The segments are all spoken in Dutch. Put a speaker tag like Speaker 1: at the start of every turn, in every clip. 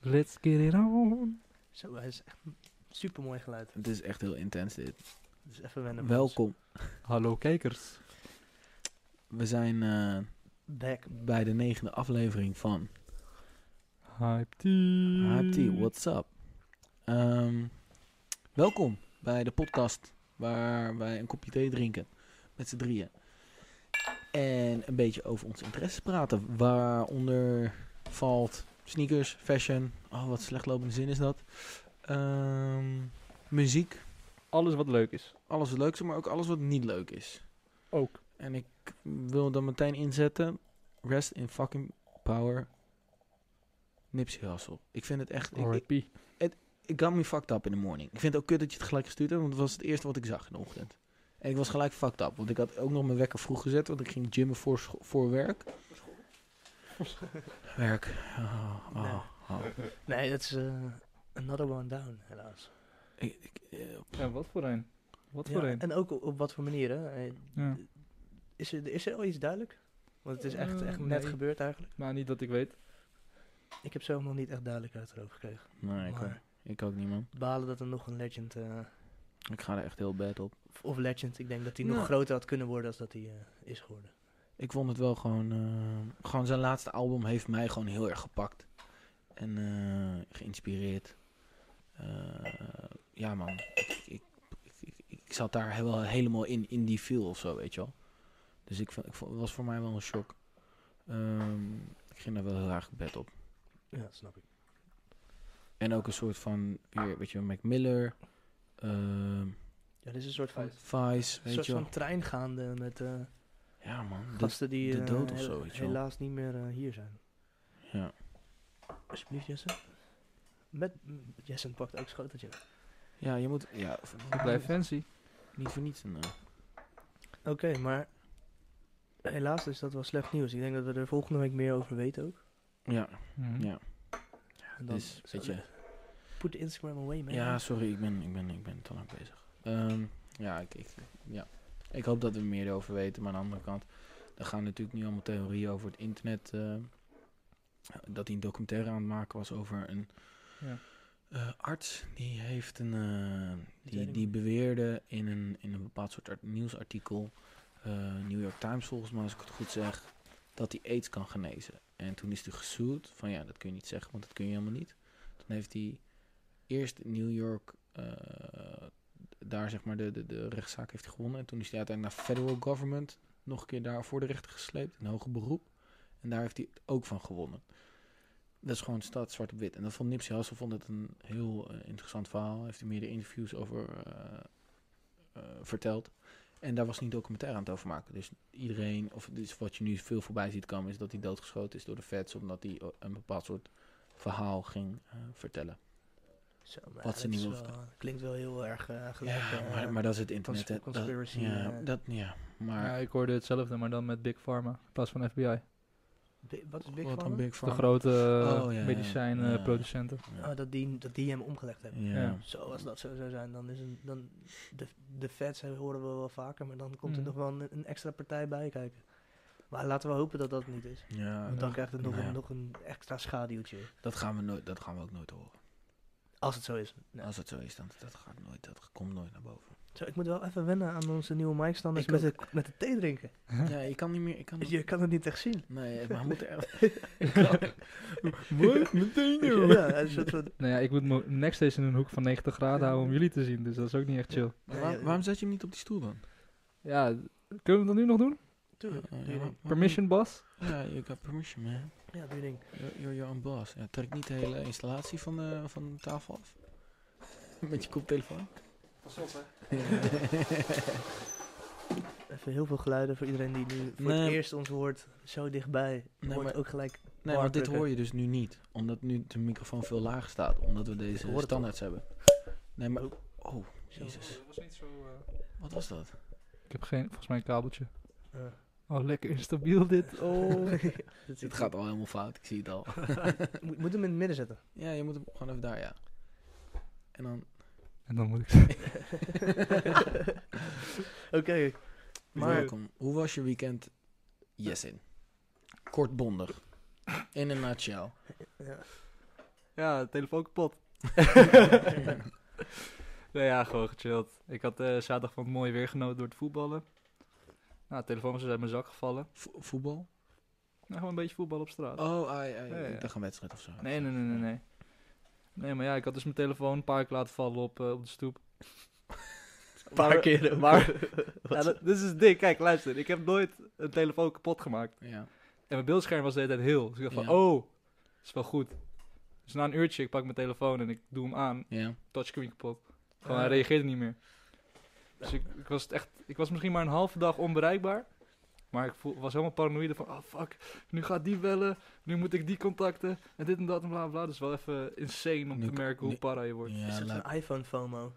Speaker 1: Let's get it on.
Speaker 2: Zo, hij is echt super mooi geluid.
Speaker 3: Het is echt heel intens dit.
Speaker 2: Dus even wennen. voor ons.
Speaker 3: Welkom.
Speaker 1: Hallo kijkers.
Speaker 3: We zijn eh,
Speaker 2: Back.
Speaker 3: bij de negende aflevering van
Speaker 1: Hype T.
Speaker 4: Mm.
Speaker 3: Hype Tea, what's up? Ehm, welkom bij de podcast waar wij een kopje thee drinken met z'n drieën. En een beetje over onze interesses praten. Waaronder valt sneakers, fashion. Oh, wat slechtlopende zin is dat. Ehm, muziek.
Speaker 1: Alles wat leuk is.
Speaker 3: Alles wat leuk is, maar ook alles wat niet leuk is.
Speaker 1: Ook.
Speaker 3: En ik wil dan meteen inzetten. Rest in fucking power. Nipsey Hussle. Ik vind het echt... Ik, ik,
Speaker 1: R.I.P.
Speaker 3: ik got me fucked up in de morning. Ik vind het ook kut dat je het gelijk gestuurd hebt. Want het was het eerste wat ik zag in de ochtend. En ik was gelijk fucked up. Want ik had ook nog mijn wekker vroeg gezet. Want ik ging gymmen voor, scho- voor werk. Werk. Oh, oh,
Speaker 2: Nee.
Speaker 3: oh.
Speaker 2: Nee, dat is eh, another one down, helaas.
Speaker 3: Ik, ik, eh,
Speaker 1: Ja, wat voor een. Wat
Speaker 2: Ja,
Speaker 1: voor een.
Speaker 2: En ook op, op wat voor manieren? Eh,
Speaker 1: Ja.
Speaker 2: Is er, is er al iets duidelijk? Want het is echt,
Speaker 1: Eh,
Speaker 2: echt net
Speaker 1: nee.
Speaker 2: gebeurd eigenlijk.
Speaker 1: Maar niet dat ik weet. p-
Speaker 2: Ik heb zelf nog niet echt duidelijkheid erover gekregen.
Speaker 3: nee, ik, ook-
Speaker 2: maar
Speaker 3: ik ook niet, man.
Speaker 2: balen dat er nog een legend... eh,
Speaker 3: Ik ga er echt heel bad op.
Speaker 2: of- of legend, ik denk dat hij
Speaker 3: Nou.
Speaker 2: nog groter had kunnen worden dan dat hij eh, is geworden.
Speaker 3: Ik vond het wel gewoon... eh, gewoon zijn laatste album heeft mij gewoon heel erg gepakt. En eh, geïnspireerd. Eh, ja, man. Ik, ik, ik, ik, ik zat daar wel helemaal in, in die feel of zo, weet je wel. Dus ik, vond- ik vond- het was voor mij wel een shock. Ehm, ik ging daar wel heel erg bed op.
Speaker 2: Ja, dat snap ik.
Speaker 3: En ook een soort van, weer, weet je wel, Mac Miller. ehm,
Speaker 2: Ja, dit is een soort van,
Speaker 1: Vice.
Speaker 3: Vice,
Speaker 2: een
Speaker 3: weet
Speaker 2: soort
Speaker 3: je wel.
Speaker 2: van trein gaande met eh,
Speaker 3: Ja, man. Dus, dit-
Speaker 2: gasten die
Speaker 3: de
Speaker 2: eh,
Speaker 3: dood of
Speaker 2: hel-
Speaker 3: zo, weet je wel.
Speaker 2: helaas niet meer eh, hier zijn.
Speaker 3: ja.
Speaker 2: Alsjeblieft, Jesse. Met, Jesse pakt ook schoteltje.
Speaker 3: ja, je moet... Ja,
Speaker 1: Ik blijf fancy.
Speaker 3: Niet voor niets. een, eh,
Speaker 2: Oké, maar helaas is dat wel slecht nieuws. Ik denk dat we er volgende week meer over weten ook.
Speaker 3: ja,
Speaker 1: Mhm.
Speaker 3: ja.
Speaker 2: En dan
Speaker 3: Dus, weet je...
Speaker 2: Put Instagram away, man.
Speaker 3: Ja, sorry, ik ben, ik ben, ik ben te lang bezig. Ehm, ja, ik, ik, ja, ik hoop dat we meer erover weten. Maar aan de andere kant, er gaan natuurlijk nu allemaal theorieën over het internet. eh, dat hij een documentaire aan het maken was over een
Speaker 1: Ja.
Speaker 3: eh, arts. Die heeft een. eh,
Speaker 2: weet
Speaker 3: die,
Speaker 2: ik
Speaker 3: die
Speaker 2: niet.
Speaker 3: beweerde in een, in een bepaald soort art- nieuwsartikel. eh, New York Times volgens mij, als ik het goed zeg. Dat hij aids kan genezen. En toen is hij gesued van ja, dat kun je niet zeggen, want dat kun je helemaal niet. Toen heeft hij eerst in New York, eh, daar zeg maar de, de, de rechtszaak heeft hij gewonnen. En toen is hij uiteindelijk naar federal government nog een keer daar voor de rechter gesleept, in hoger beroep. En daar heeft hij het ook van gewonnen. Dat is gewoon staat zwart op wit. En dat vond Nipsey Hussle vond het een heel eh, interessant verhaal. Heeft hij meerdere interviews over eh, eh, verteld. En daar was hij een documentaire aan het over maken. Dus iedereen, of dus wat je nu veel voorbij ziet komen, is dat hij doodgeschoten is door de feds. Omdat hij eh, een bepaald soort verhaal ging eh, vertellen.
Speaker 2: Zo, maar
Speaker 3: Wat ze
Speaker 2: dat
Speaker 3: niet
Speaker 2: is
Speaker 3: wil
Speaker 2: wel- Klinkt wel heel erg eh, gelijk.
Speaker 3: Ja,
Speaker 2: eh,
Speaker 3: maar, maar dat is het internet.
Speaker 2: consp-
Speaker 3: hè. Dat-
Speaker 2: conspiracy,
Speaker 3: ja,
Speaker 2: eh.
Speaker 3: dat, ja, maar
Speaker 1: Ja, ik hoorde hetzelfde, maar dan met Big Pharma. In plaats van FBI.
Speaker 2: Bi- Wat is Big
Speaker 3: wat dan
Speaker 2: Pharma?
Speaker 3: Big
Speaker 1: De
Speaker 3: Pharma?
Speaker 1: grote eh,
Speaker 3: Oh, ja, ja,
Speaker 1: medicijnproducenten.
Speaker 3: ja. Ja.
Speaker 2: Oh, dat die, dat die hem omgelegd hebben.
Speaker 3: Ja.
Speaker 1: Ja.
Speaker 2: Zo, als dat zo zou zijn, dan is een, dan de, de feds hè, horen we wel vaker, maar dan komt er
Speaker 1: Mm.
Speaker 2: nog wel een, een extra partij bij kijken. Maar laten we hopen dat dat niet is.
Speaker 3: Ja,
Speaker 2: Want dan krijgt het nog,
Speaker 3: Nou ja.
Speaker 2: een, nog een extra schaduwtje.
Speaker 3: dat gaan we nooit, dat gaan we ook nooit horen.
Speaker 2: Als het zo is. Nee.
Speaker 3: Als het zo is, dan dat gaat nooit, dat komt nooit naar boven.
Speaker 2: Zo, ik moet wel even wennen aan onze nieuwe mic-standers
Speaker 3: Ik Mm.
Speaker 2: met de, met de thee drinken.
Speaker 3: ja, je kan niet meer, ik kan.
Speaker 2: Je kan het niet echt zien.
Speaker 3: Nee, maar moet er.
Speaker 1: Wat? Meteen
Speaker 2: Ja, een soort van...
Speaker 1: Nou ja, ik moet mijn neksteeds in een hoek van 90 graden houden om jullie te zien. Dus dat is ook niet echt chill.
Speaker 3: Maar waar-
Speaker 2: ja,
Speaker 3: waarom zet je hem niet op die stoel dan?
Speaker 1: Ja, kunnen we dat nu nog doen?
Speaker 2: Tuurlijk.
Speaker 3: Eh,
Speaker 2: doe je
Speaker 3: ja,
Speaker 2: ding.
Speaker 3: maar-
Speaker 1: Permission, Bas?
Speaker 3: Ja, you got permission, man.
Speaker 2: Ja, doe je ding.
Speaker 3: You're, you're your own boss. Ja, trek niet de hele installatie van de, van de tafel af. Met je koptelefoon.
Speaker 2: Even heel veel geluiden voor iedereen die nu voor
Speaker 3: Nee.
Speaker 2: het eerst ons hoort. Zo dichtbij.
Speaker 3: Nee,
Speaker 2: hoort
Speaker 3: maar-
Speaker 2: ook gelijk...
Speaker 3: Nee, maar dit
Speaker 2: Warmdrukken.
Speaker 3: hoor je dus nu niet. Omdat nu de microfoon veel lager staat. Omdat we
Speaker 2: Ik hoor
Speaker 3: deze
Speaker 2: het
Speaker 3: standaards hebben. Nee, maar... Oh,
Speaker 2: Zo.
Speaker 3: jezus.
Speaker 1: was niet zo...
Speaker 3: Wat was dat?
Speaker 1: Ik heb geen, volgens mij een kabeltje.
Speaker 2: eh,
Speaker 1: Oh, lekker instabiel dit. Oh.
Speaker 2: dit-
Speaker 3: Dit gaat al helemaal fout. Ik zie het al.
Speaker 2: Moet, moet hem in het midden zetten.
Speaker 3: ja, je moet hem gewoon even daar, ja. En dan...
Speaker 1: en dan moet ik...
Speaker 2: Oké. Maar
Speaker 3: Welkom. Hoe was je weekend? Yes in. Kortbondig. In een nutshell.
Speaker 2: ja,
Speaker 4: Ja, de telefoon kapot. nou ja, gewoon gechilled. Ik had eh, zaterdag van het mooie weer genoten door het voetballen. Nou, de telefoon was dus uit mijn zak gevallen.
Speaker 3: Vo- voetbal?
Speaker 4: Nou, gewoon een beetje voetbal op straat.
Speaker 3: Oh, ai, ai,
Speaker 4: Ja, ja.
Speaker 3: ik dacht een wedstrijd of zo.
Speaker 4: Nee, nee, nee, nee, nee. Nee, maar ja, ik had dus mijn telefoon een paar keer laten vallen op, eh, op de stoep.
Speaker 2: Een paar
Speaker 4: Maar-
Speaker 2: keer ook.
Speaker 4: Maar, ja, dat- dit is het ding. Kijk, luister. Ik heb nooit een telefoon kapot gemaakt.
Speaker 3: Ja.
Speaker 4: En mijn beeldscherm was de hele tijd heel. Dus ik dacht van,
Speaker 3: Ja.
Speaker 4: oh, is wel goed. Dus na een uurtje, ik pak mijn telefoon en ik doe hem aan.
Speaker 3: ja.
Speaker 4: Touchscreen kapot. Gewoon,
Speaker 2: Ah.
Speaker 4: hij reageerde niet meer. Dus ik, ik was echt, ik was misschien maar een halve dag onbereikbaar. Maar ik voel, was helemaal paranoïde van, oh fuck, nu gaat die bellen. Nu moet ik die contacten. En dit en dat en bla bla. Dus wel even insane om
Speaker 3: Nu
Speaker 4: te
Speaker 3: kan-
Speaker 4: merken
Speaker 3: nu-
Speaker 4: hoe para je wordt. Ja,
Speaker 3: Ja,
Speaker 2: Is dat
Speaker 3: laat-
Speaker 2: een iPhone-FOMO?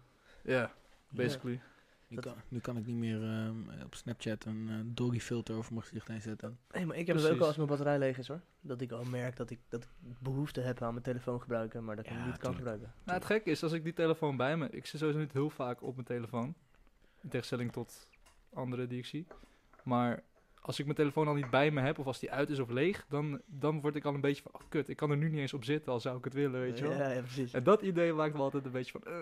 Speaker 4: basically.
Speaker 3: nu,
Speaker 2: dat-
Speaker 3: kan, nu kan ik niet meer ehm, op Snapchat een eh, doggy filter over mijn gezicht heen zetten.
Speaker 2: Hé, maar ik heb het ook
Speaker 4: Precies.
Speaker 2: al als mijn batterij leeg is hoor. Dat ik al merk dat ik, dat ik behoefte heb aan mijn telefoon gebruiken, maar dat ik
Speaker 3: Ja,
Speaker 2: hem niet kan
Speaker 3: tuurlijk.
Speaker 2: gebruiken.
Speaker 4: Nou, het gekke is, als ik die telefoon bij me... Ik zit sowieso niet heel vaak op mijn telefoon. In tegenstelling tot anderen die ik zie. Maar als ik mijn telefoon al niet bij me heb, of als die uit is of leeg... dan, dan word ik al een beetje van, oh kut, ik kan er nu niet eens op zitten, al zou ik het willen, weet je wel.
Speaker 2: Ja, ja, precies.
Speaker 4: En dat idee maakt me altijd een beetje van... eh.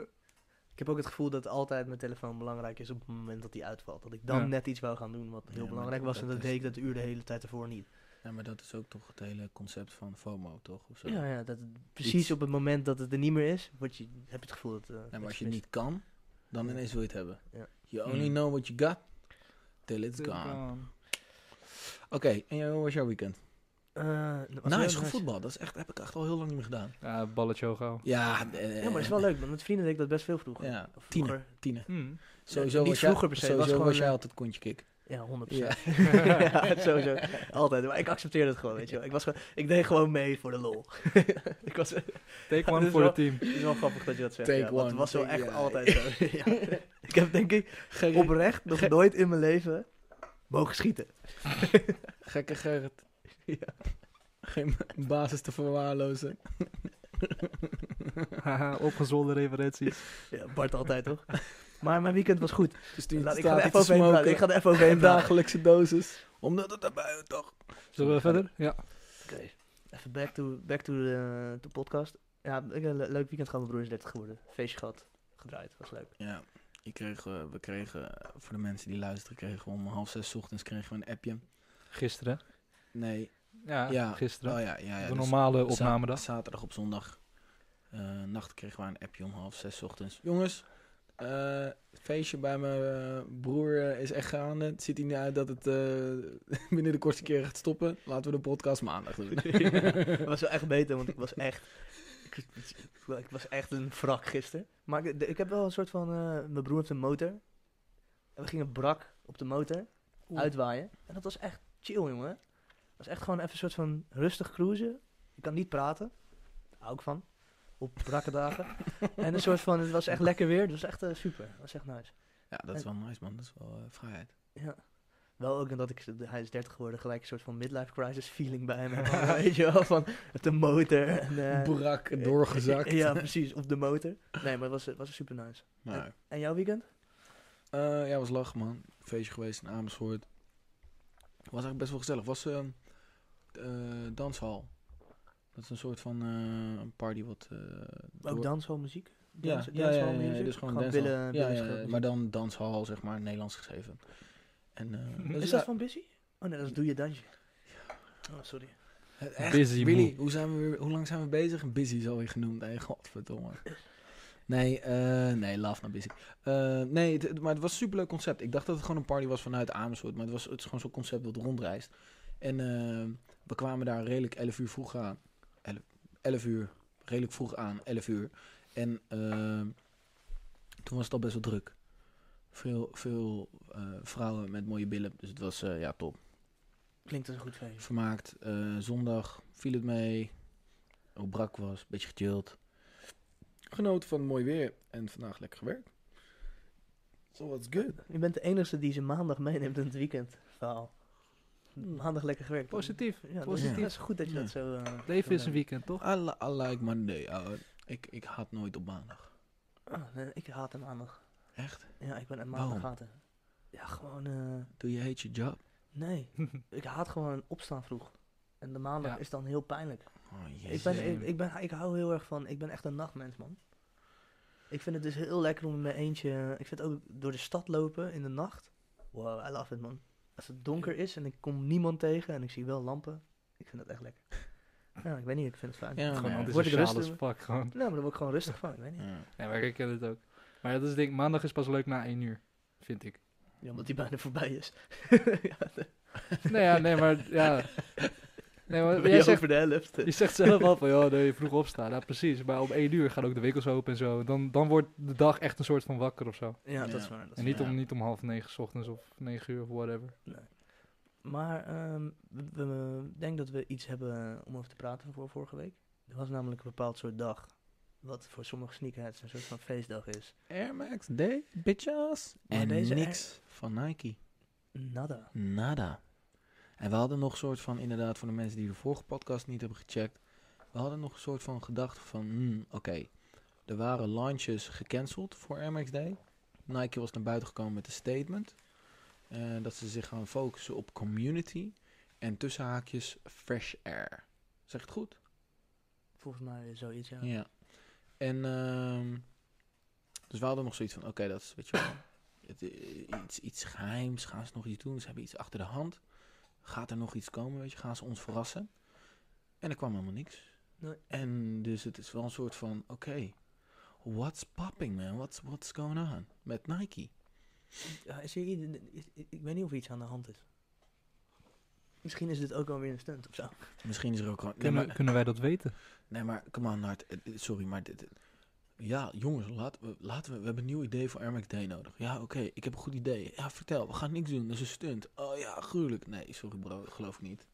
Speaker 2: Ik heb ook het gevoel dat altijd mijn telefoon belangrijk is op het moment dat die uitvalt. Dat ik dan
Speaker 4: Ja.
Speaker 2: net iets wou gaan doen wat
Speaker 3: Ja,
Speaker 2: heel
Speaker 3: maar
Speaker 2: belangrijk was en
Speaker 3: dat
Speaker 2: dat
Speaker 3: is-
Speaker 2: deed ik dat uur de hele tijd ervoor niet.
Speaker 3: Ja, maar dat is ook toch het hele concept van FOMO, toch? Of zo.
Speaker 2: Ja, ja dat het precies
Speaker 3: Iets.
Speaker 2: op het moment dat het er niet meer is, word je, heb je het gevoel dat... eh,
Speaker 3: Ja,
Speaker 2: dat
Speaker 3: maar als je
Speaker 2: je
Speaker 3: het
Speaker 2: mist.
Speaker 3: niet kan, dan
Speaker 2: Ja.
Speaker 3: ineens wil je het hebben.
Speaker 2: Ja.
Speaker 3: You only
Speaker 2: Hmm.
Speaker 4: Mm.
Speaker 3: know what you got till it's
Speaker 4: Dit
Speaker 3: gone.
Speaker 4: kan.
Speaker 3: Oké, en jij, hoe was jouw weekend?
Speaker 2: Eh, nou, was heel
Speaker 3: Nice, goed voetbal. Dat is echt, heb ik echt al heel lang niet meer gedaan.
Speaker 4: Ja, balletje hoog houden.
Speaker 3: Ja, eh,
Speaker 2: Ja, maar het is wel leuk, want met vrienden deed ik dat best veel vroeger.
Speaker 3: Ja,
Speaker 2: Of
Speaker 3: tiener.
Speaker 2: vroeger.
Speaker 3: Tiener.
Speaker 4: Hmm.
Speaker 3: Sowieso
Speaker 2: niet
Speaker 3: was jij-
Speaker 2: vroeger per se, het was
Speaker 3: Sowieso was,
Speaker 2: gewoon,
Speaker 3: jij
Speaker 2: eh,
Speaker 3: altijd kontje kick.
Speaker 2: Ja, 100%.
Speaker 3: Ja.
Speaker 2: Ja. sowieso. Altijd. Maar ik accepteer dat gewoon, weet je wel. Ik, was gewoon, ik deed gewoon mee voor de lol. ik was, het
Speaker 4: Take
Speaker 2: Ja, dit
Speaker 4: one
Speaker 2: is
Speaker 4: voor
Speaker 2: wel-
Speaker 4: het team.
Speaker 2: is wel grappig dat je dat zegt.
Speaker 3: Take
Speaker 2: ja, want
Speaker 3: one,
Speaker 2: het was wel
Speaker 3: take-
Speaker 2: echt
Speaker 3: ja.
Speaker 2: altijd zo. ja. Ik heb denk ik oprecht nog nooit in mijn leven mogen schieten.
Speaker 3: Gekke Gerrit.
Speaker 2: Ja.
Speaker 3: Geen basis te verwaarlozen.
Speaker 4: Haha, Opgezwollen referenties.
Speaker 2: Ja, Bart altijd, toch? Maar mijn weekend was goed.
Speaker 3: Dus die
Speaker 2: Laat, ik ga er
Speaker 3: staat
Speaker 2: even
Speaker 3: hier te
Speaker 2: overheen
Speaker 3: smoken.
Speaker 2: praten. Ik ga er even overheen praten.
Speaker 3: dagelijkse dosis. Omdat het erbij toch.
Speaker 4: Zullen we verder? Ja.
Speaker 2: Oké. Even back to, back to de to podcast. Ja, ik heb een le- leuk weekend gehad. Mijn broer is 30 geworden. Feestje gehad. Gedraaid. Was leuk.
Speaker 3: Ja, ik kreeg, eh, we kregen, eh, voor de mensen die luisteren, kregen we om half zes 's ochtends kregen we een appje.
Speaker 4: Gisteren.
Speaker 3: Nee,
Speaker 4: Ja,
Speaker 3: Ja.
Speaker 4: gisteren.
Speaker 3: oh ja, ja, ja.
Speaker 4: de
Speaker 3: dus
Speaker 4: normale
Speaker 3: za-
Speaker 4: opnamedag.
Speaker 3: Zaterdag op zondag. eh, nacht kregen we een appje om half zes 's ochtends. Jongens, eh, het feestje bij mijn eh, broer eh, is echt gaande. Het ziet er niet uit dat het eh, binnen de kortste keer gaat stoppen. Laten we de podcast maandag doen.
Speaker 2: Het was wel echt beter, want ik was echt. Ik, ik was echt een wrak gisteren. Maar ik, ik heb wel een soort van. eh, mijn broer heeft een motor. En we gingen brak op de motor uitwaaien. En dat was echt chill, jongen. Het was echt gewoon even een soort van rustig cruisen. Je kan niet praten. Daar hou ik van. Op brakke dagen. en een soort van. Het was echt lekker weer. Het was echt eh, super. Het was echt nice.
Speaker 3: Ja, dat is wel nice man. Dat is wel eh, vrijheid.
Speaker 2: Ja. Wel ook nadat ik, hij is 30 geworden, gelijk een soort van midlife crisis feeling bij me. Weet je wel, van met de motor. En, eh,
Speaker 3: Brak, doorgezakt.
Speaker 2: ja, precies, op de motor. Nee, maar het was, het was super nice.
Speaker 3: Maar,
Speaker 2: En jouw weekend?
Speaker 3: Eh, ja, was lachen, man. Feestje geweest in Amersfoort. Was eigenlijk best wel gezellig. Was eh, eh, danshal. Dat is een soort van eh, een party wat... eh, door-
Speaker 2: Ook danshal muziek?
Speaker 3: Ja,
Speaker 2: dans-
Speaker 3: ja, ja,
Speaker 2: dancehall
Speaker 3: ja, ja,
Speaker 2: music?
Speaker 3: dus gewoon
Speaker 2: Gewoon
Speaker 3: danshal.
Speaker 2: billen-
Speaker 3: ja,
Speaker 2: billen
Speaker 3: ja,
Speaker 2: schudden.
Speaker 3: maar dan danshal, zeg maar, Nederlands geschreven. En, eh,
Speaker 4: Is
Speaker 2: Is
Speaker 3: dus
Speaker 2: dat
Speaker 3: ja,
Speaker 2: van Busy? Oh nee, dat is Doe Je Dansje. Oh, sorry.
Speaker 3: het- echt,
Speaker 1: Busy
Speaker 3: Willy,
Speaker 1: moe.
Speaker 3: hoe, zijn we weer, hoe lang zijn we bezig? Busy is alweer genoemd. Hey, godverdomme. Nee, eh, nee, laf naar busy. Eh, nee, het- het- maar het was een superleuk concept. Ik dacht dat het gewoon een party was vanuit Amersfoort. Maar het, was, het is gewoon zo'n concept dat rondreist. En eh, we kwamen daar redelijk 11 uur vroeg aan. 11, 11 uur. Redelijk vroeg aan, 11 uur. En eh, toen was het al best wel druk. Veel, veel eh, vrouwen met mooie billen. Dus het was eh, ja, top.
Speaker 2: Klinkt als een goed feestje.
Speaker 3: Vermaakt. eh, zondag viel het mee. Ook brak was. Beetje gechilled. Genoten van het mooi weer. En vandaag lekker gewerkt. So what's good.
Speaker 2: Je bent de enige die ze maandag meeneemt in het weekend. Verhaal.
Speaker 3: Hmm.
Speaker 2: Maandag lekker gewerkt.
Speaker 4: Positief.
Speaker 2: Ja, dat is,
Speaker 3: positief.
Speaker 2: dat is goed dat je
Speaker 3: Ja.
Speaker 2: dat zo... eh, zo
Speaker 4: Leven is
Speaker 2: bent.
Speaker 4: een weekend, toch?
Speaker 3: I, li- I like Monday, ouwe. Ik, ik haat nooit op maandag.
Speaker 2: Oh, nee, ik haat hem maandag.
Speaker 3: Echt?
Speaker 2: Ja, ik ben een
Speaker 3: Waarom?
Speaker 2: maandag haten. Ja, gewoon... eh,
Speaker 3: Do you hate your job?
Speaker 2: nee, ik haat gewoon opstaan vroeg. En de maandag
Speaker 4: Ja.
Speaker 2: is dan heel pijnlijk.
Speaker 3: Oh,
Speaker 2: Ik,
Speaker 3: jezus.
Speaker 2: ben, ik, ik, ben, ik hou heel erg van, ik ben echt een nachtmens, man. Ik vind het dus heel lekker om in mijn eentje, eh, ik vind ook door de stad lopen in de nacht. Wow, I love it, man. Als het donker is en ik kom niemand tegen en ik zie wel lampen, ik vind dat echt lekker. Ja, ik weet niet, ik vind het fijn.
Speaker 3: Ja,
Speaker 4: Gewoon
Speaker 3: maar-
Speaker 2: Word ik
Speaker 4: antisociaal als
Speaker 2: rustig?
Speaker 4: fuck, gewoon.
Speaker 2: Nou, maar daar word ik gewoon rustig van, ik weet niet.
Speaker 3: Ja.
Speaker 4: Nee, maar ik ken dit ook. Maar dat is het ding, maandag is pas leuk na één uur, vind ik.
Speaker 2: Ja, omdat die bijna voorbij is. ja,
Speaker 4: nee, ja, nee, maar ja. Nee, maar
Speaker 2: ben
Speaker 4: jij
Speaker 2: je
Speaker 4: zegt,
Speaker 2: over de helft.
Speaker 4: je zegt zelf al van, joh, nee, je vroeg opstaan. Ja, precies. Maar om één uur gaan ook de winkels open en zo. Dan, dan wordt de dag echt een soort van wakker of zo.
Speaker 2: Ja, dat
Speaker 3: Ja.
Speaker 2: is waar. Dat is
Speaker 4: En niet
Speaker 3: Ja.
Speaker 4: om, niet om half negen 's ochtends of negen uur of whatever.
Speaker 2: Maar ehm, we, we- we- ik denk dat we iets hebben eh, om over te praten voor vorige week. Er was namelijk een bepaald soort dag. Wat voor sommige sneakerheads een soort van feestdag is.
Speaker 3: Air Max Day, bitches.
Speaker 2: Maar
Speaker 3: En
Speaker 2: deze
Speaker 3: niks van Nike.
Speaker 2: Nada.
Speaker 3: Nada. En we hadden nog een soort van, inderdaad, voor de mensen die de vorige podcast niet hebben gecheckt. We hadden nog een soort van gedachte van, hmm, oké. er waren launches gecanceld voor Air Max Day. Nike was naar buiten gekomen met een statement. eh, dat ze zich gaan focussen op community. En tussen haakjes fresh air. Zeg ik het goed?
Speaker 2: Volgens mij zoiets, ja.
Speaker 3: Ja. En ehm, dus we hadden nog zoiets van, oké, dat is, weet je wel, het, eh, iets, iets geheims. Gaan ze nog iets doen? Ze hebben iets achter de hand. Gaat er nog iets komen, weet je? Gaan ze ons verrassen? En er kwam helemaal niks.
Speaker 2: Nee.
Speaker 3: En dus het is wel een soort van, oké, what's popping, man? What's, what's going on? Met Nike.
Speaker 2: Ja, is hier ieder- is- ik- ik weet niet of er iets aan de hand is. Misschien is dit ook alweer een stunt of zo.
Speaker 3: Misschien is er ook... al- Nee,
Speaker 4: Kunnen,
Speaker 3: maar,
Speaker 4: kunnen wij dat weten?
Speaker 3: nee, maar come on, Nart. Eh, eh, Sorry, maar dit... dit- Ja, jongens, laten we, laten we, we hebben een nieuw idee voor Air Max Day nodig. Ja, oké, ik heb een goed idee. Ja, vertel, we gaan niks doen, dat is een stunt. Oh ja, gruwelijk. Nee, sorry bro, geloof ik niet.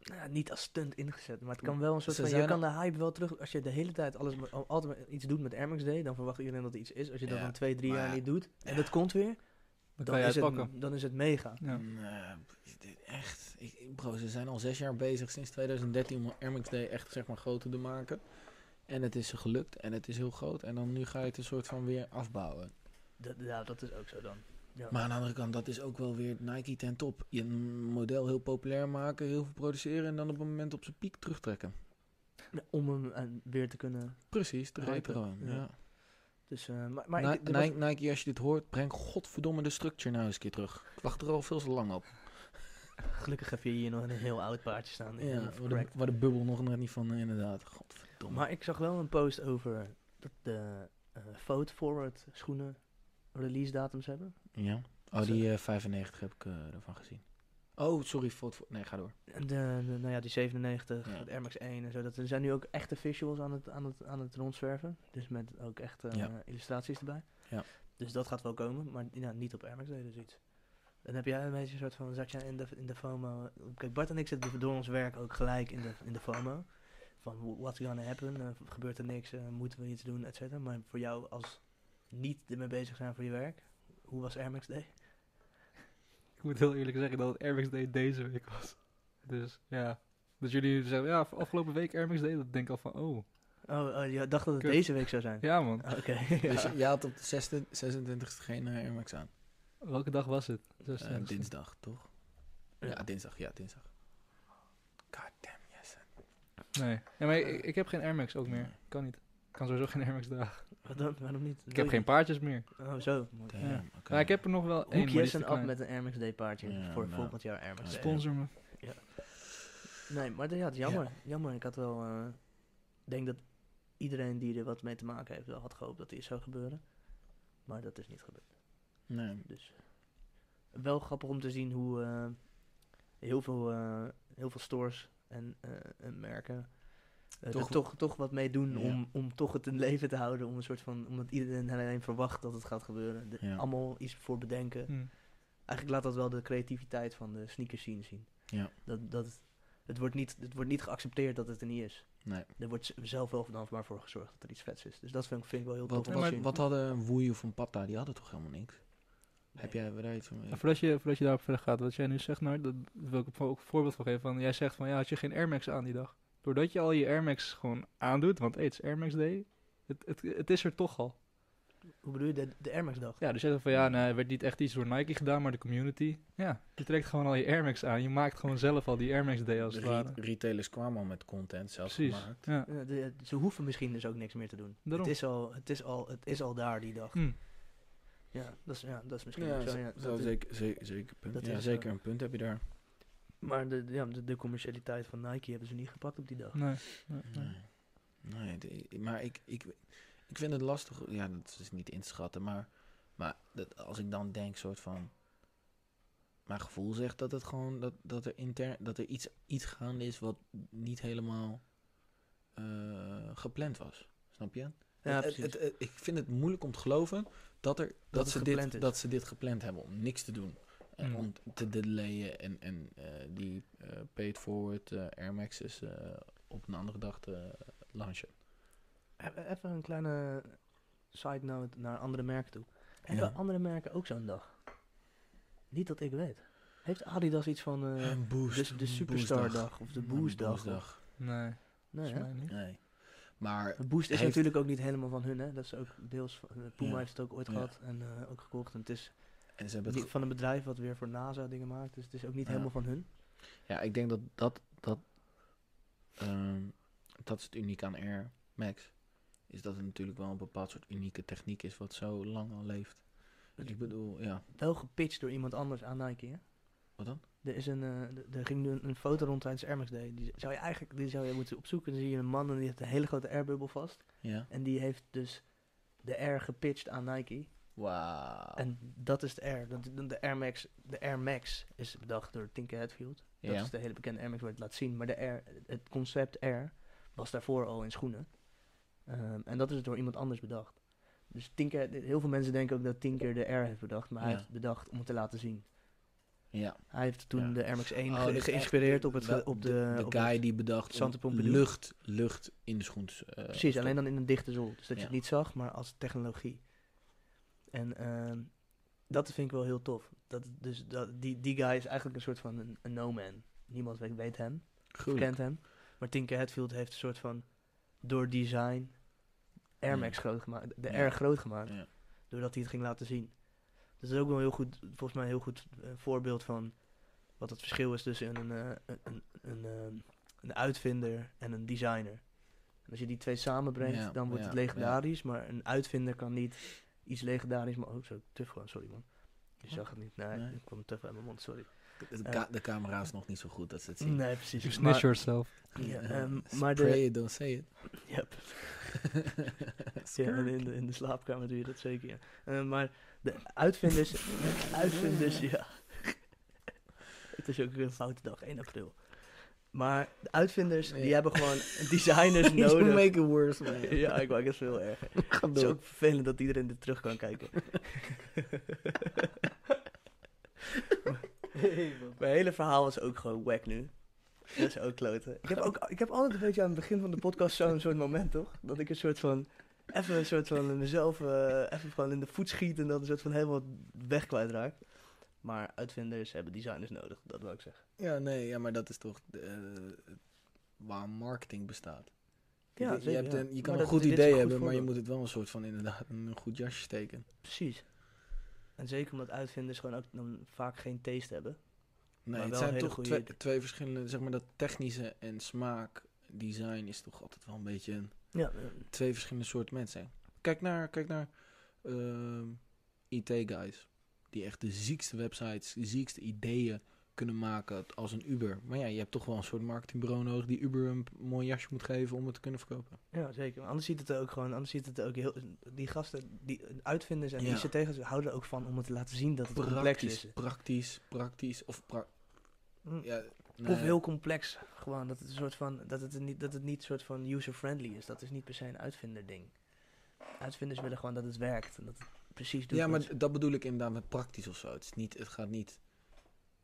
Speaker 2: Nou, ja, niet als stunt ingezet, maar het kan wel een soort
Speaker 3: Ze
Speaker 2: van... Je
Speaker 3: zijn
Speaker 2: kan de hype wel terug... Als je de hele tijd alles, maar- al- altijd maar iets doet met Air Max Day, dan verwacht iedereen dat er iets is. Als je dat
Speaker 3: Ja,
Speaker 2: dan twee, drie
Speaker 3: maar
Speaker 2: jaar
Speaker 3: ja.
Speaker 2: niet doet, en
Speaker 3: Ja.
Speaker 2: dat komt weer,
Speaker 4: Dat
Speaker 2: dan
Speaker 4: kan je
Speaker 2: is,
Speaker 4: uitpakken.
Speaker 2: het, dan is het mega.
Speaker 4: Ja.
Speaker 3: Nee, dit- echt. Ik, bro, ze zijn al zes jaar bezig sinds 2013 om Air Max Day echt zeg maar groot te maken. En het is ze gelukt en het is heel groot. En dan nu ga je het een soort van weer afbouwen.
Speaker 2: Dat, ja, dat is ook zo dan. Ja.
Speaker 3: Maar aan de andere kant, dat is ook wel weer Nike ten top. Je model heel populair maken, heel veel produceren en dan op een moment op zijn piek terugtrekken.
Speaker 2: Ja, om hem eh, weer te kunnen.
Speaker 3: Precies, de
Speaker 2: Hype,
Speaker 3: hype gewoon.
Speaker 2: ja.
Speaker 3: Ja.
Speaker 2: Dus, eh, maar maar
Speaker 3: Ni-
Speaker 2: ik- er was-
Speaker 3: Nike, Nike, als je dit hoort, breng godverdomme de structure nou eens een keer terug. Ik wacht er al veel te lang op.
Speaker 2: gelukkig heb je hier nog een heel oud paardje staan. die helemaal
Speaker 3: Ja, waar, de,
Speaker 2: verkrakt.
Speaker 3: waar de bubbel nog net niet van, eh, inderdaad. Godverdomme.
Speaker 2: Maar ik zag wel een post over dat de eh Vote Forward schoenen release datums hebben.
Speaker 3: Ja. Oh, die eh, 95 heb ik eh, ervan gezien. Oh, sorry. Fout, voor- nee, ga door.
Speaker 2: En de, de- nou ja, die 97,
Speaker 3: Ja.
Speaker 2: de Air Max 1 en zo. Dat er zijn nu ook echte visuals aan het, aan het, aan het rondzwerven. Dus met ook echt eh,
Speaker 3: Ja.
Speaker 2: illustraties erbij.
Speaker 3: Ja.
Speaker 2: Dus dat gaat wel komen, maar ja, niet op Air Max Day dus iets. Dan heb jij een beetje een soort van, zat jij in de, in de FOMO... Kijk, Bart en ik zitten door ons werk ook gelijk in de, in de FOMO. Van, what's gonna happen? Eh, gebeurt er niks? Eh, moeten we iets doen? Et cetera. Maar voor jou als niet ermee bezig zijn voor je werk, hoe was Air Max Day?
Speaker 4: Ik moet heel eerlijk zeggen dat het Air Max Day deze week was. Dus ja. Dat jullie zeggen, ja, afgelopen week Air Max Day, dat denk ik al van, oh.
Speaker 2: Oh, oh, je dacht dat het
Speaker 4: Kut.
Speaker 2: deze week zou zijn?
Speaker 4: Ja man,
Speaker 2: Oké.
Speaker 3: Dus
Speaker 2: ja.
Speaker 3: je- jij had op de 26 26e geen eh, Air Max aan.
Speaker 4: welke dag was het?
Speaker 3: Eh,
Speaker 4: 26e.
Speaker 3: dinsdag, toch? Ja.
Speaker 2: Ja.
Speaker 3: dinsdag. Ja, dinsdag. God damn, yes.
Speaker 4: Nee. Ja, maar
Speaker 2: Eh,
Speaker 4: ik, ik heb geen Air Max ook meer. Kan niet. Ik kan sowieso geen Air Max dragen.
Speaker 2: Wat dan? Waarom niet?
Speaker 4: Ik heb geen paardjes meer.
Speaker 2: Oh, zo.
Speaker 3: Damn,
Speaker 4: Ja.
Speaker 3: oké.
Speaker 4: Maar ik heb er nog wel één. maar die is
Speaker 2: Hoekjes
Speaker 4: te
Speaker 2: en af
Speaker 4: klein.
Speaker 2: met een Air Max Day paardje
Speaker 3: Ja,
Speaker 2: voor
Speaker 3: nou.
Speaker 2: volgend jaar Air Max Day.
Speaker 4: Sponsor me.
Speaker 2: Nee, maar dat- ja, het is jammer. Jammer, ik had wel... eh, Ik denk dat iedereen die er wat mee te maken heeft wel had gehoopt dat dit zou gebeuren. Maar dat is niet gebeurd.
Speaker 3: Nee.
Speaker 2: Dus wel grappig om te zien hoe eh, heel, veel, eh, heel veel stores en, eh, en merken... eh, er
Speaker 3: Toch-
Speaker 2: toch, toch wat mee doen
Speaker 3: Ja.
Speaker 2: om, om toch het in leven te houden. Om een soort van, omdat iedereen alleen verwacht dat het gaat gebeuren. De-
Speaker 3: Ja.
Speaker 2: Allemaal iets voor bedenken.
Speaker 4: Hm.
Speaker 2: Eigenlijk laat dat wel de creativiteit van de sneaker scene zien.
Speaker 3: Ja.
Speaker 2: Dat, dat, het, wordt niet, het wordt niet geaccepteerd dat het er niet is.
Speaker 3: Nee.
Speaker 2: Er wordt z- zelf wel dansbaar voor gezorgd dat er iets vets is. Dus dat vind ik, vind ik wel heel
Speaker 3: Wat,
Speaker 2: tof. om te
Speaker 3: wat,
Speaker 2: zien.
Speaker 3: wat hadden een woei of een patta? Die hadden toch helemaal niks?
Speaker 2: Nee.
Speaker 3: Heb jij hebben daar iets van?
Speaker 4: En Nou, voordat, je, voordat je daarop verder gaat, wat jij nu zegt, nou, dat wil ik ook een voorbeeld van geven. Van, jij zegt van, ja, had je geen Air Max aan die dag. Doordat je al je Air Max gewoon aandoet, want hey, het is Air Max Day, het, het, het is er toch al.
Speaker 2: Hoe bedoel je de, de Air Max dag?
Speaker 4: Ja, dus jij zegt van ja, nou, er werd niet echt iets door Nike gedaan, maar de community. Ja, je trekt gewoon al je Air Max aan. Je maakt gewoon zelf al die Air Max Day als het
Speaker 3: Re-
Speaker 4: ware.
Speaker 3: retailers kwamen al met content zelf
Speaker 4: Precies.
Speaker 3: gemaakt.
Speaker 4: Ja.
Speaker 2: Ja, Eh, de- ze hoeven misschien dus ook niks meer te doen.
Speaker 4: Daarom.
Speaker 2: Het is, al, het, is al, het is al daar die dag.
Speaker 4: Hm.
Speaker 2: Ja, dat is, ja, dat is misschien
Speaker 3: Ja,
Speaker 2: ook zo.
Speaker 3: zo-
Speaker 2: Ja,
Speaker 3: zo
Speaker 2: dat is-
Speaker 3: zeker, ze- zeker, punt.
Speaker 2: dat
Speaker 3: ja,
Speaker 2: is,
Speaker 3: zeker
Speaker 2: eh,
Speaker 3: een punt heb je daar.
Speaker 2: maar de, ja, de, de commercialiteit van Nike hebben ze niet gepakt op die dag.
Speaker 4: Nee. nee, nee.
Speaker 3: Nee, nee de- maar ik, ik, ik vind het lastig. Ja, dat is niet in te schatten. Maar, maar dat, als ik dan denk, soort van. Mijn gevoel zegt dat het gewoon. Dat, dat er intern. Dat er iets, iets gaande is wat niet helemaal. eh, gepland was. Snap je?
Speaker 2: Ja,
Speaker 3: Het- het-
Speaker 2: precies.
Speaker 3: het- ik vind het moeilijk om te geloven dat, er, dat,
Speaker 2: het
Speaker 3: ze,
Speaker 2: gepland
Speaker 3: dit,
Speaker 2: is. Hmm.
Speaker 3: dat ze dit gepland hebben om niks te doen. En
Speaker 4: Mm.
Speaker 3: om te delayen en, en eh, die eh, paid forward eh, Air Max's eh, op een andere dag te launchen.
Speaker 2: E- Even een kleine side note naar andere merken toe.
Speaker 3: Ja.
Speaker 2: Hebben andere merken ook zo'n dag? Niet dat ik weet. Heeft Adidas iets van eh,
Speaker 3: Een boost.
Speaker 2: de, de
Speaker 3: een
Speaker 2: Superstar-dag of de
Speaker 3: Een
Speaker 2: Boost-dag? of-
Speaker 3: boostdag.
Speaker 4: Nee,
Speaker 2: Nee,
Speaker 4: volgens
Speaker 2: hè?
Speaker 4: mij niet.
Speaker 3: Nee. Maar
Speaker 2: Maar Boost is
Speaker 3: Heeft-
Speaker 2: natuurlijk ook niet helemaal van hun, hè? Dat is ook deels van. eh, Puma
Speaker 3: Ja.
Speaker 2: heeft het ook ooit
Speaker 3: Ja.
Speaker 2: gehad en eh, ook gekocht. En het is
Speaker 3: en ze hebben het
Speaker 2: niet van een bedrijf wat weer voor NASA dingen maakt, dus het is ook niet
Speaker 3: Ja.
Speaker 2: helemaal van hun.
Speaker 3: Ja, ik denk dat dat, dat, ehm, dat is het uniek aan Air Max. Is dat het natuurlijk wel een bepaald soort unieke techniek is wat zo lang al leeft.
Speaker 2: Het-
Speaker 3: ik bedoel, ja,
Speaker 2: Wel gepitcht door iemand anders aan Nike, hè?
Speaker 3: wat dan?
Speaker 2: Er, is een, eh, d- er ging nu een, een foto rond tijdens Air Max Day. Die zou je eigenlijk die zou je moeten opzoeken. Dan zie je een man en die heeft een hele grote airbubbel vast.
Speaker 3: Ja.
Speaker 2: En die heeft dus de Air gepitcht aan Nike.
Speaker 3: Wauw.
Speaker 2: En dat is de Air. Dat, de- de, Air Max, de Air Max is bedacht door Tinker Hatfield. Dat
Speaker 3: Ja.
Speaker 2: is de hele bekende Air Max waar je het laat zien. Maar de Air, het concept Air was daarvoor al in schoenen. Ehm, en dat is door iemand anders bedacht. Dus Tinker, heel veel mensen denken ook dat Tinker de Air heeft bedacht. Maar hij
Speaker 3: Ja.
Speaker 2: heeft het bedacht om het te laten zien.
Speaker 3: ja.
Speaker 2: Hij heeft toen
Speaker 3: Ja.
Speaker 2: de Air Max 1
Speaker 3: Oh,
Speaker 2: ge-
Speaker 3: dus echt
Speaker 2: geïnspireerd op, het,
Speaker 3: wel
Speaker 2: ge- op de...
Speaker 3: de
Speaker 2: op
Speaker 3: guy
Speaker 2: het-
Speaker 3: die bedacht
Speaker 2: Sante
Speaker 3: om
Speaker 2: Pompidou.
Speaker 3: lucht, lucht in de schoen. te, eh,
Speaker 2: precies, alleen
Speaker 3: stoppen.
Speaker 2: dan in een dichte zool. Dus dat je
Speaker 3: Ja.
Speaker 2: het niet zag, maar als technologie. En ehm, dat vind ik wel heel tof. Dat, dus dat, die, die guy is eigenlijk een soort van een, een no-man. Niemand weet, weet hem,
Speaker 3: Gruwelijk.
Speaker 2: kent hem. Maar Tinker Hatfield heeft een soort van... Door design Air
Speaker 3: Ja.
Speaker 2: Max groot gemaakt. De
Speaker 3: Hmm. Ja.
Speaker 2: Air groot gemaakt.
Speaker 3: Ja.
Speaker 2: Doordat hij het ging laten zien. Dus dat is ook wel heel goed, volgens mij een heel goed eh, voorbeeld van wat het verschil is tussen een, eh, een, een, een, ehm, een uitvinder en een designer. En als je die twee samenbrengt,
Speaker 3: Ja,
Speaker 2: dan wordt
Speaker 3: ja,
Speaker 2: het
Speaker 3: ja.
Speaker 2: legendarisch, maar een uitvinder kan niet iets legendarisch, maar ook zo tuf gewoon, sorry man. Je
Speaker 3: Wat?
Speaker 2: zag het niet, nee,
Speaker 3: Nee.
Speaker 2: ik kwam tuf uit mijn mond, sorry.
Speaker 3: De, ka- de camera is nog niet zo goed dat ze het zien.
Speaker 2: Nee, precies.
Speaker 4: You
Speaker 2: Dus Maar-
Speaker 4: snitch yourself.
Speaker 2: ja,
Speaker 3: Eh,
Speaker 2: ehm,
Speaker 3: s-
Speaker 2: maar de-
Speaker 3: pray it, don't say it.
Speaker 2: Yep. Ja, en in de, in de slaapkamer doe je dat zeker, ja. Eh, maar de uitvinders... uitvinders, ja. Het is ook een foute dag, 1 april. Maar de uitvinders, die
Speaker 3: Ja.
Speaker 2: hebben gewoon designers
Speaker 3: You
Speaker 2: nodig.
Speaker 3: make it worse, man.
Speaker 2: Ja, ik maak het veel erger.
Speaker 3: Ga
Speaker 2: Het is
Speaker 3: door.
Speaker 2: ook vervelend dat iedereen er terug kan kijken. Mijn hele verhaal was ook gewoon wack nu. Dat is ook kloten. Ik heb, ook, ik heb altijd een beetje aan het begin van de podcast zo'n soort moment, toch? Dat ik een soort van... Even een soort van mezelf eh, even gewoon in de voet schiet en dat een soort van helemaal weg kwijtraak. Maar uitvinders hebben designers nodig, dat wil ik zeggen.
Speaker 3: Ja, nee, ja, maar dat is toch eh, waar marketing bestaat.
Speaker 2: Ja,
Speaker 3: je, je
Speaker 2: zeker,
Speaker 3: hebt
Speaker 2: ja.
Speaker 3: een, je
Speaker 2: Maar
Speaker 3: kan
Speaker 2: dat-
Speaker 3: een goed
Speaker 2: dit is
Speaker 3: idee
Speaker 2: een goed
Speaker 3: hebben, maar je
Speaker 2: voorbeeld.
Speaker 3: moet het wel een soort van inderdaad in een goed jasje steken.
Speaker 2: Precies. En zeker omdat uitvinders gewoon ook dan vaak geen taste hebben.
Speaker 3: Nee,
Speaker 2: Maar
Speaker 3: het
Speaker 2: wel
Speaker 3: zijn
Speaker 2: hele
Speaker 3: toch
Speaker 2: goede
Speaker 3: twee,
Speaker 2: ideeën.
Speaker 3: twee verschillende, zeg maar dat technische en smaak, design is toch altijd wel een beetje een-
Speaker 2: Ja,
Speaker 3: twee verschillende soorten mensen. Kijk naar, kijk naar ehm, IT-guys, die echt de ziekste websites, de ziekste ideeën kunnen maken t- als een Uber. Maar ja, je hebt toch wel een soort marketingbureau nodig die Uber een p- mooi jasje moet geven om het te kunnen verkopen.
Speaker 2: Ja, zeker. Maar anders ziet het er ook gewoon, anders ziet het er ook heel. Die gasten, die uitvinders en
Speaker 3: Ja.
Speaker 2: die ICT'ers houden er ook van om het te laten zien dat het complex
Speaker 3: Praktisch,
Speaker 2: is.
Speaker 3: praktisch, praktisch of pra-
Speaker 2: Mm.
Speaker 3: ja,
Speaker 2: Of
Speaker 3: nee.
Speaker 2: heel complex, gewoon dat het een soort van, dat het niet, dat het niet soort van user-friendly is. Dat is niet per se een uitvinderding. Uitvinders willen gewoon dat het werkt en dat het precies doet.
Speaker 3: Ja, maar
Speaker 2: wat ze-
Speaker 3: d- dat bedoel ik inderdaad met praktisch of zo. Het, is niet, het gaat niet.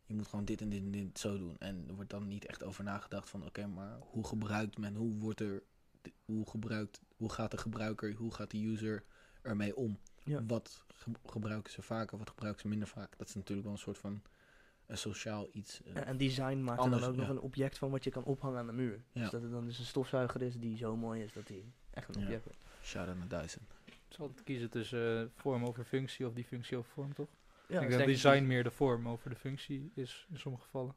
Speaker 3: Je moet gewoon dit en dit en dit zo doen. En er wordt dan niet echt over nagedacht van oké, maar hoe gebruikt men, hoe wordt er, d- hoe gebruikt, hoe gaat de gebruiker, hoe gaat de user ermee om?
Speaker 2: Ja.
Speaker 3: Wat ge- gebruiken ze vaker, wat gebruiken ze minder vaak? Dat is natuurlijk wel een soort van een sociaal iets. eh,
Speaker 2: en, en design maakt er
Speaker 3: Anders,
Speaker 2: dan ook nog
Speaker 3: ja.
Speaker 2: een object van wat je kan ophangen aan de muur.
Speaker 3: Ja.
Speaker 2: Dus dat het dan dus een stofzuiger is die zo mooi is dat hij echt een
Speaker 3: Ja.
Speaker 2: object wordt.
Speaker 3: Shout out naar Dyson.
Speaker 4: Het is altijd kiezen tussen eh, vorm over functie of die functie over vorm, toch?
Speaker 2: Ja,
Speaker 4: ik
Speaker 2: dus
Speaker 4: denk dat
Speaker 2: denk
Speaker 4: design meer de vorm over de functie is in sommige gevallen.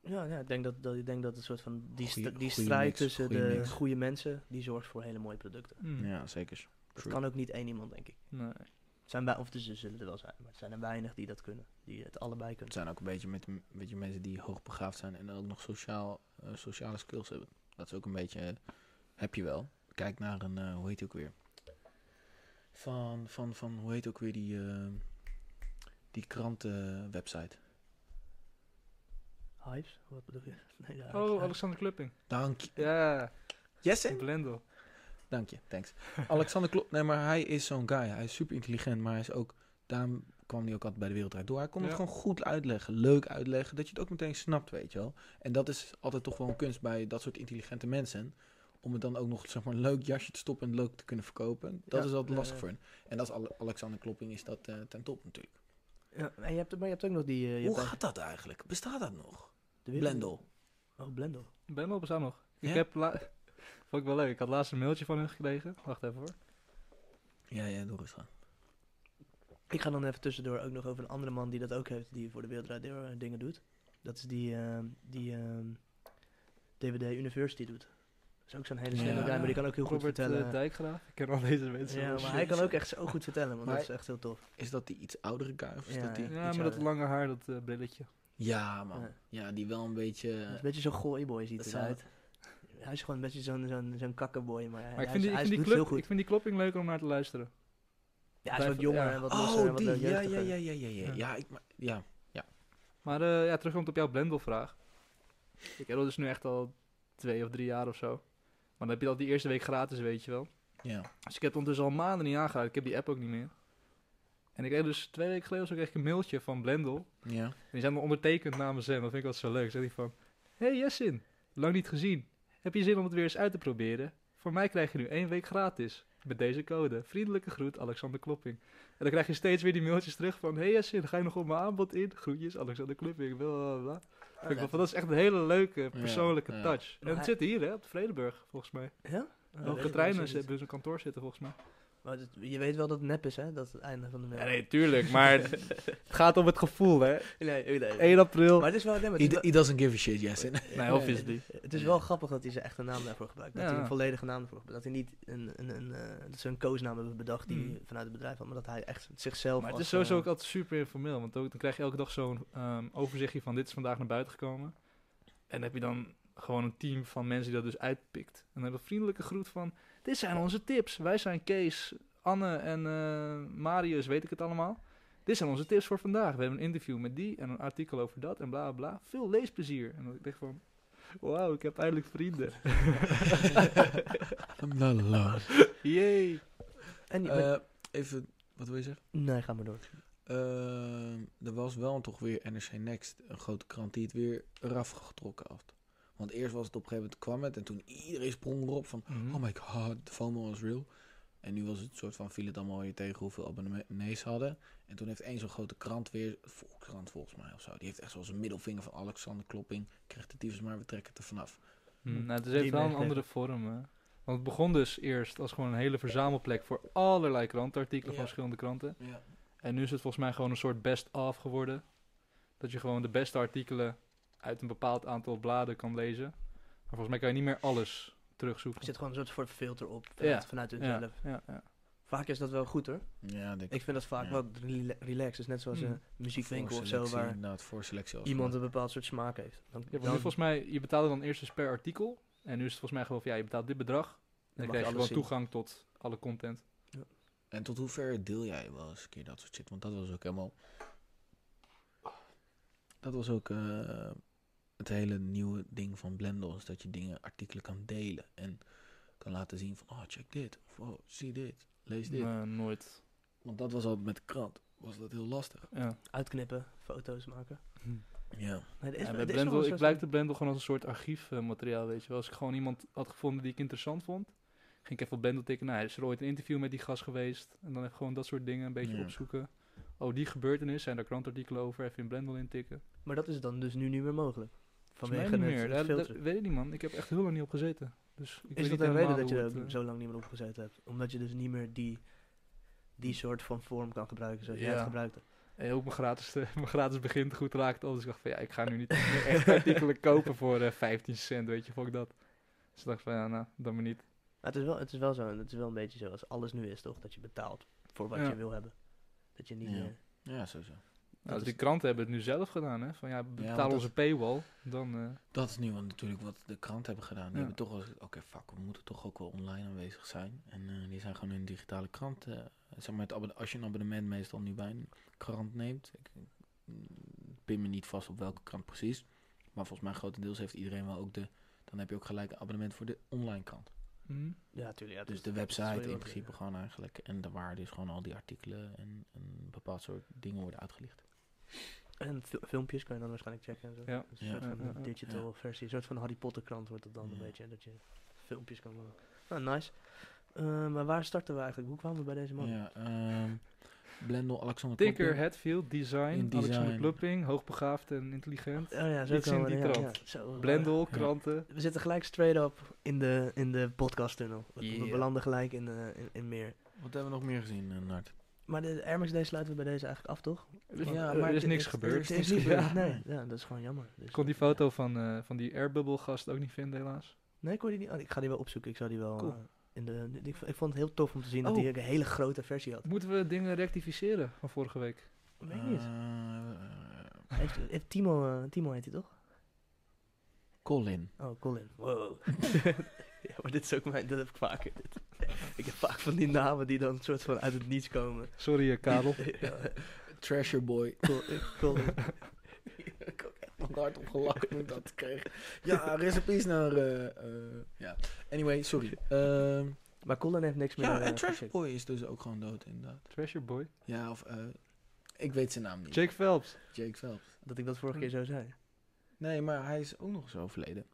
Speaker 2: Ja, ja, ik denk dat, dat, ik denk dat een soort van die,
Speaker 3: Goeie-
Speaker 2: stri- die
Speaker 3: goeie
Speaker 2: strijd
Speaker 3: mix,
Speaker 2: tussen
Speaker 3: goeie
Speaker 2: de
Speaker 3: mix.
Speaker 2: goede mensen, die zorgt voor hele mooie producten.
Speaker 4: Mm.
Speaker 3: Ja, zeker.
Speaker 2: Dat
Speaker 3: True.
Speaker 2: kan ook niet één iemand, denk ik.
Speaker 4: Nee.
Speaker 2: Het zijn wij, of dus er zullen er wel zijn, maar het zijn er weinig die dat kunnen. Die het allebei
Speaker 3: Het
Speaker 2: kunnen.
Speaker 3: zijn ook een beetje, met, een beetje mensen die hoogbegaafd zijn en ook nog sociaal, eh, sociale skills hebben. Dat is ook een beetje, eh, heb je wel. Kijk naar een, eh, hoe heet die ook weer? Van, van, van, hoe heet ook weer die, eh, die krantenwebsite?
Speaker 2: Hypes? Wat bedoel je? Nee, ja, hypes,
Speaker 4: Oh,
Speaker 2: hypes.
Speaker 4: Alexander Klupping.
Speaker 3: Dank
Speaker 4: Eh,
Speaker 3: je.
Speaker 4: Ja,
Speaker 3: Jesse?
Speaker 4: Blendel.
Speaker 3: Dank je, thanks. Alexander Klop, nee, maar hij is zo'n guy. Hij is super intelligent, maar hij is ook, daarom kwam hij ook altijd bij de Wereld Draait Door. Hij kon het
Speaker 4: Ja.
Speaker 3: gewoon goed uitleggen, leuk uitleggen, dat je het ook meteen snapt, weet je wel. En dat is altijd toch wel een kunst bij dat soort intelligente mensen. Om het dan ook nog zeg maar, een leuk jasje te stoppen en leuk te kunnen verkopen. Dat
Speaker 2: Ja,
Speaker 3: is altijd
Speaker 2: ja,
Speaker 3: lastig
Speaker 2: ja.
Speaker 3: voor hen. En dat is Ale- Alexander Klopping is dat eh, ten top natuurlijk.
Speaker 2: Ja, en je hebt, maar je hebt ook nog die... eh, je hebt
Speaker 3: Hoe
Speaker 2: ook
Speaker 3: gaat dat eigenlijk? Bestaat dat nog?
Speaker 2: de wereld-
Speaker 3: Blendel.
Speaker 2: Oh, Blendel.
Speaker 4: Blendel bestaat nog. Ik
Speaker 3: Ja?
Speaker 4: heb la- Vond ik wel leuk. Ik had laatst een mailtje van hun gekregen. Wacht even hoor.
Speaker 3: Ja, ja, door eens gaan.
Speaker 2: Ik ga dan even tussendoor ook nog over een andere man die dat ook heeft, die voor de Wereld Draait Door eh, dingen doet. Dat is die, ehm, die ehm, DVD University doet. Dat is ook zo'n hele slimme
Speaker 3: Ja.
Speaker 2: guy, maar die kan ook heel goed
Speaker 4: Robert
Speaker 2: vertellen.
Speaker 4: eh, Dijkgraaf. Ik ken al deze mensen.
Speaker 2: ja,
Speaker 4: wel.
Speaker 2: maar hij kan ook echt zo goed vertellen, want dat
Speaker 3: Maar-
Speaker 2: is echt heel tof.
Speaker 3: Is dat die iets oudere guy? Of is
Speaker 2: Ja,
Speaker 3: dat die...
Speaker 2: ja.
Speaker 4: Ja,
Speaker 2: iets
Speaker 4: maar dat
Speaker 2: ouder.
Speaker 4: lange haar, dat eh, brilletje.
Speaker 3: Ja, man.
Speaker 2: Ja.
Speaker 3: Ja. die wel een beetje...
Speaker 2: Dat is een beetje zo'n gooiboy ziet
Speaker 3: dat
Speaker 2: hij
Speaker 3: zou-
Speaker 2: eruit. Hij is gewoon een beetje zo'n zo'n zo'n kakkerboy, maar, hij,
Speaker 4: Maar ik
Speaker 2: hij
Speaker 4: vind, die,
Speaker 2: is,
Speaker 4: ik,
Speaker 2: hij
Speaker 4: vind
Speaker 2: is-
Speaker 4: die
Speaker 2: doet
Speaker 4: club,
Speaker 2: heel goed.
Speaker 4: ik vind die klopping leuk om naar te luisteren.
Speaker 2: ja, hij is wat
Speaker 4: blijf-
Speaker 2: jonger
Speaker 4: ja.
Speaker 2: en wat nou losser en
Speaker 3: Oh,
Speaker 2: wat
Speaker 3: die, ja,
Speaker 2: jeugdiger.
Speaker 3: ja, ja, ja, ja, ja.
Speaker 4: Ja.
Speaker 3: Ja, ik, ma- ja.
Speaker 4: Maar eh, ja, terugkomt op jouw Blendel-vraag. Ik heb dat dus nu echt al twee of drie jaar of zo. Maar dan heb je dat die eerste week gratis, weet je wel.
Speaker 3: ja.
Speaker 4: Dus ik heb het ondertussen al maanden niet aangehouden. Ik heb die app ook niet meer. En ik kreeg dus twee weken geleden of zo kreeg ik een mailtje van Blendel.
Speaker 3: ja.
Speaker 4: En die zijn dan ondertekend namens hem. Dat vind ik altijd zo leuk. Zegt hij van... Hey Jessin, lang niet gezien. Heb je zin om het weer eens uit te proberen? Voor mij krijg je nu één week gratis. Met deze code. Vriendelijke groet, Alexander Klopping. En dan krijg je steeds weer die mailtjes terug van... Hey Jessin, ga je nog op mijn aanbod in? Groetjes, Alexander Klopping. Bla, bla, bla. Vind ik wel van, Oh, dat is echt een hele leuke, persoonlijke
Speaker 3: ja.
Speaker 4: touch. En
Speaker 2: hij-
Speaker 4: het zit hier, hè, op de Vredeburg, volgens mij.
Speaker 2: Ja? Oh, weet
Speaker 4: Hoge
Speaker 2: ik
Speaker 4: treinen
Speaker 2: niet.
Speaker 4: hebben dus een kantoor zitten, volgens mij.
Speaker 2: Maar dat- je weet wel dat het nep is, hè? Dat het einde van de mail.
Speaker 4: Ja, nee, tuurlijk, maar het gaat om het gevoel, hè.
Speaker 2: nee, nee, nee.
Speaker 4: 1 april.
Speaker 2: Maar het is wel... Nee, maar
Speaker 3: He,
Speaker 2: het is
Speaker 3: d- he doesn't give a shit, Jesse.
Speaker 4: Nee, obviously.
Speaker 2: Het is wel grappig dat hij zijn echte naam daarvoor gebruikt. Dat
Speaker 4: Ja.
Speaker 2: hij een volledige naam ervoor gebruikt. Dat hij niet een, een, een, eh, dat ze een koosnaam hebben bedacht die
Speaker 4: Hmm.
Speaker 2: vanuit het bedrijf had. Maar dat hij echt zichzelf
Speaker 4: Maar het
Speaker 2: als,
Speaker 4: is sowieso
Speaker 2: eh,
Speaker 4: ook altijd super informeel, want ook, dan krijg je elke dag zo'n ehm, overzichtje van dit is vandaag naar buiten gekomen. En heb je dan gewoon een team van mensen die dat dus uitpikt. En dan heb je een vriendelijke groet van, dit zijn onze tips. Wij zijn Kees, Anne en eh, Marius, weet ik het allemaal. Dit zijn onze tips voor vandaag. We hebben een interview met die en een artikel over dat en bla bla. bla. Veel leesplezier. En dan denk ik van, wauw, ik heb eindelijk vrienden.
Speaker 3: I'm not alone.
Speaker 4: Yay.
Speaker 2: En, die-
Speaker 3: Eh, even, wat wil je zeggen?
Speaker 2: nee, ga maar door.
Speaker 3: Ehm, er was wel toch weer NRC Next, een grote krant, die het weer eraf getrokken had. Want eerst was het op een gegeven moment, kwam het en toen iedereen sprong erop van...
Speaker 4: Mhm.
Speaker 3: Oh my god, de FOMO is real. En nu was het soort van, viel het allemaal weer tegen hoeveel abonnees hadden. En toen heeft één zo'n grote krant weer, Volkskrant volgens mij of zo. Die heeft echt zoals een middelvinger van Alexander Klopping. Krijgt de tyfus maar, we trekken het er vanaf.
Speaker 4: Hmm, nou, het is
Speaker 2: Hm. Die
Speaker 4: even wel een
Speaker 2: meegeven.
Speaker 4: andere vorm. Hè. Want het begon dus eerst als gewoon een hele verzamelplek voor allerlei krantenartikelen
Speaker 3: Ja.
Speaker 4: van verschillende kranten.
Speaker 3: Ja.
Speaker 4: En nu is het volgens mij gewoon een soort best-of geworden. Dat je gewoon de beste artikelen uit een bepaald aantal bladen kan lezen. Maar volgens mij kan je niet meer alles
Speaker 2: Er
Speaker 4: terugzoeken.
Speaker 2: zit gewoon een soort van filter op vanuit,
Speaker 4: Ja.
Speaker 2: vanuit
Speaker 4: ja,
Speaker 2: hunzelf.
Speaker 4: ja, ja.
Speaker 2: Vaak is dat wel goed hoor.
Speaker 3: Ja, denk
Speaker 2: Ik vind dat vaak
Speaker 3: Ja.
Speaker 2: wel rela- relaxed. Dus net zoals
Speaker 4: Hmm.
Speaker 2: een muziekwinkel of zo
Speaker 3: voorselectie,
Speaker 2: waar
Speaker 3: Inderdaad, voor selectie.
Speaker 2: iemand een bepaald soort smaak heeft. Dan,
Speaker 4: Ja, want nu
Speaker 2: dan
Speaker 4: volgens mij, je betaalde dan eerst dus per artikel. En nu is het volgens mij gewoon van, ja, je betaalt dit bedrag. En
Speaker 2: mag
Speaker 4: dan krijg je
Speaker 2: alles
Speaker 4: gewoon
Speaker 2: zien.
Speaker 4: toegang tot alle content.
Speaker 3: En tot hoever deel jij wel eens een keer dat soort shit? Want dat was ook helemaal... Dat was ook eh, het hele nieuwe ding van Blendel. Is dat je dingen, artikelen kan delen. En kan laten zien van, oh, check dit. Of, oh, zie dit. Lees dit.
Speaker 4: Nee, Eh, nooit.
Speaker 3: Want dat was altijd met de krant. Was dat heel lastig.
Speaker 4: Ja.
Speaker 2: Uitknippen, foto's maken.
Speaker 3: Ja.
Speaker 2: Nee, er is,
Speaker 4: Ja,
Speaker 2: wel-
Speaker 4: bij
Speaker 2: er is wel
Speaker 4: Blendel,
Speaker 2: een
Speaker 4: ik
Speaker 2: soort
Speaker 4: blijf de Blendel gewoon als een soort archiefmateriaal, weet je wel. Als ik gewoon iemand had gevonden die ik interessant vond, ging ik even op Blendel tikken. Nou, is er ooit een interview met die gast geweest? En dan even gewoon dat soort dingen een beetje
Speaker 3: Ja.
Speaker 4: opzoeken. Oh, die gebeurtenis, zijn daar krantartikelen over? Even in Blendel intikken.
Speaker 2: van- Maar dat is dan dus nu niet meer mogelijk.
Speaker 4: Volgens
Speaker 2: Vanwege
Speaker 4: mij
Speaker 2: het,
Speaker 4: niet
Speaker 2: het
Speaker 4: meer. Ja, dat
Speaker 2: filteren.
Speaker 4: weet ik niet, man. Ik heb echt heel lang niet op gezeten. Dus ik weet
Speaker 2: Is dat
Speaker 4: niet
Speaker 2: een
Speaker 4: helemaal
Speaker 2: reden dat je
Speaker 4: hoe
Speaker 2: er
Speaker 4: het, eh,
Speaker 2: zo lang niet meer op gezet hebt? Omdat je dus niet meer die die soort van vorm kan gebruiken zoals jij
Speaker 4: Ja.
Speaker 2: het gebruikte.
Speaker 4: En ook mijn gratis, eh, mijn gratis begint goed raakt al. Dus ik dacht van ja, ik ga nu niet echt artikelen kopen voor eh, 15 cent, weet je, fuck dat. Dus ik dacht van ja, nou, dan maar niet.
Speaker 2: Maar het is, wel, het is wel zo, en het is wel een beetje zoals alles nu is toch, dat je betaalt voor wat
Speaker 4: Ja.
Speaker 2: je wil hebben. Dat je niet
Speaker 3: Ja.
Speaker 2: meer...
Speaker 3: Ja, sowieso.
Speaker 4: Nou,
Speaker 2: is-
Speaker 4: die kranten hebben het nu zelf gedaan, hè. Van ja,
Speaker 3: want
Speaker 4: betaal
Speaker 3: dat-
Speaker 4: onze paywall, dan... eh,
Speaker 3: Dat is nu wel natuurlijk wat de kranten hebben gedaan. Die
Speaker 4: Ja.
Speaker 3: hebben toch wel gezegd, oké, fuck, we moeten toch ook wel online aanwezig zijn. En eh, die zijn gewoon hun digitale krant. eh, zeg maar, het abonne- als je een abonnement meestal nu bij een krant neemt. Ik mm, pin me niet vast op welke krant precies. Maar volgens mij grotendeels heeft iedereen wel ook de... Dan heb je ook gelijk een abonnement voor de online krant.
Speaker 4: hm.
Speaker 2: Ja, tuurlijk. Ja,
Speaker 3: Dus
Speaker 2: dat-
Speaker 3: de
Speaker 2: dat- dat is wel heel
Speaker 3: website in
Speaker 2: erg,
Speaker 3: principe gewoon eigenlijk. En de waarde is gewoon al die artikelen en een bepaald soort dingen worden uitgelicht.
Speaker 2: ja. En fil- filmpjes kan je dan waarschijnlijk checken en zo.
Speaker 4: Ja.
Speaker 2: Dus een
Speaker 3: Ja.
Speaker 2: soort van
Speaker 4: Ja, ja, ja.
Speaker 2: digital versie, een soort van Harry Potter krant wordt dat dan een
Speaker 3: Ja.
Speaker 2: beetje, hè, dat je filmpjes kan maken. Nou, nice. Eh, maar waar starten we eigenlijk? Hoe kwamen we bij deze man?
Speaker 3: Ja, ehm Blendel, Alexander
Speaker 4: Tinker,
Speaker 3: Koppel.
Speaker 4: Hatfield, Design,
Speaker 3: eh, In
Speaker 4: Alexander
Speaker 3: design.
Speaker 4: Klupping, hoogbegaafd en intelligent.
Speaker 2: Oh ja, zo
Speaker 4: Iets in
Speaker 2: komen we
Speaker 4: die
Speaker 2: ja,
Speaker 4: trant.
Speaker 2: ja, zo, eh,
Speaker 4: Blendel, kranten.
Speaker 2: We zitten gelijk straight up in de, in de podcast-tunnel. We, we
Speaker 4: Yeah.
Speaker 2: belanden gelijk in, eh, in, in meer.
Speaker 3: Wat hebben we nog meer gezien, eh, Nart?
Speaker 2: Maar de Air Max Day sluiten we bij deze eigenlijk af, toch? eh,
Speaker 4: Dus-
Speaker 3: Ja,
Speaker 4: er
Speaker 3: maar
Speaker 4: is
Speaker 2: dit-
Speaker 4: niks
Speaker 2: dit-
Speaker 4: gebeurd.
Speaker 2: dit is niet gebeurd,
Speaker 3: Ja.
Speaker 2: nee. Ja, dat is gewoon jammer. Dus
Speaker 4: Ik kon die
Speaker 2: dat-
Speaker 4: foto van, eh, van die airbubble gast ook niet vinden, helaas.
Speaker 2: Nee, ik kon die niet. oh, ik ga die wel opzoeken. Ik zou die wel...
Speaker 4: Cool.
Speaker 2: eh, in de, ik, ik vond het heel tof om te zien dat
Speaker 4: Oh.
Speaker 2: hij een hele grote versie had.
Speaker 4: Moeten we dingen rectificeren van vorige week?
Speaker 2: Weet ik niet.
Speaker 3: Eh,
Speaker 2: Heeft, heeft Timo, eh, Timo heet hij toch?
Speaker 3: Colin.
Speaker 2: Oh, Colin. Wow. ja, maar dit is ook mijn... Dat heb ik vaker. Dit. Ik heb vaak van die namen die dan soort van uit het niets komen.
Speaker 4: Sorry, eh, Karel.
Speaker 2: ja,
Speaker 3: Treasure Boy.
Speaker 2: Col- eh, Colin.
Speaker 3: ik heb echt hard op gelachen toen ik dat kreeg. Ja, recipes naar... eh, eh, ja. Anyway, sorry. Ehm,
Speaker 2: Maar Colin heeft niks meer...
Speaker 3: ja,
Speaker 2: eh,
Speaker 3: en Treasure
Speaker 2: geschikt.
Speaker 3: Boy is dus ook gewoon dood, inderdaad.
Speaker 4: Treasure Boy.
Speaker 3: Ja, of... eh, ik weet zijn naam niet.
Speaker 4: Jake Phelps.
Speaker 3: Jake Phelps.
Speaker 2: Dat ik dat vorige keer zo zei.
Speaker 3: Nee, maar hij is ook nog eens overleden.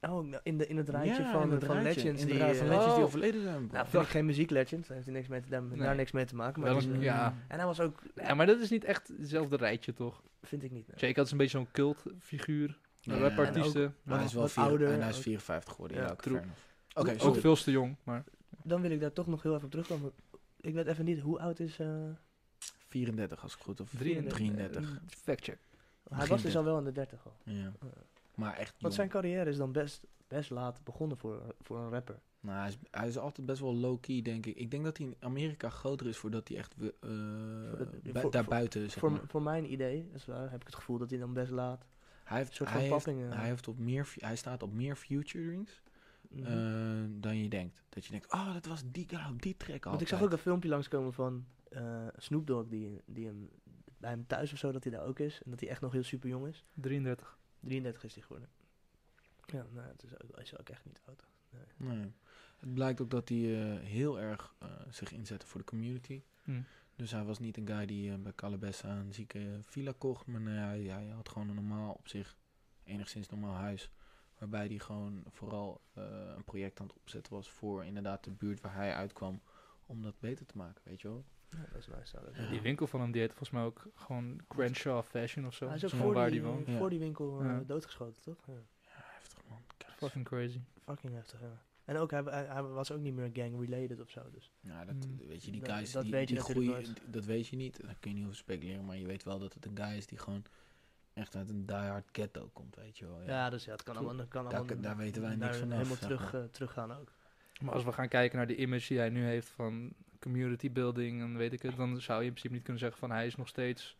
Speaker 2: Oh, nou, in, de, in het rijtje
Speaker 3: Ja,
Speaker 2: van,
Speaker 3: in het
Speaker 2: van
Speaker 3: rijtje.
Speaker 2: Legends.
Speaker 3: In het
Speaker 2: die,
Speaker 3: rijtje van
Speaker 2: eh,
Speaker 3: Legends die
Speaker 4: Oh.
Speaker 3: overleden zijn. bro.
Speaker 2: Nou, vind ik geen muziek Legends. Daar heeft hij niks mee te, daar,
Speaker 4: Nee.
Speaker 2: daar niks mee te maken. Maar
Speaker 4: Wel
Speaker 2: het is
Speaker 4: een-
Speaker 2: een-
Speaker 4: ja.
Speaker 2: En hij was ook...
Speaker 4: Ja, maar dat is niet echt hetzelfde rijtje, toch?
Speaker 2: Vind ik niet. nee.
Speaker 4: Jake had een beetje zo'n cultfiguur.
Speaker 3: Ja.
Speaker 4: Een rapartiesten.
Speaker 3: Maar hij is wel
Speaker 2: Wat
Speaker 3: vier,
Speaker 2: ouder,
Speaker 3: en hij is
Speaker 2: ook.
Speaker 3: 54 geworden.
Speaker 2: Ja,
Speaker 3: Ja, oké,
Speaker 4: true.
Speaker 3: fair enough. Oké,
Speaker 4: Ook
Speaker 3: sorry.
Speaker 4: veel te jong, maar...
Speaker 2: Dan wil ik daar toch nog heel even op terugkomen. want Ik weet even niet, hoe oud is... eh,
Speaker 3: 34 als ik goed of
Speaker 4: 33.
Speaker 3: 33.
Speaker 4: Eh, Factcheck.
Speaker 2: hij was dus al wel in de dertig al.
Speaker 3: Ja. Maar echt
Speaker 2: Want Eh,
Speaker 3: jong.
Speaker 2: zijn carrière is dan best, best laat begonnen voor, voor een rapper.
Speaker 3: Nou, hij is, hij is altijd best wel low-key, denk ik. Ik denk dat hij in Amerika groter is voordat hij echt eh,
Speaker 2: Voordat-
Speaker 3: bui-
Speaker 2: voor-
Speaker 3: daarbuiten zeg
Speaker 2: Voor,
Speaker 3: maar.
Speaker 2: m- voor mijn idee dus daar heb ik het gevoel dat hij dan best laat.
Speaker 3: Hij,
Speaker 2: Een
Speaker 3: heeft,
Speaker 2: soort van
Speaker 3: hij, heeft,
Speaker 2: pappingen.
Speaker 3: hij, heeft op meer, fu- hij staat op meer futurings
Speaker 2: Mhm.
Speaker 3: eh, dan je denkt. Dat je denkt, oh, dat was die guy op die track al.
Speaker 2: Want ik zag ook een filmpje langskomen van eh Snoop Dogg, die, die hem, bij hem thuis of zo, dat hij daar ook is. En dat hij echt nog heel super jong is.
Speaker 4: 33.
Speaker 2: 33 is hij geworden. Ja, nou, het is ook, hij is ook echt niet oud.
Speaker 3: Nee. Het blijkt ook dat hij eh, heel erg eh, zich inzette voor de community.
Speaker 4: Hm.
Speaker 3: Dus hij was niet een guy die eh, bij Calabessa een zieke eh, villa kocht. Maar nee, hij, hij had gewoon een normaal op zich, enigszins normaal huis. Waarbij hij gewoon vooral eh, een project aan het opzetten was voor inderdaad de buurt waar hij uitkwam. Om dat beter te maken, weet je wel.
Speaker 2: Ja, dat is nice. zou dat
Speaker 3: Ja.
Speaker 4: Die winkel van hem, die heette volgens mij ook gewoon Crenshaw Fashion of zo.
Speaker 2: Hij is ook
Speaker 4: Van
Speaker 2: voor,
Speaker 4: waar
Speaker 2: die,
Speaker 4: die woont.
Speaker 2: voor die winkel eh,
Speaker 4: Ja.
Speaker 2: doodgeschoten, toch? Ja.
Speaker 3: Heftig man. Kijk.
Speaker 4: Fucking crazy.
Speaker 2: Fucking heftig, ja. En ook, hij, hij, hij was ook niet meer gang-related of zo, dus...
Speaker 3: Ja, Nou, dat,
Speaker 4: Mm.
Speaker 3: weet je, die
Speaker 2: Dat-
Speaker 3: guys
Speaker 2: dat
Speaker 3: die,
Speaker 2: weet je
Speaker 3: die
Speaker 2: natuurlijk
Speaker 3: groeien,
Speaker 2: nooit.
Speaker 3: d- dat weet je niet. Daar kun je niet over speculeren, maar je weet wel dat het een guy is die gewoon echt uit een diehard ghetto komt, weet je wel.
Speaker 2: Ja,
Speaker 3: Ja.
Speaker 2: dus ja, het kan
Speaker 3: True.
Speaker 2: allemaal... Kan
Speaker 3: Daar
Speaker 2: allemaal
Speaker 3: kun- daar weten wij niks
Speaker 2: daar
Speaker 3: vanaf,
Speaker 2: Helemaal
Speaker 3: zeg
Speaker 2: terug,
Speaker 3: maar.
Speaker 2: eh, teruggaan ook.
Speaker 4: Maar als we gaan kijken naar de image die hij nu heeft van community building en weet ik het, dan zou je in principe niet kunnen zeggen van hij is nog steeds.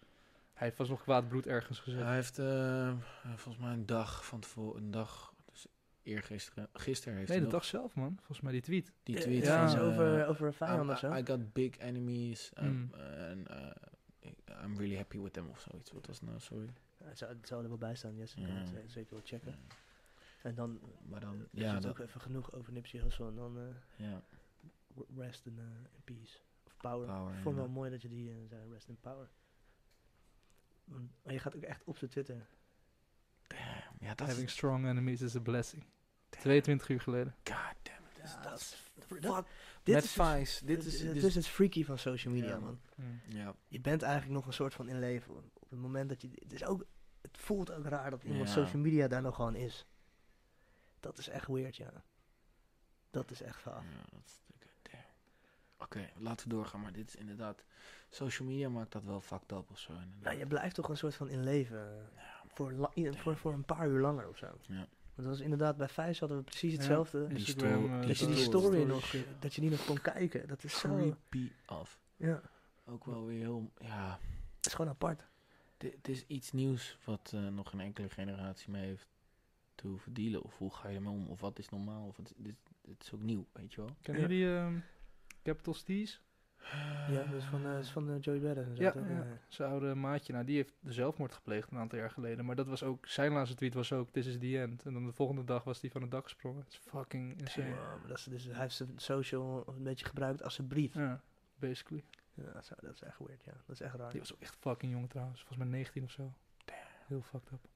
Speaker 4: Hij heeft vast nog kwaad bloed ergens gezet.
Speaker 3: Hij heeft eh, volgens mij een dag van tevoren, een dag, dus eergisteren, gisteren heeft
Speaker 4: nee, de
Speaker 3: hij nog
Speaker 4: dag zelf, man. Volgens mij die tweet.
Speaker 3: die
Speaker 2: Eh,
Speaker 3: tweet
Speaker 4: ja.
Speaker 2: iets
Speaker 3: van...
Speaker 4: eh,
Speaker 2: over, over een
Speaker 3: eh,
Speaker 2: vijand of
Speaker 3: I'm-
Speaker 2: zo.
Speaker 3: I, I got big enemies, I'm,
Speaker 2: Hmm.
Speaker 4: Mm.
Speaker 3: eh, and, eh, I'm really happy with them of zoiets. Wat was het nou, sorry.
Speaker 2: Ja, Het zou, het zou er wel bij staan, Jesse. Ik kan
Speaker 3: Ja.
Speaker 2: het ze- zeker wel checken.
Speaker 3: Ja.
Speaker 2: En dan
Speaker 3: Maar dan,
Speaker 2: ja, is
Speaker 3: ja,
Speaker 2: het
Speaker 3: dat,
Speaker 2: ook even genoeg over Nipsey Hussle. En dan eh,
Speaker 3: ja,
Speaker 2: rest in, eh, in peace. Of power.
Speaker 3: Power,
Speaker 2: Ik vond het
Speaker 3: ja.
Speaker 2: wel mooi dat je die eh, zei, rest in power. Want- Maar je gaat ook echt op zijn Twitter.
Speaker 3: ja, dat is...
Speaker 4: Having strong enemies is a blessing. 22 uur geleden.
Speaker 3: God damn it.
Speaker 2: Dus
Speaker 3: Ja,
Speaker 2: dat is-
Speaker 3: fuck.
Speaker 2: dat- dit
Speaker 3: Met
Speaker 2: is-
Speaker 3: Vice, dit is...
Speaker 2: het
Speaker 3: dit
Speaker 2: is het freaky van social media,
Speaker 3: Ja.
Speaker 2: man.
Speaker 3: Ja,
Speaker 2: Je bent eigenlijk nog een soort van in leven. Op het moment dat je... Het, is ook, het voelt ook raar dat iemand
Speaker 3: Ja.
Speaker 2: social media daar nog gewoon is. Dat is echt weird, ja. Dat is echt
Speaker 3: ja
Speaker 2: gaaf.
Speaker 3: dat is natuurlijk... laten we doorgaan. Maar dit is inderdaad... Social media maakt dat wel fucked up of zo. inderdaad.
Speaker 2: Nou, je blijft toch een soort van in leven. eh, Voor, la- i- voor, voor een paar uur langer of zo.
Speaker 3: Ja.
Speaker 2: Want dat was inderdaad, bij Vijs hadden we precies
Speaker 1: Ja.
Speaker 2: hetzelfde.
Speaker 3: Die
Speaker 1: Instagram,
Speaker 3: sto-
Speaker 1: eh,
Speaker 2: Dat je die
Speaker 3: story-
Speaker 2: story
Speaker 1: story
Speaker 2: nog,
Speaker 1: shit.
Speaker 2: dat je die nog kon kijken. Dat is zo,
Speaker 3: Creepy af.
Speaker 2: ja,
Speaker 3: Ook wel weer heel... Ja,
Speaker 2: het is gewoon apart.
Speaker 3: Dit, dit is iets nieuws wat eh, nog geen enkele generatie mee heeft te hoeven dealen. Of hoe ga je ermee om? Of wat is normaal? Of wat, dit, dit is ook nieuw, weet je wel?
Speaker 4: Kennen
Speaker 2: Ja.
Speaker 4: jullie ehm, Capital Steez?
Speaker 2: Ja, dat is van, eh, dat is van eh, Joey Badass en zo.
Speaker 4: Ja,
Speaker 2: toch?
Speaker 4: ja. Zijn oude maatje. Nou, die heeft de zelfmoord gepleegd een aantal jaar geleden. Maar dat was ook... Zijn laatste tweet was ook... This is the end. En dan de volgende dag was die van het dak gesprongen. Het is fucking insane.
Speaker 2: Wow, maar dat is, dus, hij heeft zijn social een beetje gebruikt als een brief.
Speaker 4: Ja, basically.
Speaker 2: Ja, zo, dat is echt weird, ja. Dat is echt raar.
Speaker 4: Die was ook echt fucking jong trouwens. Volgens mij 19 of zo. Heel fucked up.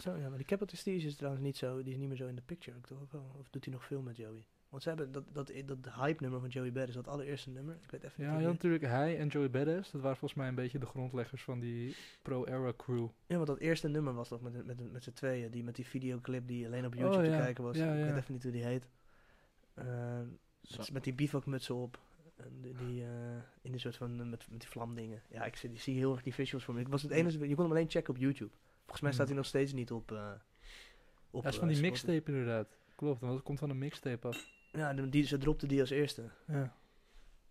Speaker 2: Zo, ja, maar die Capital Steez is trouwens niet zo, die is niet meer zo in de picture ook toch? Of, wel? of doet hij nog veel met Joey? Want ze hebben dat, dat, dat hype nummer van Joey Badass, dat allereerste nummer. Ik weet even
Speaker 4: Ja,
Speaker 2: niet.
Speaker 4: je had
Speaker 2: hoe die-
Speaker 4: natuurlijk hij en Joey Badass. Dat waren volgens mij een beetje de grondleggers van die pro-era crew.
Speaker 2: Ja, want dat eerste nummer was toch met, met, met z'n tweeën, die met die videoclip die alleen op YouTube te
Speaker 4: Oh, ja.
Speaker 2: kijken was.
Speaker 4: Ja,
Speaker 2: Ik
Speaker 4: ja.
Speaker 2: weet even niet hoe die heet. Ehm,
Speaker 3: Zo.
Speaker 2: met, met die bivakmutsen op. En die, die, eh, in een soort van, eh, met, met die vlamdingen. Ja, ik zie, ik zie heel erg die visuals voor me. Ik was het enige, je kon hem alleen checken op YouTube. Volgens mij staat hij nog steeds niet op... eh op
Speaker 4: Ja, dat is
Speaker 2: eh,
Speaker 4: van die
Speaker 2: Spotify.
Speaker 4: mixtape inderdaad. Klopt, want dat komt van een mixtape af.
Speaker 2: Ja, de- die, ze dropte die als eerste.
Speaker 4: Ja.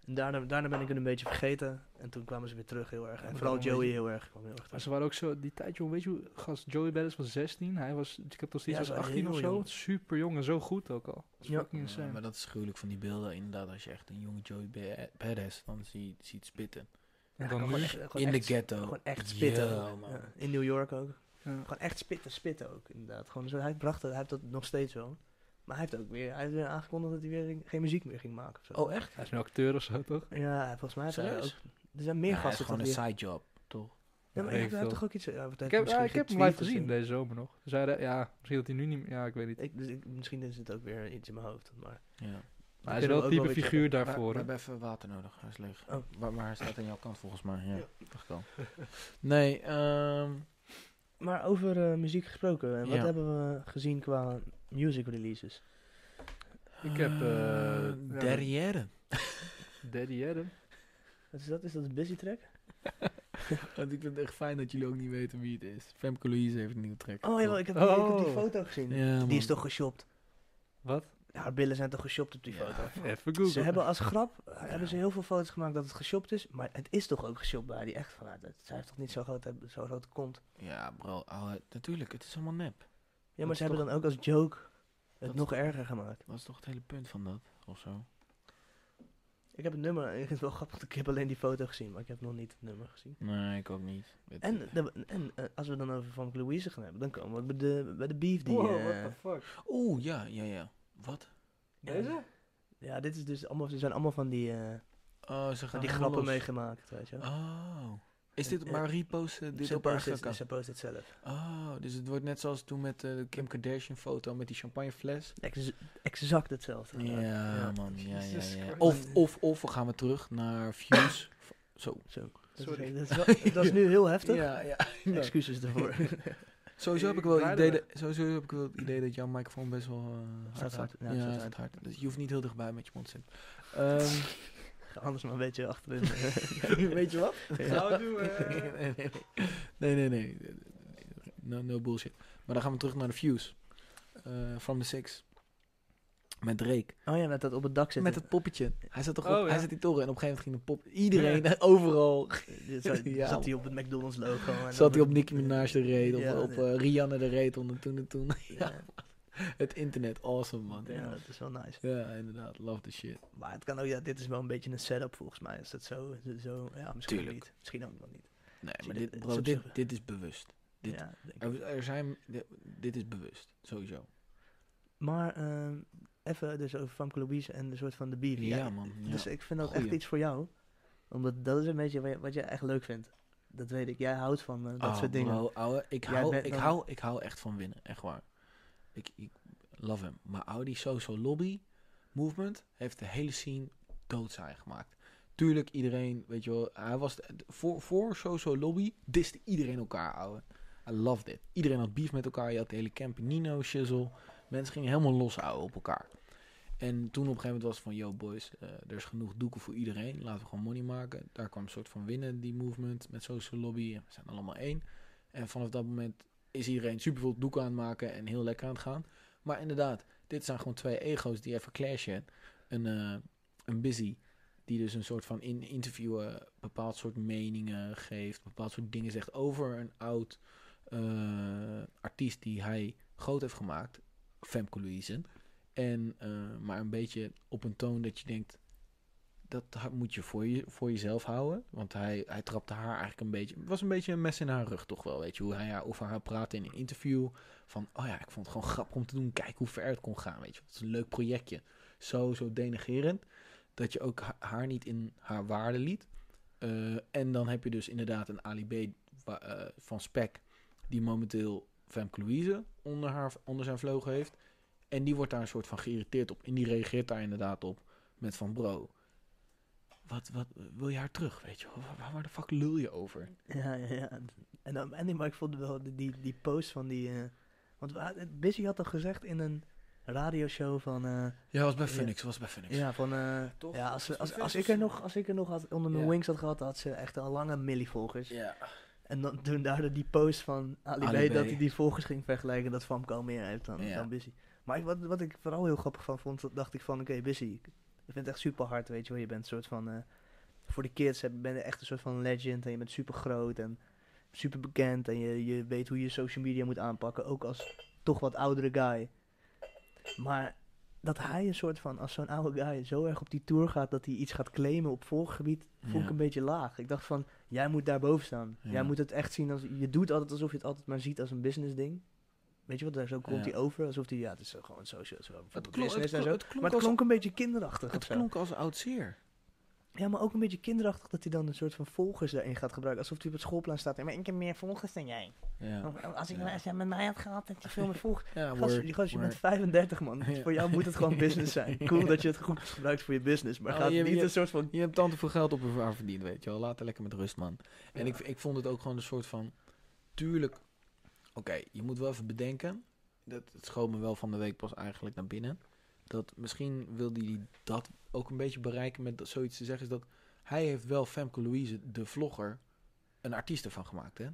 Speaker 2: En daarna, daarna ben ik het een beetje vergeten. En toen kwamen ze weer terug heel erg.
Speaker 4: Ja,
Speaker 2: En
Speaker 4: maar
Speaker 2: vooral
Speaker 4: daarom
Speaker 2: Joey
Speaker 4: weet
Speaker 2: heel erg. Kwam heel erg
Speaker 4: Maar
Speaker 2: terug.
Speaker 4: ze waren ook zo, die tijd jong, weet je hoe, gast Joey Badass was 16, hij was, ik heb nog steeds
Speaker 2: Ja,
Speaker 4: was
Speaker 2: ze waren
Speaker 4: 18 of
Speaker 2: heel
Speaker 4: zo.
Speaker 2: jong.
Speaker 4: Super jong en zo goed ook al. Dat is
Speaker 2: Ja.
Speaker 4: fucking
Speaker 3: Ja,
Speaker 4: insane.
Speaker 3: maar dat is gruwelijk van die beelden. Inderdaad, als je echt een jonge Joey Ba- Badass dan zie, ziet spitten.
Speaker 2: Ja,
Speaker 4: dan
Speaker 2: gewoon
Speaker 4: nu?
Speaker 2: echt- gewoon
Speaker 3: In de
Speaker 2: echt-
Speaker 3: ghetto.
Speaker 2: Gewoon echt spitten.
Speaker 3: Ja,
Speaker 2: ook.
Speaker 3: man.
Speaker 2: Ja, in New York ook.
Speaker 4: Ja.
Speaker 2: Gewoon echt spitten, spitten ook inderdaad. Gewoon, zo, hij, bracht, het- hij heeft dat nog steeds wel. Maar hij heeft ook weer, hij heeft weer aangekondigd dat hij weer geen muziek meer ging maken. Of zo.
Speaker 3: Oh, echt?
Speaker 4: Hij is nu acteur of zo, toch?
Speaker 2: Ja, volgens mij heeft hij
Speaker 3: Serieus?
Speaker 2: ook. Er zijn meer
Speaker 3: Ja, het is
Speaker 2: gasten
Speaker 3: gewoon
Speaker 2: toch
Speaker 3: een
Speaker 2: weer.
Speaker 3: side job, toch?
Speaker 2: Ja, maar
Speaker 4: Weet
Speaker 2: hij
Speaker 4: ik
Speaker 2: heeft
Speaker 4: veel.
Speaker 2: toch ook iets. Ja, wat heeft
Speaker 4: Ik
Speaker 2: hij
Speaker 4: heb,
Speaker 2: misschien
Speaker 4: ah, ik heb hem live
Speaker 2: getweet of
Speaker 4: gezien
Speaker 2: zo?
Speaker 4: deze zomer nog. Dus hij, re- ja, misschien dat hij nu niet meer, ja, ik weet niet.
Speaker 2: Ik, dus ik- misschien is het ook weer iets in mijn hoofd. Maar
Speaker 3: Ja.
Speaker 4: Maar hij
Speaker 2: kunnen
Speaker 4: is
Speaker 2: we
Speaker 4: wel
Speaker 2: ook
Speaker 4: het type
Speaker 2: wel weer
Speaker 4: figuur
Speaker 3: Daarvoor,
Speaker 4: daarvoor.
Speaker 3: we
Speaker 4: hè.
Speaker 3: hebben even water nodig. Hij is leeg.
Speaker 2: Oh.
Speaker 3: Wa- Maar hij staat aan jouw kant volgens mij. Ja,
Speaker 2: Ja.
Speaker 3: dacht al. Nee, ehm,
Speaker 2: Maar over eh, muziek gesproken, en wat
Speaker 3: Ja.
Speaker 2: hebben we gezien qua music releases?
Speaker 4: Ik heb, eh,
Speaker 3: eh,
Speaker 4: ja.
Speaker 3: derrière.
Speaker 4: Daddy Adam.
Speaker 2: Wat is dat? Is dat een busy track?
Speaker 3: Want ik vind het echt fijn dat jullie ook niet weten wie het is. Femke Louise heeft een nieuwe track.
Speaker 2: Oh jawel, ik heb,
Speaker 4: Oh.
Speaker 2: ik heb die foto gezien.
Speaker 3: Ja,
Speaker 2: Die
Speaker 3: man.
Speaker 2: is toch geshopt?
Speaker 4: Wat?
Speaker 2: Haar billen zijn toch geshopt op die
Speaker 3: Ja.
Speaker 2: foto?
Speaker 4: Even Google.
Speaker 2: Ze hebben als grap eh, hebben ze heel veel foto's gemaakt dat het geshopt is, maar het is toch ook geshopt bij haar, die echt van haar. Dat, zij heeft toch niet zo'n grote, zo grote kont.
Speaker 3: Ja, bro. ouwe, natuurlijk, het is allemaal nep.
Speaker 2: Ja, maar
Speaker 3: Dat
Speaker 2: ze
Speaker 3: is
Speaker 2: hebben dan ook als joke
Speaker 3: dat
Speaker 2: het
Speaker 3: is
Speaker 2: nog erger gemaakt.
Speaker 3: Dat is toch het hele punt van dat, of zo?
Speaker 2: Ik heb het nummer, ik vind het wel grappig, ik heb alleen die foto gezien, maar ik heb nog niet het nummer gezien.
Speaker 3: Nee, ik ook niet. Het-
Speaker 2: En, de- en eh, als we dan over Van Louise gaan hebben, dan komen we bij de, bij de beef die...
Speaker 4: Wow,
Speaker 2: eh,
Speaker 4: what the fuck?
Speaker 3: Oeh, ja, ja, ja. Wat?
Speaker 4: Deze?
Speaker 2: ja, dit is dus allemaal, ze zijn allemaal van die, eh,
Speaker 3: Oh, ze
Speaker 2: van
Speaker 3: gaan
Speaker 2: die
Speaker 3: helemaal
Speaker 2: grappen Eh,
Speaker 3: los.
Speaker 2: meegemaakt, weet je wel.
Speaker 3: Oh. Is dit
Speaker 2: Ja.
Speaker 3: maar reposten? Dit
Speaker 2: Ze
Speaker 3: op haar
Speaker 2: post het-
Speaker 3: account?
Speaker 2: ze post het zelf.
Speaker 3: Oh, dus het wordt net zoals toen met eh, de Kim Kardashian foto met die champagnefles.
Speaker 2: Ex- exact hetzelfde.
Speaker 3: Ja,
Speaker 2: Ja.
Speaker 3: man. Ja, ja,
Speaker 4: Jesus
Speaker 3: ja.
Speaker 4: Christ.
Speaker 3: Of, of, of we gaan weer terug naar views. zo.
Speaker 2: Zo. Dat
Speaker 4: Sorry.
Speaker 2: Is, dat, is wel- dat is nu heel heftig.
Speaker 3: Ja, ja. Nou.
Speaker 2: Excuses daarvoor.
Speaker 3: Sowieso heb ik
Speaker 4: Ik
Speaker 3: wel het
Speaker 4: draaide
Speaker 3: idee,
Speaker 4: weg.
Speaker 3: dat- sowieso heb ik wel het idee dat jouw microfoon best wel eh, hard
Speaker 2: Staat
Speaker 3: staat.
Speaker 2: hard, ja,
Speaker 3: Ja,
Speaker 2: staat
Speaker 3: staat
Speaker 2: hard.
Speaker 3: hard. Dus je hoeft niet heel dichtbij met je mond te zitten. Ehm,
Speaker 2: Ga anders maar een beetje achterin.
Speaker 3: weet je wat?
Speaker 4: Zou het doen,
Speaker 3: nee,
Speaker 4: eh.
Speaker 3: nee, nee. nee, nee, nee. No, no bullshit. Maar dan gaan we terug naar de views. Eh, from the Six. Met Drake.
Speaker 2: oh ja, met dat op het dak zitten.
Speaker 3: Met het poppetje. Hij zat toch op,
Speaker 4: Oh, ja.
Speaker 3: hij zat die toren en op een gegeven moment ging de pop. Iedereen, overal.
Speaker 2: Eh, zo-
Speaker 3: Ja,
Speaker 2: Zat hij op het McDonald's logo. en
Speaker 3: Zat hij
Speaker 2: dan-
Speaker 3: op Nicki Minaj de reet of
Speaker 2: Ja,
Speaker 3: op
Speaker 2: ja.
Speaker 3: eh, Rihanna de reet onder toen en toen.
Speaker 2: Ja,
Speaker 3: Het internet, awesome man.
Speaker 2: ja, dat is wel nice.
Speaker 3: Ja, inderdaad. Love the shit.
Speaker 2: Maar het kan ook, ja, dit is wel een beetje een setup volgens mij. Is dat zo? Is dat zo? Ja, misschien
Speaker 3: Tuurlijk.
Speaker 2: niet. Misschien ook wel niet.
Speaker 3: Nee,
Speaker 2: Zie
Speaker 3: maar
Speaker 2: je,
Speaker 3: dit,
Speaker 2: dit-
Speaker 3: bro,
Speaker 2: zo-
Speaker 3: dit, dit is bewust. Dit- Oh.
Speaker 2: Ja, denk ik.
Speaker 3: Er, er zijn, dit, dit is bewust, sowieso.
Speaker 2: Maar ehm, even dus over Famke Louise en de soort van de beef.
Speaker 3: Ja, man, ja.
Speaker 2: Dus ik vind dat
Speaker 3: Goeie.
Speaker 2: echt iets voor jou. Omdat dat is een beetje wat je- wat jij echt leuk vindt. Dat weet ik. Jij houdt van eh, dat
Speaker 3: Ah,
Speaker 2: soort dingen.
Speaker 3: bro, ouwe, ik,
Speaker 2: Jij
Speaker 3: hou,
Speaker 2: bent
Speaker 3: ik,
Speaker 2: dan-
Speaker 3: hou, ik hou echt van winnen, echt waar. Ik, ik love hem. Maar Audi Social Lobby Movement heeft de hele scene doodzaai gemaakt. Tuurlijk, iedereen, weet je wel, hij was de- de- voor, voor Social Lobby diste iedereen elkaar, ouwe. I love it. Iedereen had beef met elkaar. Je had de hele Campanino shizzle. Mensen gingen helemaal los ouwe op elkaar. En toen op een gegeven moment was het van, yo boys, eh, er is genoeg doeken voor iedereen. Laten we gewoon money maken. Daar kwam een soort van winnen, die movement met social lobby. En we zijn allemaal één. En vanaf dat moment is iedereen superveel doeken aan het maken en heel lekker aan het gaan. Maar inderdaad, dit zijn gewoon twee ego's die even clashen. Een, eh, een busy, die dus een soort van in interviewen bepaald soort meningen geeft. Bepaald soort dingen zegt over een oud eh, artiest die hij groot heeft gemaakt. Femke Louise. En, eh, maar een beetje op een toon dat je denkt, dat ha- moet je voor, je voor jezelf houden. Want hij, hij trapte haar eigenlijk een beetje, het was een beetje een mes in haar rug toch wel, weet je. Hoe hij haar over haar praatte in een interview. Van, oh ja, ik vond het gewoon grappig om te doen. Kijk hoe ver het kon gaan, weet je. Het is een leuk projectje. Zo, zo denigerend. Dat je ook ha- haar niet in haar waarde liet. Eh, en dan heb je dus inderdaad een Ali B wa- eh, van Spec, die momenteel Femke Louise onder, haar, onder zijn vleugel heeft. En die wordt daar een soort van geïrriteerd op. En die reageert daar inderdaad op met van bro, wat, wat wil je haar terug, weet je wel? Waar- Waar, waar de fuck lul je over?
Speaker 2: Ja, ja, ja. En, dan, en die, maar ik vond wel die, die, die post van die... eh, want we had- Busy had dat gezegd in een radioshow van... eh,
Speaker 3: Ja, was bij
Speaker 2: Ja.
Speaker 3: Phoenix, was bij Phoenix.
Speaker 2: ja, van... eh,
Speaker 3: Toch?
Speaker 2: ja, als,
Speaker 3: Dat
Speaker 2: ze-
Speaker 3: was
Speaker 2: als,
Speaker 3: wel
Speaker 2: als,
Speaker 3: vers-
Speaker 2: ik er nog, als ik er nog had onder mijn
Speaker 3: Ja.
Speaker 2: wings had gehad, had ze echt al lange milli-volgers.
Speaker 3: Ja.
Speaker 2: En dan toen daardoor die post van Ali,
Speaker 3: Ali
Speaker 2: B,
Speaker 3: B.
Speaker 2: dat hij die volgers ging vergelijken, dat Famke al meer heeft dan,
Speaker 3: Ja.
Speaker 2: dan Busy. Maar ik- wat, wat ik vooral heel grappig van vond, dat dacht ik van, oké, Busy, ik vind het echt super hard, weet je wel. Je bent een soort van, eh, voor de kids heb- ben je echt een soort van legend en je bent super groot en super bekend en je, je weet hoe je social media moet aanpakken, ook als toch wat oudere guy. Maar dat hij een soort van, als zo'n oude guy zo erg op die tour gaat dat hij iets gaat claimen op volgebied, vond
Speaker 3: Ja.
Speaker 2: ik een beetje laag. Ik dacht van, jij moet daarboven staan.
Speaker 3: Ja.
Speaker 2: Jij moet het echt zien als, je doet altijd alsof je het altijd maar ziet als een business ding. Weet je wat, daar zo komt
Speaker 3: Ja.
Speaker 2: hij over, alsof hij, ja, het is eh, gewoon social, het is wel voor
Speaker 3: Het klonk, het
Speaker 2: business en
Speaker 3: klonk,
Speaker 2: zo.
Speaker 3: het klonk
Speaker 2: Maar het
Speaker 3: als,
Speaker 2: klonk een beetje kinderachtig
Speaker 3: het
Speaker 2: of zo.
Speaker 3: klonk als oud zeer.
Speaker 2: Ja, maar ook een beetje kinderachtig dat hij dan een soort van volgers daarin gaat gebruiken. Alsof hij op het schoolplein staat en, maar ik heb meer volgers dan jij.
Speaker 3: Ja,
Speaker 2: Oh, Als, ik,
Speaker 3: Ja.
Speaker 2: als jij met mij had gehad, had je veel meer volgers.
Speaker 3: ja
Speaker 2: Gast,
Speaker 3: word,
Speaker 2: je- gast, je
Speaker 3: word.
Speaker 2: bent 35 man.
Speaker 3: Ja.
Speaker 2: Voor jou moet het gewoon business zijn. Cool dat je het goed gebruikt voor je business, maar
Speaker 3: Oh,
Speaker 2: gaat
Speaker 3: je-
Speaker 2: niet
Speaker 3: je-
Speaker 2: een soort van...
Speaker 3: Je hebt tante veel geld op haar verdiend, weet je wel. Laat haar lekker met rust, man. En ik, ik vond het ook gewoon een soort van... Tuurlijk, oké, je moet wel even bedenken... Dat, het schoot me wel van de week pas eigenlijk naar binnen. Dat misschien wilde hij dat ook een beetje bereiken met dat, zoiets te zeggen. Is dat hij heeft wel Femke Louise, de vlogger, een artiest ervan gemaakt, hè.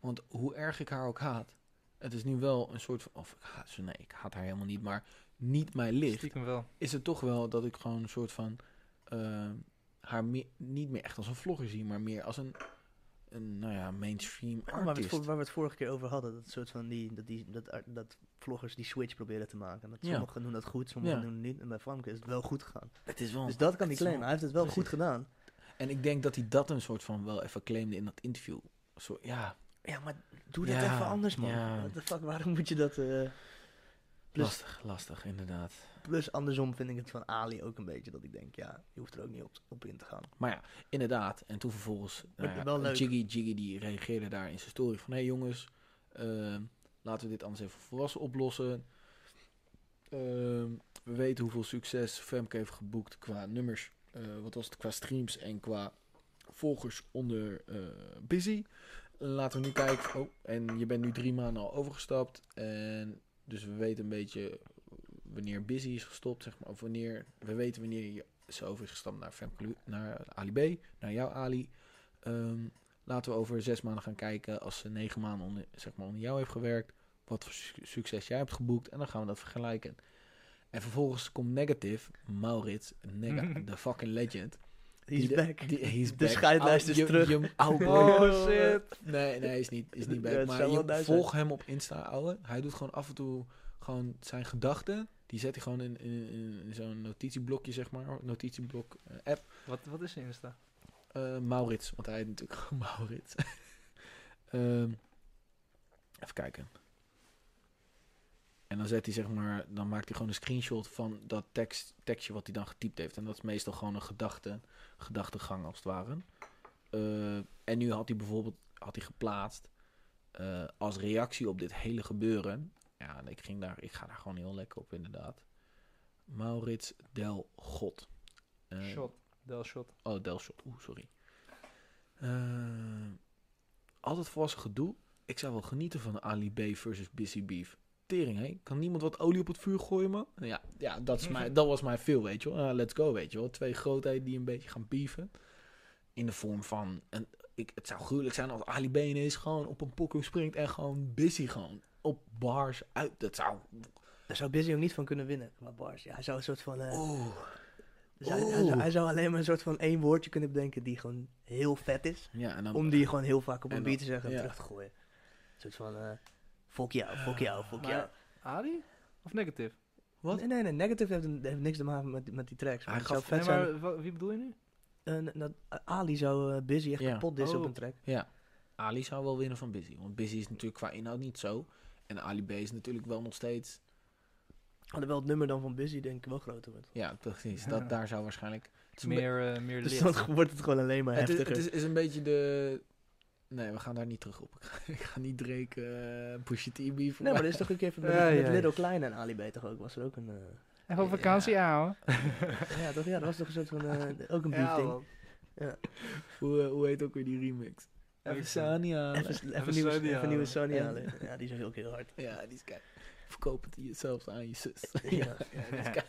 Speaker 3: Want hoe erg ik haar ook haat... Het is nu wel een soort van... Of, ik haat ze, nee, ik haat haar helemaal niet, maar niet mijn licht
Speaker 4: Stiekem wel.
Speaker 3: is het toch wel dat ik gewoon een soort van eh, haar me- niet meer echt als een vlogger zie, maar meer als een, een nou ja, mainstream
Speaker 2: Oh, Waar we, het,
Speaker 3: artiest.
Speaker 2: voor- waar we het vorige keer over hadden, dat soort van die, dat, die, dat, ar- dat vloggers die switch proberen te maken. Dat
Speaker 3: Ja.
Speaker 2: sommigen doen dat goed, sommigen
Speaker 3: Ja.
Speaker 2: doen het niet. En bij Famke is het wel goed gegaan.
Speaker 3: Het is wel.
Speaker 2: Dus dat kan hij
Speaker 3: het is wel-
Speaker 2: claimen. Hij heeft het wel
Speaker 3: precies.
Speaker 2: goed gedaan.
Speaker 3: En ik denk dat hij dat een soort van wel even claimde in dat interview. Zo, ja,
Speaker 2: Ja, maar doe dat
Speaker 3: Ja,
Speaker 2: even anders, man.
Speaker 3: ja.
Speaker 2: What the fuck, waarom moet je dat... eh, plus,
Speaker 3: lastig, lastig, inderdaad.
Speaker 2: plus andersom vind ik het van Ali ook een beetje. Dat ik denk, ja, je hoeft er ook niet op, op in te gaan.
Speaker 3: Maar ja, inderdaad. En toen vervolgens, nou
Speaker 2: Maar
Speaker 3: ja,
Speaker 2: wel leuk.
Speaker 3: Jiggy, Jiggy die reageerde daar in zijn story van... Hé hey jongens, ehm, laten we dit anders even volwassen oplossen. Ehm, we weten hoeveel succes Femke heeft geboekt qua nummers. eh, wat was het? Qua streams en qua volgers onder eh, Busy. Laten we nu kijken. Oh, en je bent nu drie maanden al overgestapt. En dus we weten een beetje wanneer Busy is gestopt, zeg maar. Of wanneer, we weten wanneer je ze over is gestapt naar, Femke Lu- naar Ali B, naar jou Ali. Ehm, laten we over zes maanden gaan kijken, als ze negen maanden onder, zeg maar, onder jou heeft gewerkt, wat voor su- succes jij hebt geboekt, en dan gaan we dat vergelijken. En vervolgens komt Negative, Maurits, Nega, de fucking legend.
Speaker 2: He's
Speaker 3: Die de-
Speaker 2: back.
Speaker 3: die- he's
Speaker 2: De
Speaker 3: back.
Speaker 2: scheidlijst
Speaker 3: Au-
Speaker 2: is
Speaker 3: je-
Speaker 2: terug.
Speaker 3: je- au, boy.
Speaker 4: Oh shit.
Speaker 3: Nee, nee, is niet, is niet
Speaker 2: Ja,
Speaker 3: back.
Speaker 2: het
Speaker 3: maar
Speaker 2: zou wel
Speaker 3: je
Speaker 2: nice
Speaker 3: volg hem op Insta, ouwe. Hij doet gewoon af en toe gewoon zijn gedachten. Die zet hij gewoon in, in, in- in zo'n notitieblokje, zeg maar. Notitieblok eh, app.
Speaker 4: Wat, wat is zijn Insta?
Speaker 3: Eh, Maurits, want hij heet natuurlijk gewoon Maurits. Ehm, even kijken. En dan zet hij zeg maar, dan maakt hij gewoon een screenshot van dat tekst, tekstje wat hij dan getypt heeft. En dat is meestal gewoon een gedachte, gedachtegang als het ware. Eh, en nu had hij bijvoorbeeld had hij geplaatst eh, als reactie op dit hele gebeuren. Ja, en ik, ging daar, ik ga daar gewoon heel lekker op inderdaad. Maurits Del God. Eh,
Speaker 4: Shot. Del shot.
Speaker 3: Oh, Delshot. Oeh, sorry. Eh, altijd volwassen gedoe. Ik zou wel genieten van Ali B versus Busy Beef. Tering, hé. Kan niemand wat olie op het vuur gooien, man? Ja, ja dat, is mijn, dat was mijn veel, weet je wel. Eh, let's go, weet je wel. Twee grootheden die een beetje gaan bieven. In de vorm van... Een, ik, het zou gruwelijk zijn als Ali B ineens gewoon op een pokoe springt en gewoon busy gewoon op bars uit. Dat zou...
Speaker 2: Daar zou Busy ook niet van kunnen winnen, maar Bars. Ja, hij zou een soort van... eh,
Speaker 3: Oeh.
Speaker 2: dus hij, hij zou,
Speaker 3: oeh.
Speaker 2: hij zou alleen maar een soort van één woordje kunnen bedenken die gewoon heel vet is.
Speaker 3: Ja, en dan...
Speaker 2: Om die gewoon heel vaak op
Speaker 3: En
Speaker 2: een
Speaker 3: dan-
Speaker 2: beat te zeggen en
Speaker 3: ja. Ah,
Speaker 2: terug te gooien. Een soort van... eh fuck jou, fuck jou, fuck
Speaker 4: maar-
Speaker 2: jou.
Speaker 4: Adi? Of negative?
Speaker 3: Wat?
Speaker 2: Nee, nee, nee. Negative heeft, een- heeft niks te maken met, met die tracks. Maar
Speaker 3: Hij
Speaker 2: het zou
Speaker 3: gaf-
Speaker 2: vet
Speaker 4: nee, maar
Speaker 2: zijn...
Speaker 4: wa- wie bedoel je nu?
Speaker 2: eh, dat Ali zou eh, Busy echt
Speaker 3: Ja.
Speaker 2: kapot dissen op
Speaker 4: Oh.
Speaker 2: een track.
Speaker 3: Ja, Ali zou wel winnen van Busy. Want Busy is natuurlijk qua inhoud niet zo. En Ali B is natuurlijk wel nog steeds...
Speaker 2: Alhoewel het nummer dan van Busy denk ik wel groter wordt.
Speaker 3: Ja, precies. Dat, daar zou waarschijnlijk... Het is een
Speaker 4: Meer, eh, meer
Speaker 2: Dus
Speaker 4: licht.
Speaker 2: dan wordt het gewoon alleen maar
Speaker 3: Het, is,
Speaker 2: heftiger.
Speaker 3: het is, is een beetje de... Nee, we gaan daar niet terug op. Ik ga, ik ga niet Drake, eh Pusha T beefen.
Speaker 2: Nee, maar dat is toch een keer met,
Speaker 4: Ja,
Speaker 2: met
Speaker 4: ja,
Speaker 2: Little Klein en Ali B toch ook? Was er ook een... eh,
Speaker 4: Even op vakantie, ouwe.
Speaker 2: ja, toch? Ja, dat was toch een soort van... eh, ook een beef ding.
Speaker 3: hoe, eh, hoe heet ook weer die remix?
Speaker 4: Even
Speaker 3: Even Sani halen.
Speaker 2: Even, even,
Speaker 4: Even
Speaker 2: nieuwe,
Speaker 4: Sony
Speaker 2: even nieuwe
Speaker 4: halen.
Speaker 2: Sony
Speaker 3: Ja.
Speaker 2: halen. Ja, die is ook heel hard.
Speaker 3: Ja, die is kijk. Verkoop het jezelf aan je zus.
Speaker 2: Ja.
Speaker 3: ja, ja, die is kijk.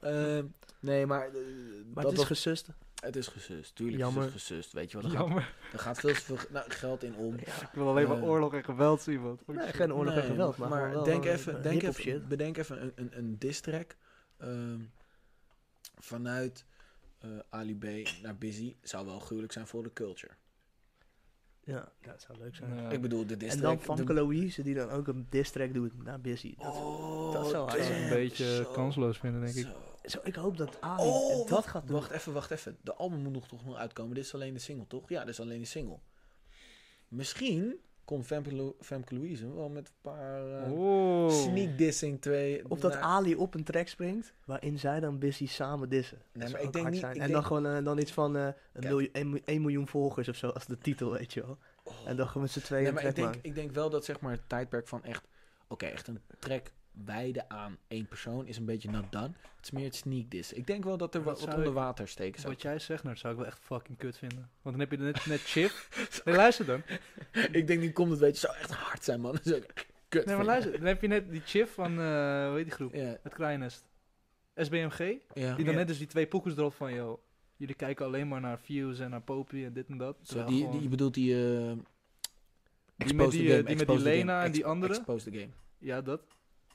Speaker 3: Ehm, nee, maar... eh,
Speaker 2: Maar het
Speaker 3: dat
Speaker 2: is
Speaker 3: was-
Speaker 2: gesust.
Speaker 3: het is gesust. Tuurlijk
Speaker 2: Jammer.
Speaker 3: is het gesust. Weet je wel, er gaat,
Speaker 4: Jammer.
Speaker 3: er gaat veel te veel ge- nou, geld in om.
Speaker 4: Ik wil alleen maar
Speaker 3: Eh.
Speaker 4: oorlog en geweld zien, man. Fuck
Speaker 2: Nee,
Speaker 4: shit.
Speaker 2: geen oorlog en
Speaker 3: Nee,
Speaker 2: geweld, maar, gewoon wel
Speaker 3: denk
Speaker 2: gewoon,
Speaker 3: even,
Speaker 2: eh,
Speaker 3: denk
Speaker 2: hip-hop
Speaker 3: even,
Speaker 2: shit.
Speaker 3: bedenk even een, een, een diss-track ehm, vanuit eh, Ali B naar Busy zou wel gruwelijk zijn voor de culture.
Speaker 2: Ja, ja, dat zou leuk zijn.
Speaker 4: Ja.
Speaker 3: Ik bedoel, de
Speaker 2: en dan
Speaker 3: diss-track...
Speaker 2: van
Speaker 3: de-
Speaker 2: Louise, die dan ook een diss track doet naar Busy. Dat,
Speaker 3: Oh,
Speaker 2: dat zou hard
Speaker 4: zou
Speaker 2: zijn.
Speaker 4: ik
Speaker 3: damn,
Speaker 4: een beetje
Speaker 3: zo,
Speaker 4: kansloos vinden, denk ik.
Speaker 3: zo.
Speaker 2: zo, ik hoop dat Ali
Speaker 3: Oh,
Speaker 2: dat gaat doen.
Speaker 3: Wacht even, wacht even. De album moet nog toch nog uitkomen. Dit is alleen de single, toch? Ja, dit is alleen de single. Misschien komt Femke, Lou- Femke Louise wel met een paar eh,
Speaker 4: Oh.
Speaker 3: sneak dissing twee.
Speaker 2: Of dat
Speaker 3: naar-
Speaker 2: Ali op een track springt, waarin zij dan Busy samen dissen. Dat
Speaker 3: maar
Speaker 2: zou
Speaker 3: ik
Speaker 2: ook
Speaker 3: denk
Speaker 2: hard
Speaker 3: niet-
Speaker 2: zijn.
Speaker 3: ik
Speaker 2: en dan
Speaker 3: denk-
Speaker 2: gewoon eh, dan iets van eh een
Speaker 3: Kijk.
Speaker 2: miljoen, een, mi- een miljoen volgers of zo, als de titel, weet je wel.
Speaker 3: Oh.
Speaker 2: En dan gewoon met z'n tweeën
Speaker 3: Nee,
Speaker 2: een
Speaker 3: maar ik
Speaker 2: track
Speaker 3: denk,
Speaker 2: maken.
Speaker 3: ik denk wel dat zeg maar het tijdperk van echt... Oké, echt een track wijden aan één persoon is een beetje not done. Het is meer het sneak diss. Ik denk wel dat er
Speaker 4: Maar
Speaker 3: wat,
Speaker 4: dat
Speaker 3: wat
Speaker 4: zou
Speaker 3: onder water steken zou.
Speaker 4: Wat jij zegt, nou, dat zou ik wel echt fucking kut vinden. Want dan heb je net, net chip. Nee, luister dan.
Speaker 3: ik denk nu komt het weet je, zou echt hard zijn man. Dat is ook Kut.
Speaker 4: Nee, maar luister. Dan heb je net die chip van, eh, hoe heet die groep?
Speaker 3: Ja, Oh,
Speaker 4: Het Kraaiennest. SBMG.
Speaker 3: ja.
Speaker 4: Die dan
Speaker 2: Ja.
Speaker 4: net dus die twee poekers erop van, joh. Jullie kijken alleen maar naar views en naar popie en dit en dat.
Speaker 3: Zo,
Speaker 4: Terwijl
Speaker 3: die,
Speaker 4: gewoon-
Speaker 3: die, je bedoelt die... eh,
Speaker 4: die,
Speaker 3: Expose
Speaker 4: met
Speaker 3: the
Speaker 4: die, eh,
Speaker 3: game,
Speaker 4: die, met die
Speaker 3: expose the
Speaker 4: Lena
Speaker 3: game,
Speaker 4: en die
Speaker 3: ex-
Speaker 4: andere.
Speaker 3: Expose the game.
Speaker 4: Ja, dat.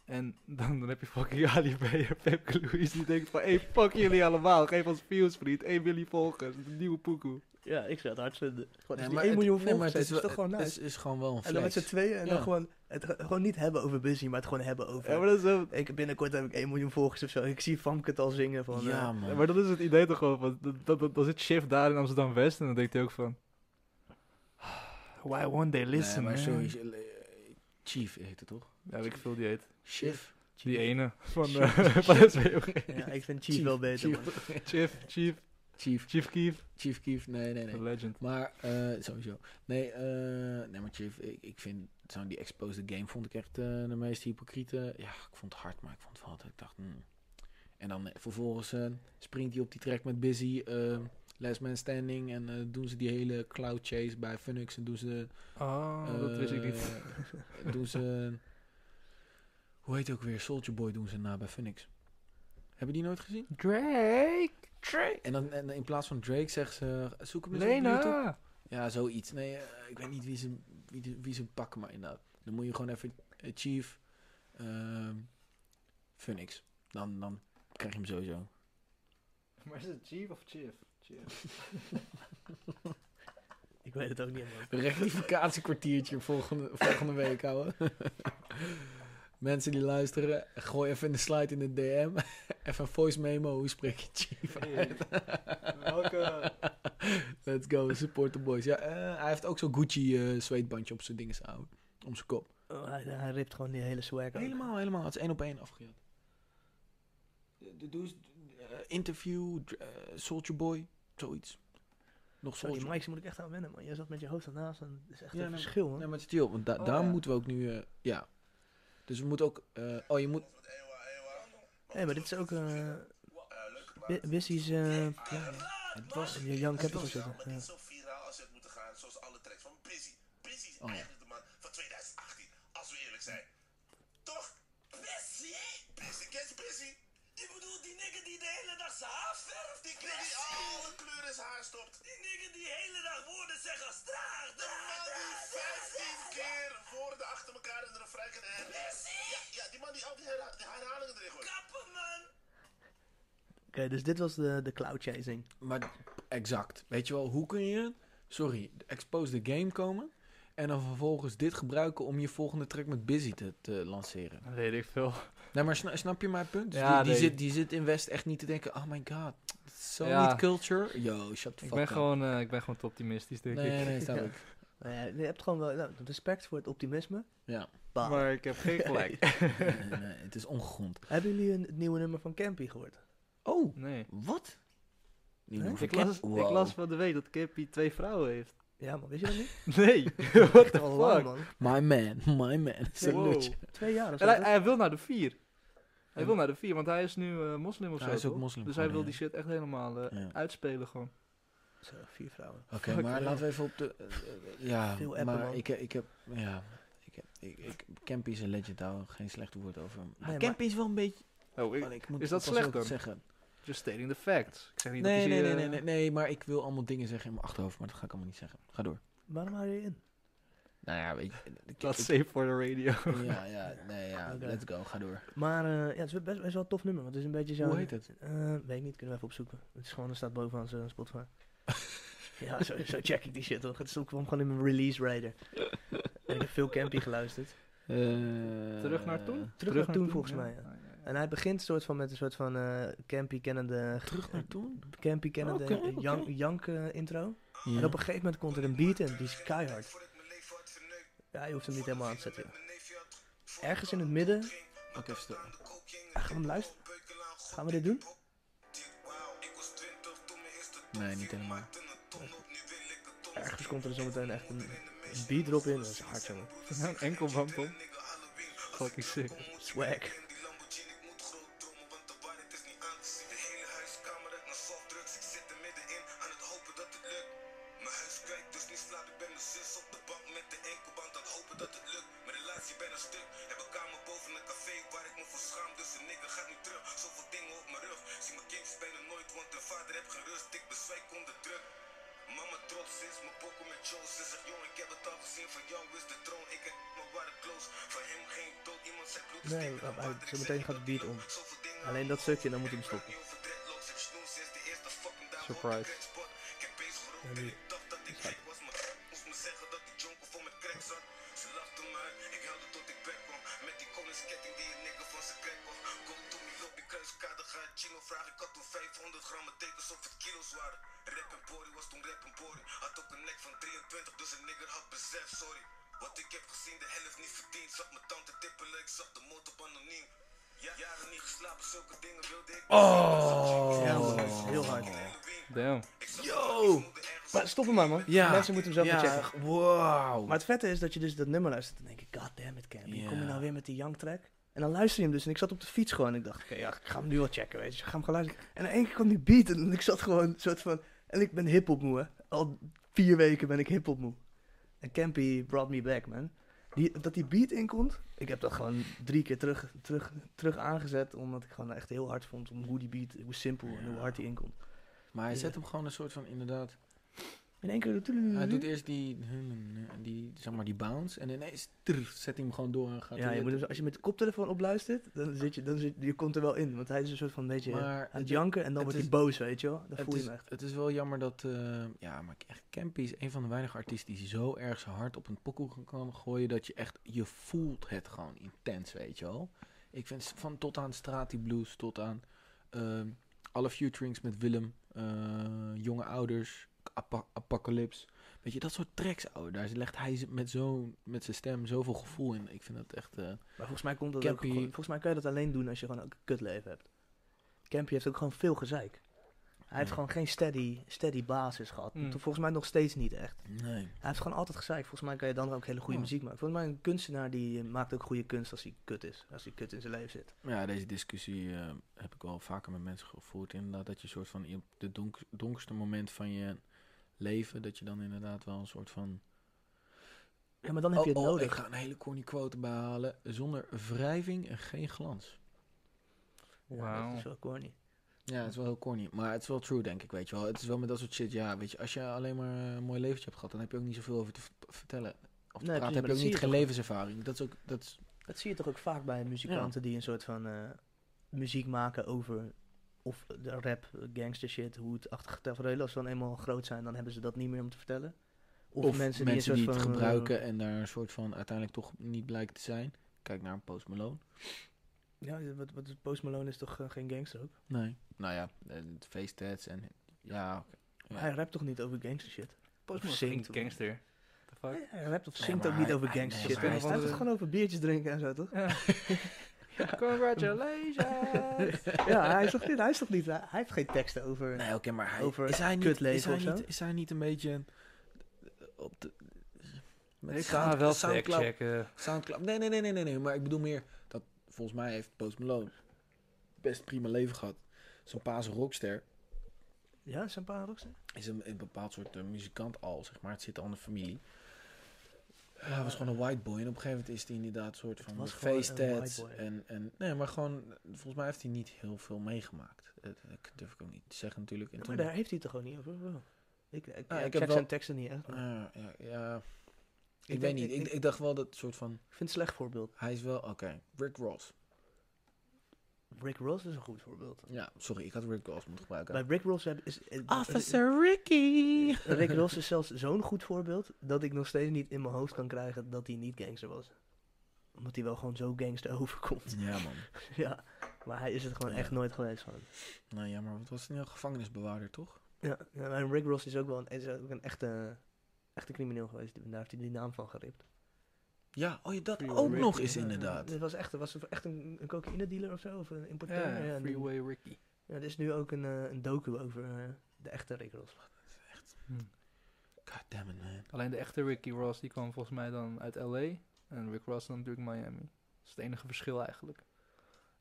Speaker 4: En dan, dan heb je fucking Ali B en Pepke Louise die denkt van... Hey, fuck jullie allemaal. Geef ons views, vriend. 1 miljoen volgers. Een nieuwe poekoe.
Speaker 2: Ja, ik zou het hard vinden. Gewoon
Speaker 3: Nee,
Speaker 2: als die
Speaker 3: maar
Speaker 2: 1
Speaker 3: het-
Speaker 2: miljoen
Speaker 3: nee, maar
Speaker 2: volgers
Speaker 3: het
Speaker 2: heeft, is,
Speaker 3: wel-
Speaker 2: toch gewoon nice.
Speaker 3: Het is, is gewoon wel een
Speaker 2: en dan met z'n
Speaker 3: flex.
Speaker 2: tweeën en
Speaker 3: Ja.
Speaker 2: dan gewoon, het, gewoon niet hebben over Busy, maar het gewoon hebben over...
Speaker 4: Ja, maar dat is, wel-
Speaker 2: ik, binnenkort heb ik 1 miljoen volgers of zo. Ik zie Famke het al zingen van...
Speaker 3: Ja
Speaker 2: eh,
Speaker 4: ja,
Speaker 3: man.
Speaker 4: maar dat is het idee toch gewoon. van- dat- dat- dat- Dan zit Shift daar in Amsterdam-West en dan denkt hij ook van... Why won't they
Speaker 3: Nee,
Speaker 4: listen,
Speaker 3: maar
Speaker 4: man?
Speaker 3: sowieso, eh, Chief heet het toch?
Speaker 4: Ja, weet ik veel die heet.
Speaker 3: Chief.
Speaker 4: Die ene van, eh van SBMG.
Speaker 2: ja, ik vind Chief wel beter. man.
Speaker 4: Chief, Chief,
Speaker 3: Chief.
Speaker 4: Chief Keef.
Speaker 3: Chief Kief. Nee, nee, nee.
Speaker 4: The legend.
Speaker 3: Maar eh, sowieso. Nee, eh, nee maar Chief, ik, ik vind zo'n die Exposed Game vond ik echt eh, de meest hypocriete. Ja, ik vond het hard, maar ik vond het wel hard. Ik dacht, hmm. En dan eh, vervolgens eh, springt hij op die track met Busy, eh Last Man Standing. En eh, doen ze die hele cloud chase bij Funix. En doen ze...
Speaker 4: Oh, dat wist ik niet.
Speaker 3: eh, doen ze... Hoe heet het ook weer? Soldier Boy doen ze na bij Funix. Hebben die nooit gezien?
Speaker 4: Drake!
Speaker 3: En dan en in plaats van Drake zegt ze... Zoek hem eens op YouTube.
Speaker 4: Lena!
Speaker 3: Ja, zoiets. Nee, eh, ik weet niet wie ze, wie, de- wie ze pakken, maar inderdaad. Dan moet je gewoon even eh, Chief, ehm Phoenix. Dan, dan krijg je hem sowieso.
Speaker 4: Maar is het Chief of Chief?
Speaker 2: Ik weet het ook niet, man.
Speaker 3: Rectificatiekwartiertje volgende, volgende week, houden. Mensen die luisteren, gooi even een slide in de DM. even een voice memo, hoe spreek je Chief uit?
Speaker 4: Welke?
Speaker 3: Let's go, support the boys. Ja, eh, hij heeft ook zo'n Gucci eh zweetbandje op zijn dingen houden. Om zijn kop.
Speaker 2: Oh, hij, hij ript gewoon die hele swag ook.
Speaker 3: Helemaal, helemaal. Het is één op één afgejat. De, de, dus, eh, interview, dr- eh, Soldier Boy, zoiets. Nog
Speaker 2: Zo, die
Speaker 3: Soldier
Speaker 2: mics moet ik echt aan wennen, man. Jij zat met je hoofd ernaast en dat is echt
Speaker 3: Ja,
Speaker 2: een
Speaker 3: nee,
Speaker 2: verschil, man.
Speaker 3: Nee, maar het is chill, want da-
Speaker 4: Oh,
Speaker 3: daar
Speaker 4: ja.
Speaker 3: moeten we ook nu... eh, ja. Dus we moeten ook... eh, oh, je moet...
Speaker 2: Nee, maar dit is ook... eh Wi- Wissy's... eh
Speaker 3: Het was...
Speaker 2: je Young
Speaker 3: het
Speaker 2: Capital
Speaker 3: was-
Speaker 2: zitten.
Speaker 5: maar
Speaker 2: Ja.
Speaker 5: niet zo viraal als het moeten gaan, zoals alle tracks van Busy. Busy is
Speaker 3: Oh ja.
Speaker 5: eigenlijk de man van 2018, als we eerlijk zijn. Toch? nigger die alle kleur in zijn haar stopt. Die nigger die hele dag woorden zegt als traag. De man die 15 keer woorden achter elkaar in de refrein kan herhalen. Ja, ja, die man die al die herha- die herhalingen erin gooit. Kappen man!
Speaker 2: dus dit was de, de cloud chasing.
Speaker 3: Maar exact. Weet je wel, hoe kun je, sorry, expose the game komen en dan vervolgens dit gebruiken om je volgende track met Busy te, te lanceren?
Speaker 4: Dat weet ik veel.
Speaker 3: Nee, maar sna- snap je mijn punt? Dus
Speaker 4: Ja,
Speaker 3: die, die
Speaker 4: nee.
Speaker 3: zit, die zit in West echt niet te denken, oh my god, dit is zo
Speaker 4: Ja.
Speaker 3: niet culture. Yo, shut the
Speaker 4: Ik
Speaker 3: fuck
Speaker 4: ben,
Speaker 3: up.
Speaker 4: gewoon, eh, ik ben gewoon te optimistisch, denk
Speaker 3: Nee,
Speaker 4: ik.
Speaker 3: nee, nee, snap ik.
Speaker 2: Maar ja, je hebt gewoon wel nou, respect voor het optimisme.
Speaker 3: Ja.
Speaker 2: Bah.
Speaker 4: Maar ik heb geen gelijk.
Speaker 3: Nee, nee, nee, het is ongegrond.
Speaker 2: Hebben jullie een, het nieuwe nummer van Campy gehoord?
Speaker 3: Oh,
Speaker 4: Nee.
Speaker 3: wat? Die
Speaker 2: Hè?
Speaker 3: noemen we
Speaker 4: Ik las,
Speaker 3: Wow.
Speaker 4: ik las van de week dat Kippy twee vrouwen heeft.
Speaker 2: Ja man, wist je dat niet?
Speaker 4: Nee, what
Speaker 2: Echt
Speaker 4: the
Speaker 2: al lang,
Speaker 4: fuck?
Speaker 2: man.
Speaker 3: My man, my man. Salute.
Speaker 4: Wow.
Speaker 2: Twee jaar of zo.
Speaker 4: En hij,
Speaker 2: toch?
Speaker 4: hij wil naar de vier. Hij
Speaker 3: Ja.
Speaker 4: wil naar de vier, want hij is nu eh, moslim of
Speaker 3: Hij
Speaker 4: zo.
Speaker 3: is ook
Speaker 4: toch?
Speaker 3: moslim
Speaker 4: Dus hij
Speaker 3: geworden,
Speaker 4: wil
Speaker 3: ja.
Speaker 4: die shit echt helemaal eh,
Speaker 3: Ja.
Speaker 4: uitspelen gewoon.
Speaker 2: Zo, vier vrouwen.
Speaker 3: Oké,
Speaker 4: Fuck,
Speaker 3: maar
Speaker 4: ja.
Speaker 3: laten we even op de... eh, eh, ja,
Speaker 2: Veel appen,
Speaker 3: maar
Speaker 2: man.
Speaker 3: ik, ik heb... Ja, ik heb... Ik, ik, Campy is een legend, daar geen slecht woord over. hem. Maar
Speaker 2: maar-
Speaker 3: Campy is wel een beetje...
Speaker 4: Oh, ik-
Speaker 3: maar ik moet
Speaker 4: is dat
Speaker 3: pas
Speaker 4: slecht
Speaker 3: ook
Speaker 4: dan?
Speaker 3: Zeggen.
Speaker 4: just stating the facts. Ik zeg niet
Speaker 3: Nee,
Speaker 4: dat hij
Speaker 3: nee,
Speaker 4: ze,
Speaker 3: nee,
Speaker 4: eh,
Speaker 3: nee, nee, nee, maar ik wil allemaal dingen zeggen in mijn achterhoofd, maar dat ga ik allemaal niet zeggen. Ga door.
Speaker 2: Waarom hou je je in?
Speaker 3: Nou ja, weet je... ik-
Speaker 4: Dat
Speaker 3: ik-
Speaker 4: safe for the radio.
Speaker 3: Ja, ja, nee, ja,
Speaker 2: Oké.
Speaker 3: let's go, ga door.
Speaker 2: Maar eh, ja, het is best, best wel een tof nummer, want het is een beetje zo...
Speaker 3: Hoe heet het?
Speaker 2: Eh, weet ik niet, kunnen we even opzoeken. Het is gewoon, er staat bovenaan zo'n Spotify. ja, zo, zo check ik die shit toch. Het stond kwam gewoon in mijn release radar. en ik heb veel Campy geluisterd.
Speaker 4: Eh, Terug naar toen?
Speaker 2: terug naar toen, volgens
Speaker 4: ja.
Speaker 2: mij, ja.
Speaker 4: Ah, ja, ja.
Speaker 2: En hij begint soort van met een soort van eh, Campy kennende...
Speaker 3: Terug naar toen?
Speaker 2: Campy kennende
Speaker 3: Oké, oké.
Speaker 2: jank, jank, eh, intro.
Speaker 3: Ja.
Speaker 2: En op een gegeven moment komt er een beat in, die is keihard.
Speaker 5: Voordat ik mijn leven had verneukt.
Speaker 2: Ja, je hoeft hem niet helemaal aan te zetten. joh.
Speaker 5: Mijn neefje had
Speaker 2: Ergens in het midden...
Speaker 3: Oké, even stil.
Speaker 2: Ah, gaan we hem luisteren? Gaan we dit doen?
Speaker 3: Nee, niet helemaal.
Speaker 2: Ergens komt er zometeen echt een beat erop in. Dat is hard, jongen.
Speaker 4: Een enkel band op. Fucking sick.
Speaker 2: Swag. Nee, maar hij, zometeen gaat de beat om. Alleen dat stukje, dan moet hij hem stoppen.
Speaker 4: Surprise.
Speaker 2: En nu is hij-
Speaker 3: Oh,
Speaker 2: Ja, man, dat is heel hard.
Speaker 4: Damn.
Speaker 3: Yo!
Speaker 2: Maar stop hem maar, man. Mensen moeten hem zelf maar checken.
Speaker 3: Wow.
Speaker 2: Maar het vette is dat je dus dat nummer luistert en denk ik, god damn it, Cam. Hier kom je
Speaker 3: Ja.
Speaker 2: nou weer met die young track? En dan luister je hem dus en ik zat op de fiets gewoon en ik dacht, oké, ja, ik ga hem nu wel checken, weet je. Ik ga hem gaan luisteren. En in één keer kwam die beat en ik zat gewoon een soort van... En ik ben hip-hop moe, hè. Al vier weken ben ik hip-hop moe. En Campy brought me back, man. Die, dat die beat inkomt, ik heb dat gewoon drie keer terug, terug, terug aangezet. Omdat ik gewoon echt heel hard vond om hoe die beat, hoe simpel en hoe
Speaker 3: Ja.
Speaker 2: hard die inkomt.
Speaker 3: Maar hij
Speaker 2: Ja. Mhm.
Speaker 3: zet hem gewoon een soort van, inderdaad...
Speaker 2: In één keer...
Speaker 3: Hij doet eerst die, die, zeg maar, die bounce en ineens trrr, zet hij hem gewoon door en gaat
Speaker 2: Ja,
Speaker 3: hij
Speaker 2: je moet
Speaker 3: weer-
Speaker 2: hem- als je met de koptelefoon op luistert, dan zit je, dan zit, je komt er wel in. Want hij is een soort van beetje
Speaker 3: Maar
Speaker 2: aan het
Speaker 3: het-
Speaker 2: janken en dan
Speaker 3: het
Speaker 2: wordt hij
Speaker 3: is-
Speaker 2: boos, weet je wel. Dan
Speaker 3: het
Speaker 2: voel je
Speaker 3: is,
Speaker 2: hem echt.
Speaker 3: het is wel jammer dat, eh, ja, maar echt, Campy is een van de weinige artiesten die zo erg zijn hart op een pokoe g- kan gooien dat je echt, je voelt het gewoon intens, weet je wel. Ik vind s- van tot aan Strati Blues, tot aan ehm, alle featurings met Willem, eh, Jonge Ouders, Apa- Apocalypse. Weet je, dat soort tracks, ouwe, daar legt hij z- met, zo, met zijn stem zoveel gevoel in. Ik vind dat echt... eh,
Speaker 2: Maar volgens mij, komt dat ook
Speaker 3: Campy-
Speaker 2: gewoon, volgens mij kan je dat alleen doen als je gewoon ook een kutleven hebt. Campy heeft ook gewoon veel gezeik. Hij heeft
Speaker 3: Ja.
Speaker 2: gewoon geen steady, steady basis gehad.
Speaker 4: Mm.
Speaker 2: Volgens mij nog steeds niet echt.
Speaker 3: nee.
Speaker 2: Hij heeft gewoon altijd gezeik. Volgens mij kan je dan ook hele goede
Speaker 3: Ja.
Speaker 2: muziek maken. Volgens mij een kunstenaar die eh, maakt ook goede kunst als hij kut is. Als hij kut in zijn leven zit.
Speaker 3: Ja, deze discussie eh, heb ik wel vaker met mensen gevoerd. Inderdaad, dat je soort van in de donk- donkerste moment van je leven, dat je dan inderdaad wel een soort van.
Speaker 2: Ja, maar dan heb je het
Speaker 3: oh, oh,
Speaker 2: nodig.
Speaker 3: Ik ga een hele corny quote behalen. Zonder wrijving en geen glans.
Speaker 2: Ja,
Speaker 4: Wauw.
Speaker 2: dat is wel corny.
Speaker 3: Ja, het is wel heel corny. Maar het is wel true, denk ik, weet je wel. Het is wel met dat soort shit, ja, weet je. Als je alleen maar eh, een mooi leventje hebt gehad, dan heb je ook niet zoveel over te v- vertellen. Of te
Speaker 2: Nee, precies,
Speaker 3: praten,
Speaker 2: maar
Speaker 3: heb
Speaker 2: dat
Speaker 3: je ook
Speaker 2: zie
Speaker 3: niet
Speaker 2: je
Speaker 3: geen
Speaker 2: toch ook.
Speaker 3: levenservaring. Dat is ook, dat is,
Speaker 2: Dat zie je toch ook vaak bij muzikanten die een soort van eh, muziek maken over of de rap, gangster shit, hoe het achtergeteld Als ze dan eenmaal groot zijn, dan hebben ze dat niet meer om te vertellen. Of, mensen die een soort van
Speaker 3: het
Speaker 2: eh,
Speaker 3: gebruiken en daar een soort van uiteindelijk toch niet blijkt te zijn. Kijk naar een Post Malone.
Speaker 2: ja, wat, wat, Post Malone is toch eh, geen gangster ook?
Speaker 3: Nee. Nou ja, het facetats en... Ja, oké. Ja.
Speaker 2: Hij rapt toch niet over gangster shit?
Speaker 4: Post Malone is
Speaker 2: zingt
Speaker 4: geen
Speaker 2: of-
Speaker 4: gangster. The fuck?
Speaker 2: Nee, Hij rapt of
Speaker 3: Nee,
Speaker 2: zingt
Speaker 3: maar
Speaker 2: ook niet
Speaker 3: hij-
Speaker 2: over
Speaker 3: hij-
Speaker 2: gangster
Speaker 3: nee,
Speaker 2: shit.
Speaker 3: maar
Speaker 2: Hij
Speaker 3: hij
Speaker 2: heeft het
Speaker 4: staat-
Speaker 2: gewoon over biertjes drinken en zo, toch?
Speaker 4: Ja. Congratulations!
Speaker 2: ja, hij is toch niet, hij is toch niet, hij heeft geen teksten over...
Speaker 3: Nee, oké, maar hij,
Speaker 2: Over
Speaker 3: is, hij niet,
Speaker 2: kutleven
Speaker 3: is, hij
Speaker 2: of zo?
Speaker 3: niet, is hij niet een beetje... een- Op de, met
Speaker 4: Ik
Speaker 3: Sound-
Speaker 4: ga wel
Speaker 3: Soundcloud-
Speaker 4: checken.
Speaker 3: Soundcloud. Nee, nee, nee, nee, nee, nee. Maar ik bedoel meer dat volgens mij heeft Post Malone best prima leven gehad. Zijn pa is een rockster.
Speaker 2: Ja, zijn paar rockster?
Speaker 3: Is een, een bepaald soort eh, muzikant al, zeg maar. Het zit al in de familie. Ja, Hij was gewoon een white boy. En op een gegeven moment is hij inderdaad een soort van
Speaker 2: was
Speaker 3: de
Speaker 2: gewoon een
Speaker 3: face tats.
Speaker 2: white boy.
Speaker 3: En, en, nee, maar gewoon, eh, volgens mij heeft hij niet heel veel meegemaakt. Eh, Dat durf ik ook niet te zeggen natuurlijk. En
Speaker 2: Ja, maar
Speaker 3: toen-
Speaker 2: daar heeft hij het toch gewoon niet over? Wow. Ik, ik, ja,
Speaker 3: ik
Speaker 2: ik
Speaker 3: heb
Speaker 2: check
Speaker 3: wel-
Speaker 2: zijn teksten niet echt. maar
Speaker 3: Ah, ja, ja, ik,
Speaker 2: denk-
Speaker 3: weet niet. Ik,
Speaker 2: ik-
Speaker 3: ik, dacht wel dat soort van...
Speaker 2: Ik vind het een slecht voorbeeld.
Speaker 3: Hij is wel... Oké, Rick Ross.
Speaker 2: Rick Ross is een goed voorbeeld.
Speaker 3: Ja, sorry. Ik had Rick Ross moeten gebruiken.
Speaker 2: Bij Rick Ross heb- is... eh,
Speaker 3: Ah, Ricky.
Speaker 2: eh, Rick Ross is zelfs zo'n goed voorbeeld dat ik nog steeds niet in mijn hoofd kan krijgen dat hij niet gangster was. Omdat hij wel gewoon zo gangster overkomt.
Speaker 3: Ja, man.
Speaker 2: ja, maar hij is het gewoon
Speaker 3: Ja.
Speaker 2: echt nooit geweest van.
Speaker 3: Nou ja, maar wat was het nou? Gevangenisbewaarder, toch?
Speaker 2: Ja, ja, maar Rick Ross is ook wel een, is ook een echte, echte crimineel geweest. Daar heeft hij die naam van geript.
Speaker 3: Ja, oh ja, dat
Speaker 4: Free
Speaker 3: ook
Speaker 4: Rick,
Speaker 3: nog eens
Speaker 2: Ja,
Speaker 3: inderdaad.
Speaker 2: Het was echt, het was echt een, een cocaïne dealer of zo, of een importeur. Ja,
Speaker 4: Ja,
Speaker 2: en die-
Speaker 4: Freeway Ricky.
Speaker 2: Ja, er is nu ook een, eh, een docu over eh, de echte Rick Ross.
Speaker 3: God damn it, man.
Speaker 4: Alleen de echte Ricky Ross die kwam volgens mij dan uit LA. En Rick Ross dan natuurlijk Miami. Dat is het enige verschil eigenlijk.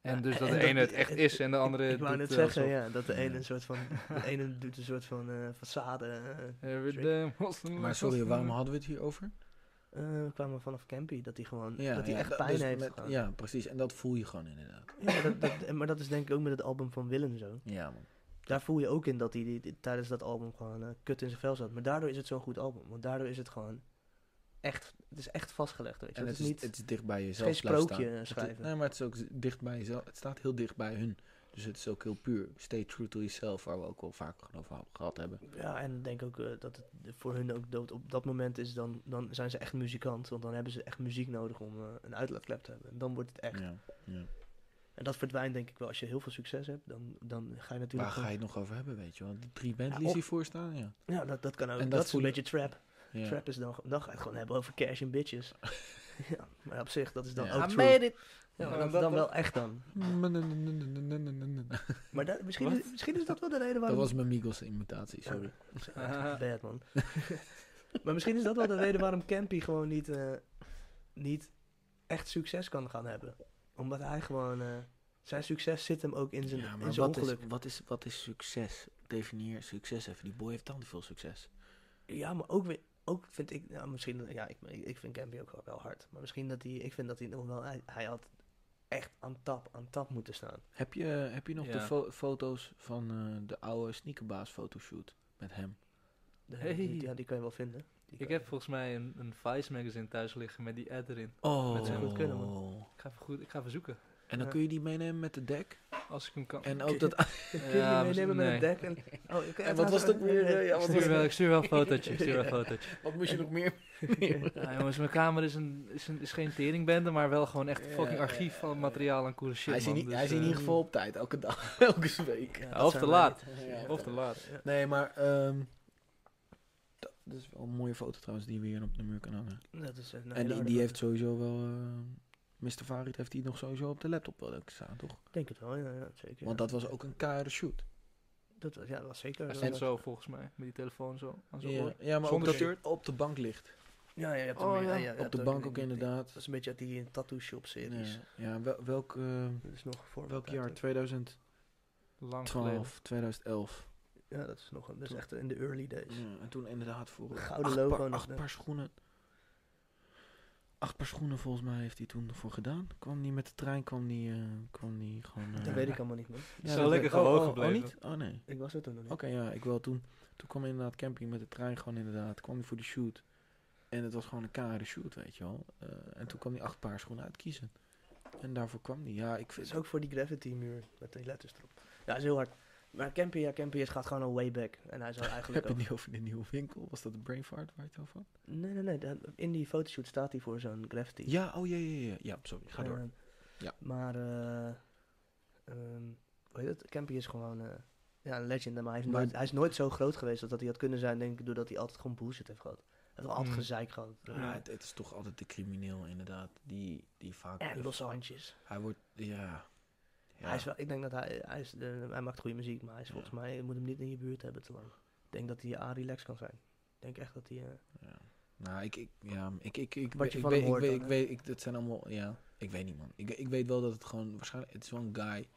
Speaker 4: En
Speaker 2: Ja,
Speaker 4: dus dat
Speaker 2: Eh, en
Speaker 4: de ene
Speaker 2: dat-
Speaker 4: het echt is en de
Speaker 2: ik-
Speaker 4: andere.
Speaker 2: Ik, wou
Speaker 4: doet,
Speaker 2: net
Speaker 4: eh,
Speaker 2: zeggen,
Speaker 4: alsof-
Speaker 2: ja, dat de
Speaker 3: Ja.
Speaker 2: ene een soort van, de ene doet een soort van eh façade. eh.
Speaker 4: Every damn Muslim
Speaker 3: Maar
Speaker 4: was-
Speaker 3: sorry, waarom hadden we het hier over?
Speaker 2: Eh, we kwamen vanaf Campy, dat hij gewoon,
Speaker 3: Ja,
Speaker 2: dat hij
Speaker 3: ja,
Speaker 2: echt
Speaker 3: da-
Speaker 2: pijn
Speaker 3: dus
Speaker 2: heeft
Speaker 3: met-
Speaker 2: gehad. Ja.
Speaker 3: Ja, precies. En dat voel je gewoon inderdaad.
Speaker 2: maar, dat, dat, en- maar dat is denk ik ook met het album van Willem zo.
Speaker 3: Ja, man.
Speaker 2: Daar voel je ook in dat hij die- die- tijdens dat album gewoon eh, kut in zijn vel zat. Maar daardoor is het zo'n goed album, want daardoor is het gewoon echt, het is echt vastgelegd, weet je.
Speaker 3: En
Speaker 2: het, is niet,
Speaker 3: het is dicht bij jezelf
Speaker 2: geen
Speaker 3: blijven
Speaker 2: sprookje
Speaker 3: staan.
Speaker 2: eh,
Speaker 3: Het,
Speaker 2: schrijven.
Speaker 3: nee, maar het is ook z- dicht bij jezelf. Het staat heel dicht bij hun. Dus het is ook heel puur. Stay true to yourself, waar we ook wel vaak gewoon over gehad hebben.
Speaker 2: Ja, en ik denk ook eh, dat het voor hun ook dood op dat moment is, dan, dan zijn ze echt muzikant. Want dan hebben ze echt muziek nodig om eh, een uitlaatklep te hebben. En dan wordt het echt.
Speaker 3: Ja, ja.
Speaker 2: En dat verdwijnt denk ik wel. Als je heel veel succes hebt, dan, dan ga je
Speaker 3: Waar
Speaker 2: natuurlijk...
Speaker 3: ga je
Speaker 2: gewoon-
Speaker 3: het nog over hebben, weet je wel? Die drie Bentleys
Speaker 2: of-
Speaker 3: die voor staan, ja.
Speaker 2: Ja, dat, dat kan ook.
Speaker 3: En
Speaker 2: Dat,
Speaker 3: dat
Speaker 2: is een
Speaker 3: voel je-
Speaker 2: beetje trap.
Speaker 3: ja.
Speaker 2: Trap is dan... Dan ga je het gewoon hebben over cash en bitches. ja, maar op zich, dat is dan
Speaker 3: Ja.
Speaker 2: ook
Speaker 4: I
Speaker 2: true.
Speaker 4: made it!
Speaker 2: Ja, maar
Speaker 4: Ja,
Speaker 2: dat is
Speaker 4: dat-
Speaker 2: dan
Speaker 4: dat-
Speaker 2: wel echt dan.
Speaker 3: Dat
Speaker 2: Maar dat, misschien, is, misschien is dat wel de reden waarom...
Speaker 3: was mijn Migos imitatie, sorry.
Speaker 2: Ja, Bad, man. maar misschien is dat wel de reden waarom Campy gewoon niet, eh, niet echt succes kan gaan hebben. Omdat hij gewoon... eh, zijn succes zit hem ook in zijn,
Speaker 3: Ja,
Speaker 2: in
Speaker 3: maar
Speaker 2: zijn
Speaker 3: wat is,
Speaker 2: ongeluk.
Speaker 3: wat, is, wat is succes? Definieer succes even. Die boy heeft dan veel succes.
Speaker 2: Ja, maar ook, weer, ook vind ik... Nou, misschien, ja, ik, ik vind Campy ook wel, wel hard. Maar misschien dat hij... Ik vind dat hij nog wel... Hij, hij had echt aan tap, aan tap moeten staan.
Speaker 3: Heb je, heb je nog de
Speaker 4: Ja.
Speaker 3: fo- foto's van eh, de oude sneakerbaas fotoshoot met hem?
Speaker 2: De-
Speaker 4: Hey.
Speaker 2: Dus die, ja, die kan je wel vinden.
Speaker 4: Ik
Speaker 2: Die kan-
Speaker 4: heb volgens mij een, een Vice magazine thuis liggen met die ad erin.
Speaker 3: Oh.
Speaker 4: Dat zou
Speaker 2: goed kunnen,
Speaker 4: Ik ga even, goed, ik ga even zoeken.
Speaker 3: En dan kun je die meenemen met de dek.
Speaker 4: Als ik hem kan.
Speaker 3: En ook dat...
Speaker 2: Kun je
Speaker 4: Ja,
Speaker 2: die
Speaker 4: misschien-
Speaker 2: meenemen met een dek? En, oh, ik-
Speaker 3: En wat was het ook weer, eh, ja,
Speaker 4: Ik
Speaker 3: wat
Speaker 4: stuur, wel, ik stuur wel een fotootje. Ik stuur wel een fotootje.
Speaker 3: Wat moest je nog meer?
Speaker 4: Ja, jongens, mijn kamer is, een, is, een, is geen teringbende, maar wel gewoon echt een fucking
Speaker 3: Ja,
Speaker 4: archief van materiaal en coole shit.
Speaker 3: hij is, in,
Speaker 4: man.
Speaker 3: i-
Speaker 4: Dus,
Speaker 3: hij is in
Speaker 4: eh,
Speaker 3: ieder geval op tijd, elke dag, elke week.
Speaker 2: Ja,
Speaker 4: Ja,
Speaker 2: dat
Speaker 4: of
Speaker 2: zijn
Speaker 4: te
Speaker 2: wij
Speaker 4: laat.
Speaker 2: niet.
Speaker 3: Ja,
Speaker 4: Of te laat.
Speaker 3: Nee, maar... ehm, dat, dat is wel een mooie foto trouwens die we hier op de muur kunnen hangen.
Speaker 2: nou, Dat is een
Speaker 3: en
Speaker 2: hele
Speaker 3: die,
Speaker 2: harde
Speaker 3: die
Speaker 2: foto.
Speaker 3: heeft sowieso wel... eh, Mr. Farid heeft die nog sowieso op de laptop wel ook staan, toch?
Speaker 2: Ik Denk het wel, ja, ja, zeker.
Speaker 3: Want dat was ook een kare shoot.
Speaker 2: Dat was, ja, dat was zeker.
Speaker 4: Hij
Speaker 2: dat
Speaker 4: stond
Speaker 2: was-
Speaker 4: zo volgens mij, met die telefoon zo aan zijn
Speaker 3: Ja,
Speaker 4: oor.
Speaker 3: ja, maar ook
Speaker 4: Zonder
Speaker 3: dat je
Speaker 4: shirt.
Speaker 3: op de bank ligt.
Speaker 2: Ja, ja, je hebt
Speaker 4: Oh,
Speaker 2: hem,
Speaker 4: ja.
Speaker 3: op de bank ook
Speaker 2: Dat
Speaker 3: inderdaad.
Speaker 2: is een beetje uit die eh, tattoo shop series.
Speaker 3: Ja, ja wel- welk, eh,
Speaker 2: Dat is nog voor
Speaker 3: welk jaar? 2012,
Speaker 4: Lang geleden.
Speaker 3: 2011.
Speaker 2: Ja, dat is nog dat is
Speaker 3: Toen-
Speaker 2: echt in de early days.
Speaker 3: Ja, en toen inderdaad voor
Speaker 2: Gouden
Speaker 3: acht
Speaker 2: logo
Speaker 3: paar,
Speaker 2: nog,
Speaker 3: acht
Speaker 2: ja.
Speaker 3: paar schoenen. acht paar schoenen volgens mij heeft hij toen voor gedaan. Kwam niet met de trein, kwam die, eh, kwam die gewoon... eh,
Speaker 2: Dat weet ik allemaal niet meer.
Speaker 3: ja,
Speaker 4: Zo
Speaker 3: dat
Speaker 4: lekker
Speaker 3: weet- oh,
Speaker 4: gewoon
Speaker 3: oh,
Speaker 4: gebleven.
Speaker 3: Oh, niet? Oh, nee.
Speaker 2: Ik was er toen nog niet.
Speaker 3: Oké, ja, ik wel toen. Toen kwam inderdaad camping met de trein gewoon inderdaad. Kwam hij voor die shoot. En het was gewoon een kare shoot, weet je wel. Eh, en toen kwam hij acht paar schoenen uitkiezen. En daarvoor kwam die. Ja, ik
Speaker 2: Het
Speaker 3: vind
Speaker 2: is ook voor die gravity muur met die letters erop. Ja, dat is heel hard. Maar Campy, ja, Campy is gaat gewoon al way back. En hij zou
Speaker 3: Ik heb
Speaker 2: eigenlijk
Speaker 3: het
Speaker 2: ook...
Speaker 3: niet over de nieuwe winkel. Was dat de Brainfart waar je het over had?
Speaker 2: Nee, nee, nee. dat- In die fotoshoot staat hij voor zo'n gravity.
Speaker 3: Ja, oh ja, ja, ja. Ja, sorry. Ga door.
Speaker 2: Ehm,
Speaker 3: Ja.
Speaker 2: Maar, eh ehm, hoe heet het? Campy is gewoon eh, ja, een legend. Maar hij, heeft
Speaker 3: Maar-
Speaker 2: nooit, hij is nooit zo groot geweest als dat hij had kunnen zijn, denk ik, doordat hij altijd gewoon bullshit heeft gehad. Hij heeft altijd
Speaker 4: Mm.
Speaker 2: gezeik gehad.
Speaker 3: Ja, het, het is toch altijd de crimineel inderdaad. Die, die vaak...
Speaker 2: En losse handjes.
Speaker 3: Hij wordt... Ja. ja.
Speaker 2: Hij is wel, ik denk dat hij, hij, is, eh, hij maakt goede muziek, maar hij is
Speaker 3: Ja.
Speaker 2: volgens mij, je moet hem niet in je buurt hebben te lang. Ik denk dat hij A-relax kan zijn. Ik denk echt dat hij... eh,
Speaker 3: Ja. Nou, ik, ik, ja, ik, ik, ik,
Speaker 2: Wat
Speaker 3: ik,
Speaker 2: je
Speaker 3: ik
Speaker 2: van hem
Speaker 3: weet, ik
Speaker 2: hoort
Speaker 3: weet,
Speaker 2: dan,
Speaker 3: ik
Speaker 2: hè?
Speaker 3: weet, ik, dat zijn allemaal, ja, ik weet niet man. Ik, ik weet wel dat het gewoon, waarschijnlijk, het is wel een guy,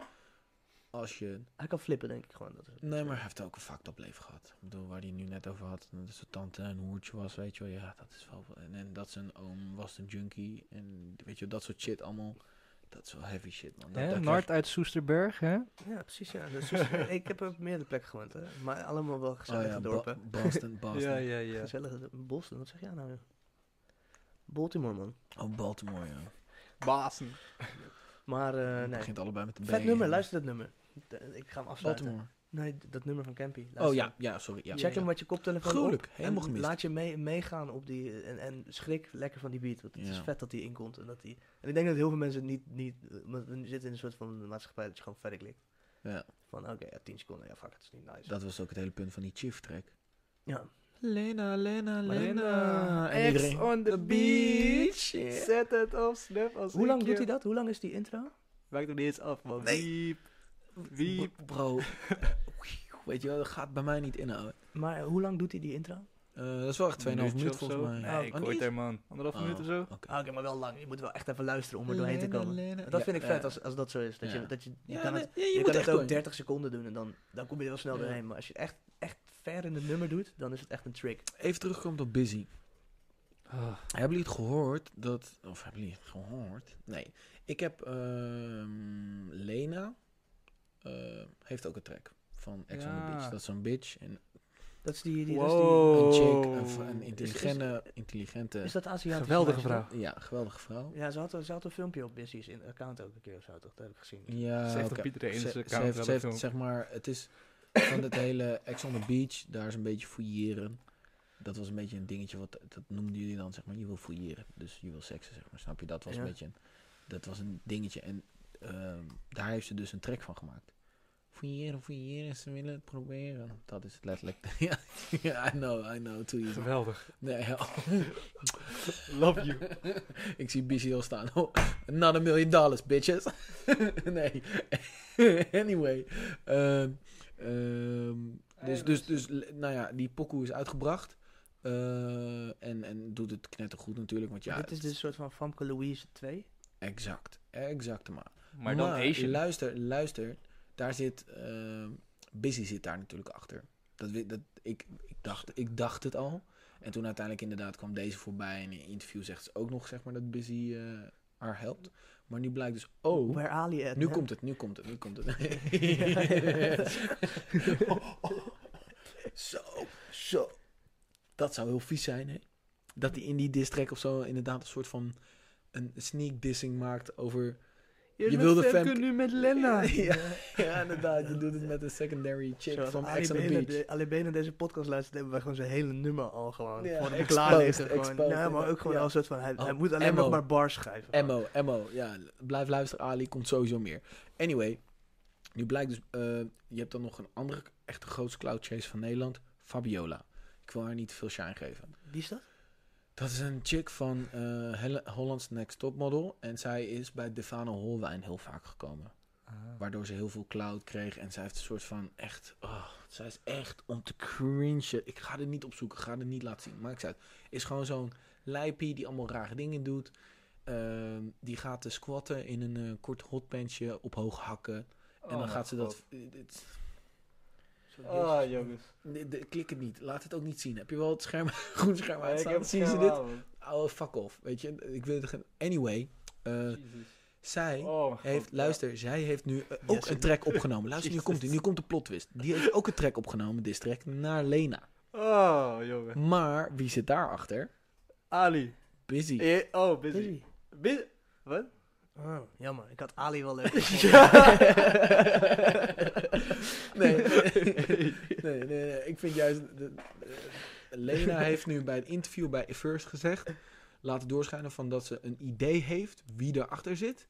Speaker 3: als je,
Speaker 2: Hij kan flippen, denk ik gewoon. Dat is het.
Speaker 3: nee, maar hij heeft ook een fucked up leven gehad. Ik bedoel, waar hij nu net over had, dat zijn tante een hoertje was, weet je wel, ja, dat is wel, en, en dat zijn oom was een junkie, en weet je wel, dat soort shit allemaal, dat is wel heavy shit man. Dat,
Speaker 1: Hè,
Speaker 3: daar
Speaker 1: Nart
Speaker 3: krijg
Speaker 1: uit Soesterberg, hè?
Speaker 2: Ja, precies. Ja. Dus, dus, eh, ik heb op meerdere plekken gewoond, hè. maar allemaal wel
Speaker 3: je- oh
Speaker 2: gezellige
Speaker 3: ja, Ba-
Speaker 2: dorpen.
Speaker 3: Boston, Boston.
Speaker 4: Ja, ja, ja.
Speaker 2: Gezellige do- Boston, wat zeg jij nou? joh? Baltimore, man.
Speaker 3: Oh, Baltimore, ja.
Speaker 4: Basen.
Speaker 2: Maar eh,
Speaker 3: Het
Speaker 2: nee,
Speaker 3: begint allebei met een
Speaker 2: vet nummer, luister dat nummer. D- ik ga hem afsluiten.
Speaker 3: eh, Baltimore.
Speaker 2: Nee, d- dat nummer van Campy. Luister
Speaker 3: Oh ja,
Speaker 2: hem.
Speaker 3: ja, sorry, ja.
Speaker 2: Check hem met je koptelefoon op.
Speaker 3: Gruwelijk,
Speaker 2: En
Speaker 3: helemaal gemist.
Speaker 2: laat je mee, meegaan op die... En, en schrik lekker van die beat. Want het is
Speaker 3: Ja.
Speaker 2: vet dat die inkomt. En, dat die, en ik denk dat heel veel mensen het niet... niet want we zitten in een soort van maatschappij dat je gewoon verder klikt.
Speaker 3: Ja.
Speaker 2: Van oké, ja, 10 seconden. Ja, fuck, het is niet nice.
Speaker 3: Dat was ook het hele punt van die Chief track.
Speaker 2: ja.
Speaker 3: Lena, Lena,
Speaker 4: Lena.
Speaker 3: Ah, En iedereen...
Speaker 4: on the beach.
Speaker 3: Yeah.
Speaker 4: Zet het op, snap als
Speaker 2: Hoe lang doet hij dat? Hoe lang is die intro?
Speaker 4: Maakt hem niet eens af, man.
Speaker 3: Nee.
Speaker 4: Wiep. Wiep.
Speaker 3: Bro, Bro, weet je wel, dat gaat bij mij niet inhouden.
Speaker 2: Maar eh, hoe lang doet hij die intro?
Speaker 3: Eh dat is wel echt 2,5
Speaker 4: Minuutje
Speaker 3: minuten
Speaker 4: of
Speaker 3: volgens
Speaker 4: zo.
Speaker 3: mij.
Speaker 4: Nee, ik ooit er, man. Anderhalf
Speaker 3: Oh.
Speaker 4: minuut of zo.
Speaker 3: Oké.
Speaker 2: Ah, Oké, maar wel lang. Je moet wel echt even luisteren om er doorheen te
Speaker 3: Lena,
Speaker 2: komen.
Speaker 3: Lena.
Speaker 2: Dat
Speaker 3: Ja,
Speaker 2: vind ik
Speaker 3: ja.
Speaker 2: vet als, als dat zo is. Dat
Speaker 3: Ja.
Speaker 2: je, dat je, je
Speaker 3: Ja,
Speaker 2: kan
Speaker 3: nee,
Speaker 2: het,
Speaker 3: ja, je
Speaker 2: je
Speaker 3: moet
Speaker 2: kan
Speaker 3: echt
Speaker 2: het ook
Speaker 3: door.
Speaker 2: 30 seconden doen en dan, dan kom je er wel snel
Speaker 3: Ja.
Speaker 2: doorheen. Maar als je het echt, echt ver in het nummer doet, dan is het echt een trick.
Speaker 3: Even terugkomt op Busy.
Speaker 4: Ah.
Speaker 3: Hebben jullie het gehoord dat... Of hebben jullie het gehoord? Nee. Ik heb... ehm, Lena eh, heeft ook een track van Ex on the
Speaker 4: Ja.
Speaker 3: Beach. Dat is zo'n bitch. En
Speaker 2: Dat is die... die,
Speaker 4: Wow.
Speaker 3: een
Speaker 4: Oh.
Speaker 3: chick, een, v- een
Speaker 4: Is- is-
Speaker 3: intelligente... intelligente
Speaker 2: dat is, die, is dat Aziatische
Speaker 4: Geweldige
Speaker 2: meisje,
Speaker 4: vrouw.
Speaker 3: Ja, geweldige vrouw.
Speaker 2: toch? Ja, ze had, ze had een filmpje op Busy's in account ook een keer of zo, toch? Dat heb ik gezien.
Speaker 3: Ja,
Speaker 4: Ze heeft op
Speaker 3: oké.
Speaker 4: Pieter Eens
Speaker 3: Ze-
Speaker 4: account
Speaker 3: ze heeft,
Speaker 4: wel
Speaker 3: ze
Speaker 4: een
Speaker 3: heeft,
Speaker 4: film.
Speaker 3: zeg maar, het is van het hele Ex on the Beach, daar is een beetje fouilleren. Dat was een beetje een dingetje, wat, dat noemden jullie dan, zeg maar, je wil fouilleren. Dus je wil seksen, zeg maar, snap je? Dat was
Speaker 2: Ja.
Speaker 3: een beetje, een, dat was een dingetje. En ehm, daar heeft ze dus een track van gemaakt. Fouilleren, fouilleren, ze willen het proberen. Dat is het letterlijk. ja, I know, I know, to you.
Speaker 4: Geweldig.
Speaker 3: Nee, ja.
Speaker 4: Love you.
Speaker 3: Ik zie BC al staan. Oh, not a million dollars, bitches. nee. anyway. Ehm, ehm, dus, dus, dus, l- nou ja, die pokoe is uitgebracht. Eh, en, en doet het knettergoed natuurlijk. Want ja,
Speaker 2: Dit is dus een soort van Famke Louise 2.
Speaker 3: exact. Exact maar.
Speaker 4: Maar dan Asian.
Speaker 3: Luister, luister. Daar zit... ehm Busy zit daar natuurlijk achter. Dat, we- dat, ik, ik, dacht, ik dacht het al. En toen uiteindelijk inderdaad kwam deze voorbij. En in een interview zegt ze ook nog zeg maar, dat Busy eh, haar helpt. Maar nu blijkt dus ook...
Speaker 2: Where Ali at?
Speaker 3: nu
Speaker 2: hè?
Speaker 3: komt het, nu komt het, nu komt het. zo, zo. Dat zou heel vies zijn, hè? Dat hij in die distrack of zo inderdaad een soort van... Een sneak dissing maakt over... Je, wilde Femke
Speaker 4: nu met Lena.
Speaker 3: ja, ja, inderdaad. Je doet het met een secondary chick
Speaker 2: Zoals
Speaker 3: van
Speaker 2: Ali
Speaker 3: Ex on the
Speaker 2: Benen,
Speaker 3: Beach.
Speaker 2: de, Ali Benen deze podcast luistert, hebben wij gewoon zijn hele nummer al gewoon
Speaker 3: Ja,
Speaker 2: voor hem
Speaker 3: exposed,
Speaker 2: klaar liggen. Gewoon. nou,
Speaker 3: exposed,
Speaker 2: maar ook
Speaker 3: inderdaad.
Speaker 2: gewoon
Speaker 3: Ja.
Speaker 2: als soort van, hij,
Speaker 3: Oh,
Speaker 2: hij moet alleen
Speaker 3: Emmo.
Speaker 2: nog maar bars schrijven.
Speaker 3: Emmo, Emmo. Ja, blijf luisteren. Ali komt sowieso meer. Anyway, nu blijkt dus... eh, je hebt dan nog een andere echte grootste cloud chase van Nederland. Fabiola. Ik wil haar niet veel shine geven.
Speaker 2: Wie is dat?
Speaker 3: Dat is een chick van eh, Helle- Holland's Next Topmodel. En zij is bij Devane Holwijn heel vaak gekomen. Waardoor ze heel veel cloud kreeg. En zij heeft een soort van echt... Oh, zij is echt om te cringen. Ik ga er niet op zoeken. Ga er niet laten zien. Maakt uit. Is gewoon zo'n lijpie die allemaal rare dingen doet. Ehm, die gaat te squatten in een eh, kort hotpantje op hoog hakken. en dan gaat ze dat... eh, dit-
Speaker 4: Ah, jongens.
Speaker 3: dit- dit- klik het niet. Laat het ook niet zien. Heb je wel het scherm, groen scherm uitstaan? Zien ze dit? oh, fuck off. Weet je, ik wil het geen... Anyway, eh, zij
Speaker 4: oh, mijn
Speaker 3: heeft,
Speaker 4: God.
Speaker 3: luister, zij heeft nu eh, ook
Speaker 2: Yes.
Speaker 3: een track opgenomen. Luister, nu komt, die, nu komt de plot twist. Die heeft ook een track opgenomen, dit track, naar Lena.
Speaker 4: Oh, jongen.
Speaker 3: Maar wie zit daarachter?
Speaker 4: Ali.
Speaker 3: Busy.
Speaker 4: Eh, oh, busy.
Speaker 2: Busy.
Speaker 4: Busy. Wat?
Speaker 2: Oh, jammer. Ik had Ali wel leuk gevonden.
Speaker 3: Ja. nee, nee, nee, nee. Ik vind juist... de- eh, Lena heeft nu bij een interview bij First gezegd... laten doorschijnen van dat ze een idee heeft wie daarachter zit...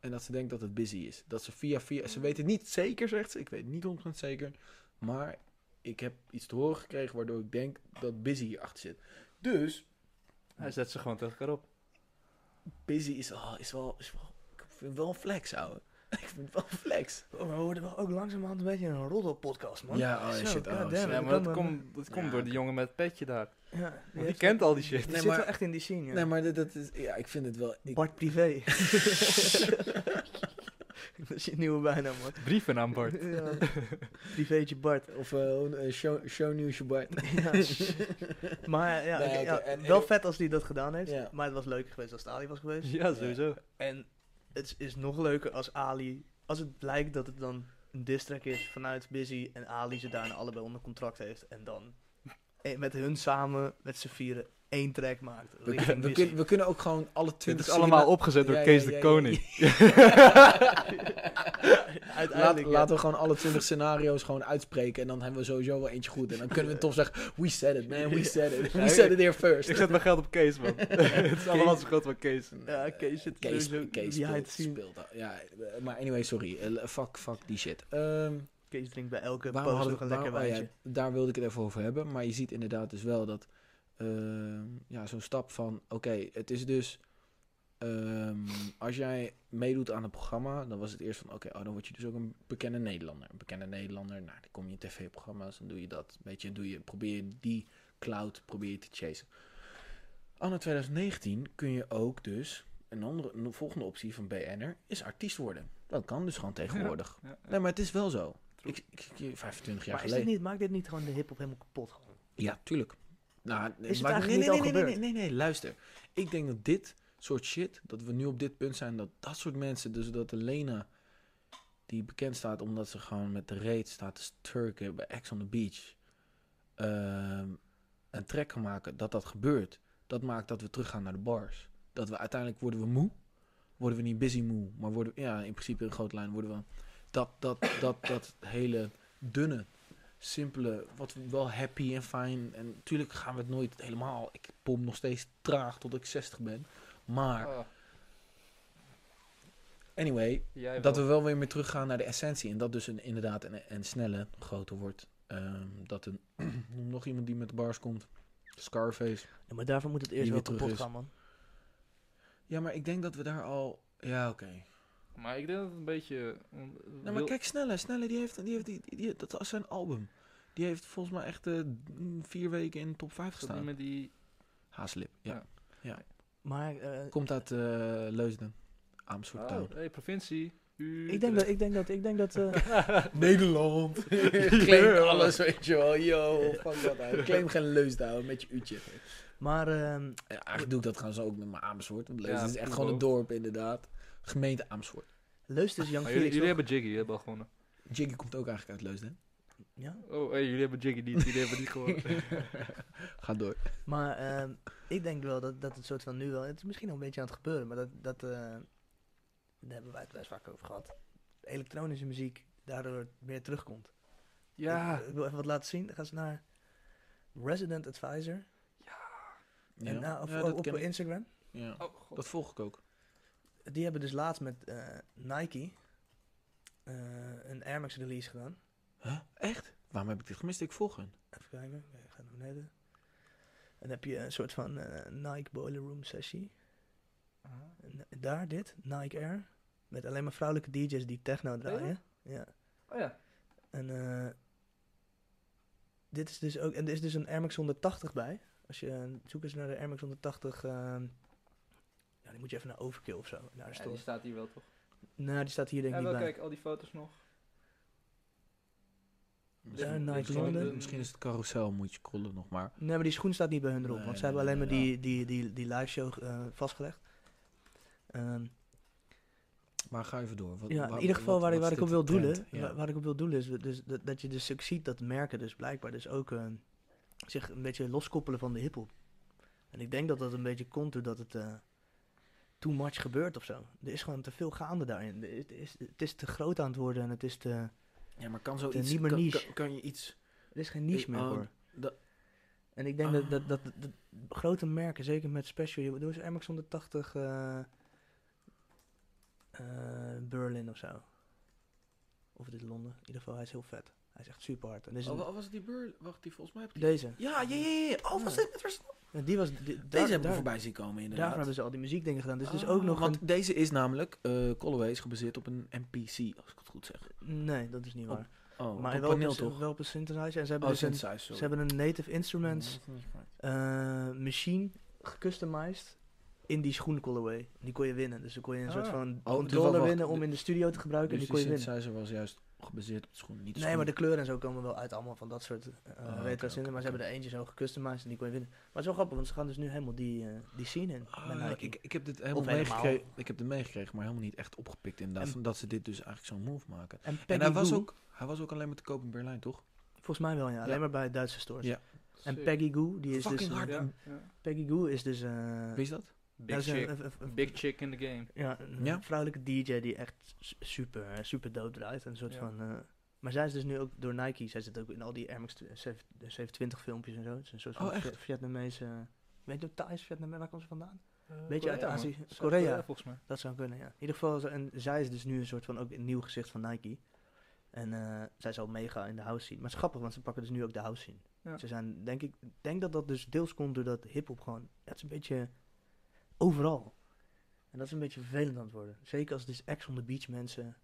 Speaker 3: en dat ze denkt dat het busy is. Dat ze via via... Ze weet het niet zeker, zegt ze. Ik weet het niet 100% zeker. Maar ik heb iets te horen gekregen waardoor ik denk dat busy hierachter zit. Dus
Speaker 4: Hij zet ze gewoon tegen elkaar op.
Speaker 3: busy is, ah, is, wel, is wel... Ik vind het wel een flex, ouwe. Ik vind het wel een flex.
Speaker 2: Oh, we worden wel ook langzamerhand een beetje een roddelpodcast, man.
Speaker 3: Ja, oh,
Speaker 2: Zo,
Speaker 3: shit, oh,
Speaker 2: goddamn,
Speaker 3: shit.
Speaker 4: Ja,
Speaker 2: we
Speaker 4: maar dat
Speaker 2: komen-
Speaker 4: komt, dat komt
Speaker 3: Ja,
Speaker 4: door
Speaker 3: oké.
Speaker 4: die jongen met het petje daar.
Speaker 2: Ja,
Speaker 4: Want die kent al die shit.
Speaker 2: Die
Speaker 3: Nee,
Speaker 2: zit
Speaker 3: maar-
Speaker 2: wel echt in die scene, ja.
Speaker 3: Nee, maar dat, dat is, ja, ik vind het wel. Ik,
Speaker 2: Bart Privé. dat is je nieuwe bijnaam, man.
Speaker 4: Brieven aan Bart.
Speaker 2: Ja. Privéetje Bart.
Speaker 3: of eh, eh, show, shownieuwsje Bart.
Speaker 2: Ja, shit. maar ja,
Speaker 3: Nee,
Speaker 2: oké,
Speaker 3: oké,
Speaker 2: ja,
Speaker 3: en- en-
Speaker 2: wel vet als hij dat gedaan heeft.
Speaker 3: Ja.
Speaker 2: Maar het was leuker geweest als het Ali was geweest.
Speaker 4: Ja, sowieso.
Speaker 2: En het is nog leuker als Ali... Als het blijkt dat het dan een distrack is vanuit Busy... en Ali ze daarna allebei onder contract heeft... en dan eh, met hun samen, met z'n vieren, één track maakt.
Speaker 3: We,
Speaker 2: richting
Speaker 3: we,
Speaker 2: Busy.
Speaker 3: kunnen- we kunnen ook gewoon alle
Speaker 4: Dit
Speaker 3: twintig.
Speaker 4: is allemaal opgezet door
Speaker 3: nou. Ja, ja,
Speaker 4: Kees
Speaker 3: ja,
Speaker 4: de
Speaker 3: ja,
Speaker 4: Koning.
Speaker 3: Laat,
Speaker 2: Uiteindelijk, ja.
Speaker 3: Laten we gewoon alle twintig scenario's gewoon uitspreken. En dan hebben we sowieso wel eentje goed. En dan kunnen we toch zeggen: We said it, man. We said it. We said it here
Speaker 4: Ik
Speaker 3: first.
Speaker 4: zet mijn geld op Kees, man. het is allemaal zo groot van Kees.
Speaker 2: Ja, Kees zit
Speaker 3: Kees,
Speaker 2: sowieso behind
Speaker 3: Kees speelt,
Speaker 2: the scenes.
Speaker 3: speelt al- Ja, eh, maar anyway, sorry. Eh, fuck, fuck die shit. Ehm,
Speaker 2: Kees drinkt bij elke
Speaker 3: Waarom
Speaker 2: post
Speaker 3: hadden
Speaker 2: nog
Speaker 3: we-
Speaker 2: een lekker
Speaker 3: waarom- oh ja,
Speaker 2: wijntje.
Speaker 3: daar wilde ik het even over hebben. Maar je ziet inderdaad dus wel dat ehm, ja, zo'n stap van oké, het is dus. ehm, als jij meedoet aan het programma, dan was het eerst van oké, oh, dan word je dus ook een bekende Nederlander. Een bekende Nederlander, nou, dan kom je in tv-programma's, dan doe je dat. Weet je, doe je, probeer je die cloud probeer je te chasen. Anno 2019 kun je ook dus, een, andere, een volgende optie van BN'er, is artiest worden. Dat kan dus gewoon tegenwoordig.
Speaker 4: Ja, ja.
Speaker 3: Nee, maar het is wel zo. Ik, ik, ik- 25 jaar
Speaker 2: Maar is dit
Speaker 3: geleden.
Speaker 2: niet, maakt dit niet gewoon de hip-hop helemaal kapot? gewoon?
Speaker 3: Ja, tuurlijk. Nou, nee,
Speaker 2: Is het
Speaker 3: maar-
Speaker 2: eigenlijk
Speaker 3: nee,
Speaker 2: niet al
Speaker 3: nee, nee, nee, nee,
Speaker 2: gebeurd?
Speaker 3: nee, nee, luister. Ik denk dat dit soort shit, dat we nu op dit punt zijn, dat dat soort mensen, dus dat de Lena, die bekend staat omdat ze gewoon met de reet staat te turken bij Ex on the Beach, ehm, een track kan maken, dat dat gebeurt. Dat maakt dat we teruggaan naar de bars. Dat we uiteindelijk worden we moe. Worden we niet busy moe, maar worden we, ja, in principe in grote lijn worden we dat, dat, dat, dat hele dunne, simpele, wat we wel happy en fijn. En natuurlijk gaan we het nooit helemaal. Ik pomp nog steeds traag tot ik 60 ben. Maar
Speaker 4: Ah,
Speaker 3: anyway,
Speaker 4: jij
Speaker 3: dat we
Speaker 4: wel.
Speaker 3: wel weer meer teruggaan naar de essentie. En dat dus een, inderdaad een, een snelle groter wordt. Ehm, dat een, noem nog iemand die met de bars komt. Scarface.
Speaker 2: Ja, maar daarvoor moet het eerst
Speaker 3: Die
Speaker 2: wel
Speaker 3: weer terug
Speaker 2: kapot
Speaker 3: is.
Speaker 2: gaan, man.
Speaker 3: Ja, maar ik denk dat we daar al. Ja, oké.
Speaker 4: Maar ik denk dat het een beetje... on-
Speaker 3: Nou, maar
Speaker 4: wil-
Speaker 3: kijk, Snelle. Snelle, die heeft, die heeft die, die, die- dat was zijn album. Die heeft volgens mij echt eh, vier weken in de top 5
Speaker 4: is dat niet
Speaker 3: gestaan.
Speaker 4: met die...
Speaker 3: Haaslip, ja.
Speaker 4: Ja.
Speaker 2: Maar eh,
Speaker 3: Komt uit eh, Leusden. Amersfoort
Speaker 4: Oh,
Speaker 3: Town.
Speaker 4: hey, provincie.
Speaker 2: ik denk dat, ik denk dat, ik denk dat... eh,
Speaker 3: Nederland. Claim alles, weet je wel. Yo, fuck dat uit. Claim geen Leusden, ouwe, met je uurtje.
Speaker 2: maar ehm,
Speaker 3: Ja, eigenlijk doe ik dat trouwens ook met mijn Amersfoort. Want Leusden
Speaker 4: Ja,
Speaker 3: is echt
Speaker 4: doe
Speaker 3: gewoon een
Speaker 4: ook.
Speaker 3: dorp, inderdaad. Gemeente Amersfoort.
Speaker 2: Leust is
Speaker 3: Ah,
Speaker 2: Jan
Speaker 4: Maar jullie,
Speaker 2: Felix
Speaker 4: jullie
Speaker 2: toch?
Speaker 4: hebben Jiggy, jullie hebben al gewonnen.
Speaker 3: Jiggy komt ook eigenlijk uit Leusden.
Speaker 2: Ja?
Speaker 4: Oh, hey, jullie hebben Jiggy niet, jullie hebben niet gewonnen.
Speaker 3: Ga door.
Speaker 2: Maar ehm, ik denk wel dat, dat het soort van nu wel... Het is misschien al een beetje aan het gebeuren, maar dat... dat eh, daar hebben wij het best vaak over gehad. Elektronische muziek daardoor meer terugkomt.
Speaker 4: ja,
Speaker 2: Ik, ik wil even wat laten zien. Dan gaan ze naar Resident Advisor.
Speaker 3: Ja,
Speaker 2: En, nou, of,
Speaker 3: Ja,
Speaker 2: op-
Speaker 3: dat
Speaker 2: op
Speaker 3: ken ik.
Speaker 2: Instagram.
Speaker 3: Ja.
Speaker 4: Oh, god.
Speaker 3: Dat volg ik ook.
Speaker 2: Die hebben dus laatst met eh, Nike eh, een Air Max release gedaan.
Speaker 3: Huh? Echt? Waarom heb ik dit gemist? Ik volg hen.
Speaker 2: Even kijken, ik ga naar beneden. En dan heb je een soort van eh, Nike Boiler Room sessie.
Speaker 4: Eh,
Speaker 2: En daar dit, Nike Air. Met alleen maar vrouwelijke DJ's die techno draaien. Ja.
Speaker 4: Oh ja.
Speaker 2: En eh, dit is dus ook, en er is dus een Air Max 180 bij. Als je eh, zoek eens naar de Air Max 180, ehm ja, die moet je even naar Overkill of zo. Naar de store.
Speaker 4: staat hier wel toch?
Speaker 2: Nou, die staat hier denk ik
Speaker 4: Ja,
Speaker 2: niet
Speaker 4: wel
Speaker 2: bij.
Speaker 4: kijk, al die foto's nog.
Speaker 3: Misschien,
Speaker 2: Night
Speaker 3: misschien-
Speaker 2: London.
Speaker 3: misschien is het carousel, moet je scrollen nog maar.
Speaker 2: Nee, maar die schoen staat niet bij hun erop.
Speaker 3: Nee,
Speaker 2: want ze hebben alleen maar
Speaker 3: ja.
Speaker 2: die, die, die, die live show eh, vastgelegd. Ehm,
Speaker 3: Maar ga even door. Wat,
Speaker 2: ja,
Speaker 3: waar-
Speaker 2: in ieder geval
Speaker 3: wat-
Speaker 2: waar, ik-
Speaker 3: wat
Speaker 2: waar
Speaker 3: is
Speaker 2: ik op
Speaker 3: dit
Speaker 2: wil
Speaker 3: trend?
Speaker 2: doelen,
Speaker 3: Ja.
Speaker 2: waar, waar ik op wil doelen is dus dat, dat je dus ook ziet dat merken dus blijkbaar dus ook eh, zich een beetje loskoppelen van de hiphop. En ik denk dat dat een beetje komt doordat het eh too much gebeurt of zo. Er is gewoon te veel gaande daarin. Er is- Het is, het is te groot aan het worden en het is te...
Speaker 3: Ja, maar kan
Speaker 2: Het is
Speaker 3: zoiets...
Speaker 2: niet meer
Speaker 3: kan,
Speaker 2: niche.
Speaker 3: kan, kan je iets...
Speaker 2: Er is geen niche
Speaker 3: Ik-
Speaker 2: meer
Speaker 3: oh,
Speaker 2: voor.
Speaker 3: dat- Ah.
Speaker 2: en ik denk dat, dat, dat, dat grote merken, zeker met special, je- doe eens MX 180 eh, eh, Berlin of zo. Of dit Londen. In ieder geval, hij is heel vet. Hij is echt super hard. En dit is
Speaker 3: Oh,
Speaker 2: een-
Speaker 3: wa- was het die beur? Wacht, die volgens mij heb ik die-
Speaker 2: deze.
Speaker 3: Ja, ja, ja, ja. Oh, was
Speaker 2: Ja.
Speaker 3: dit? Het was-
Speaker 2: En die was, di- daar-
Speaker 3: Deze hebben we
Speaker 2: daar-
Speaker 3: voorbij zien komen, inderdaad.
Speaker 2: Daarvoor hebben ze al die muziekdingen gedaan. Dus het is
Speaker 3: Ah,
Speaker 2: ook nog
Speaker 3: Want
Speaker 2: een...
Speaker 3: deze is namelijk, eh Callaway is gebaseerd op een MPC, als ik het goed zeg.
Speaker 2: Nee, dat is niet
Speaker 3: Op-
Speaker 2: waar.
Speaker 3: Oh,
Speaker 2: maar
Speaker 3: op
Speaker 2: wel
Speaker 3: een
Speaker 2: op,
Speaker 3: paneel
Speaker 2: een,
Speaker 3: toch?
Speaker 2: wel op een synthesizer. En ze hebben,
Speaker 3: Oh,
Speaker 2: dus een, ze
Speaker 3: synthesizer, sorry. Mm-hmm.
Speaker 2: hebben een native instruments eh, machine gecustomized in die schoen colorway. Die kon je winnen. Dus dan kon je een
Speaker 4: Ah.
Speaker 2: soort van
Speaker 3: dus
Speaker 2: controller
Speaker 3: wacht,
Speaker 2: winnen om
Speaker 3: de-
Speaker 2: in de studio te gebruiken.
Speaker 3: Dus
Speaker 2: en
Speaker 3: die
Speaker 2: die kon je winnen.
Speaker 3: synthesizer was juist gebaseerd op de schoen, niet de
Speaker 2: Nee, maar de
Speaker 3: schoen.
Speaker 2: kleuren en zo komen wel uit allemaal van dat soort eh
Speaker 3: oké,
Speaker 2: retro zinnen.
Speaker 3: oké,
Speaker 2: Maar ze hebben er eentje zo gecustomized en die kon je winnen. Maar het is wel grappig, want ze gaan dus nu helemaal die, eh, die scene in.
Speaker 3: Ah,
Speaker 2: bij Nike.
Speaker 3: ik, ik heb dit helemaal
Speaker 2: helemaal.
Speaker 3: meegekregen, ik heb dit meegekregen, maar helemaal niet echt opgepikt inderdaad,
Speaker 2: En-
Speaker 3: van dat ze dit dus eigenlijk zo'n move maken.
Speaker 2: en
Speaker 3: En
Speaker 2: Peggy
Speaker 3: hij was,
Speaker 2: Goo,
Speaker 3: ook, hij was ook alleen maar te koop in Berlijn, toch?
Speaker 2: volgens mij wel ja, alleen
Speaker 3: Ja.
Speaker 2: maar bij Duitse stores.
Speaker 3: Ja.
Speaker 2: En Peggy Goo, die is
Speaker 3: Fucking
Speaker 2: dus,
Speaker 3: hard.
Speaker 4: Ja,
Speaker 3: Ja,
Speaker 2: Peggy Goo is dus, eh,
Speaker 3: Weet je dat?
Speaker 2: dat
Speaker 4: Big,
Speaker 2: is een-
Speaker 4: chick,
Speaker 2: een- een-
Speaker 4: big chick in the game.
Speaker 2: Ja, een
Speaker 3: Ja?
Speaker 2: vrouwelijke DJ die echt su- super, eh, super dood draait. Een soort
Speaker 4: Ja.
Speaker 2: van. eh, maar zij is dus nu ook door Nike. Zij zit ook in al die Air Max 720 filmpjes en zo. Het is een soort van
Speaker 3: Oh,
Speaker 2: Vi-
Speaker 3: echt?
Speaker 2: Vietnamese. Weet je, Thais, Vietnam, waar komt ze vandaan?
Speaker 4: Beetje
Speaker 2: uit Azië. Korea.
Speaker 4: eh, volgens mij.
Speaker 2: Dat zou kunnen, ja. In ieder geval, zo- en zij is dus nu een soort van ook een nieuw gezicht van Nike. En eh, zij is al mega in de house scene. Maar het is grappig, want ze pakken dus nu ook de house scene.
Speaker 4: Ja.
Speaker 2: Ze zijn, denk ik, denk dat dat dus deels komt doordat hip-hop gewoon, ja, het is een beetje overal. En dat is een beetje vervelend aan het worden. Zeker als dus ex on the beach mensen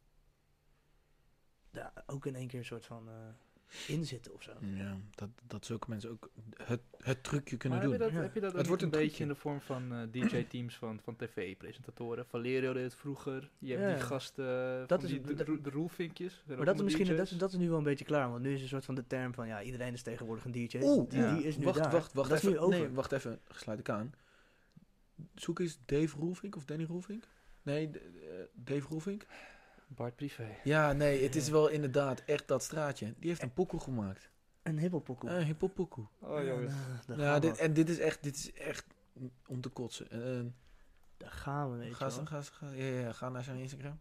Speaker 2: daar ook in één keer een soort van eh, in zitten of zo.
Speaker 3: Ja, dat, dat zulke mensen ook het, het trucje kunnen
Speaker 4: Maar heb je
Speaker 3: doen.
Speaker 4: dat,
Speaker 2: Ja.
Speaker 4: heb je dat
Speaker 3: Het
Speaker 4: ook
Speaker 3: wordt
Speaker 4: niet
Speaker 3: een
Speaker 4: een beetje
Speaker 3: trucje.
Speaker 4: in de vorm van eh, DJ-teams van, van tv-presentatoren? Valerio deed het vroeger. Je hebt
Speaker 2: Ja.
Speaker 4: die gasten eh,
Speaker 2: Dat
Speaker 4: van
Speaker 2: is-
Speaker 4: die, de,
Speaker 2: dat-
Speaker 4: de, de roelvinkjes. zijn
Speaker 2: Maar
Speaker 4: ook
Speaker 2: dat is
Speaker 4: allemaal
Speaker 2: misschien dat
Speaker 4: DJ's.
Speaker 2: is, dat is nu wel een beetje klaar, want nu is een soort van de term van ja, iedereen is tegenwoordig een DJ.
Speaker 3: Oeh,
Speaker 2: die,
Speaker 4: ja.
Speaker 2: die is nu
Speaker 3: wacht,
Speaker 2: daar.
Speaker 3: wacht, wacht
Speaker 2: dat
Speaker 3: even.
Speaker 2: is nu over.
Speaker 3: Nee, wacht even. Sluit ik aan. Zoek eens Dave Roelvink of Danny Roelvink. Nee, d- eh, Dave Roelvink.
Speaker 4: Bart Privé.
Speaker 3: Ja, nee, het is wel inderdaad echt dat straatje. Die heeft een pokoe gemaakt. Eh,
Speaker 2: Een hippelpokoe.
Speaker 3: Een hiphop pokoe.
Speaker 4: Oh jongens.
Speaker 2: daar,
Speaker 3: Ja,
Speaker 2: gaan
Speaker 3: dit,
Speaker 2: we.
Speaker 3: en dit is echt, dit is echt om te kotsen. Eh,
Speaker 2: daar gaan we, weet
Speaker 3: ga,
Speaker 2: je wel.
Speaker 3: ze- ga, ze- ga, ja, ja, ja, ga naar zijn Instagram.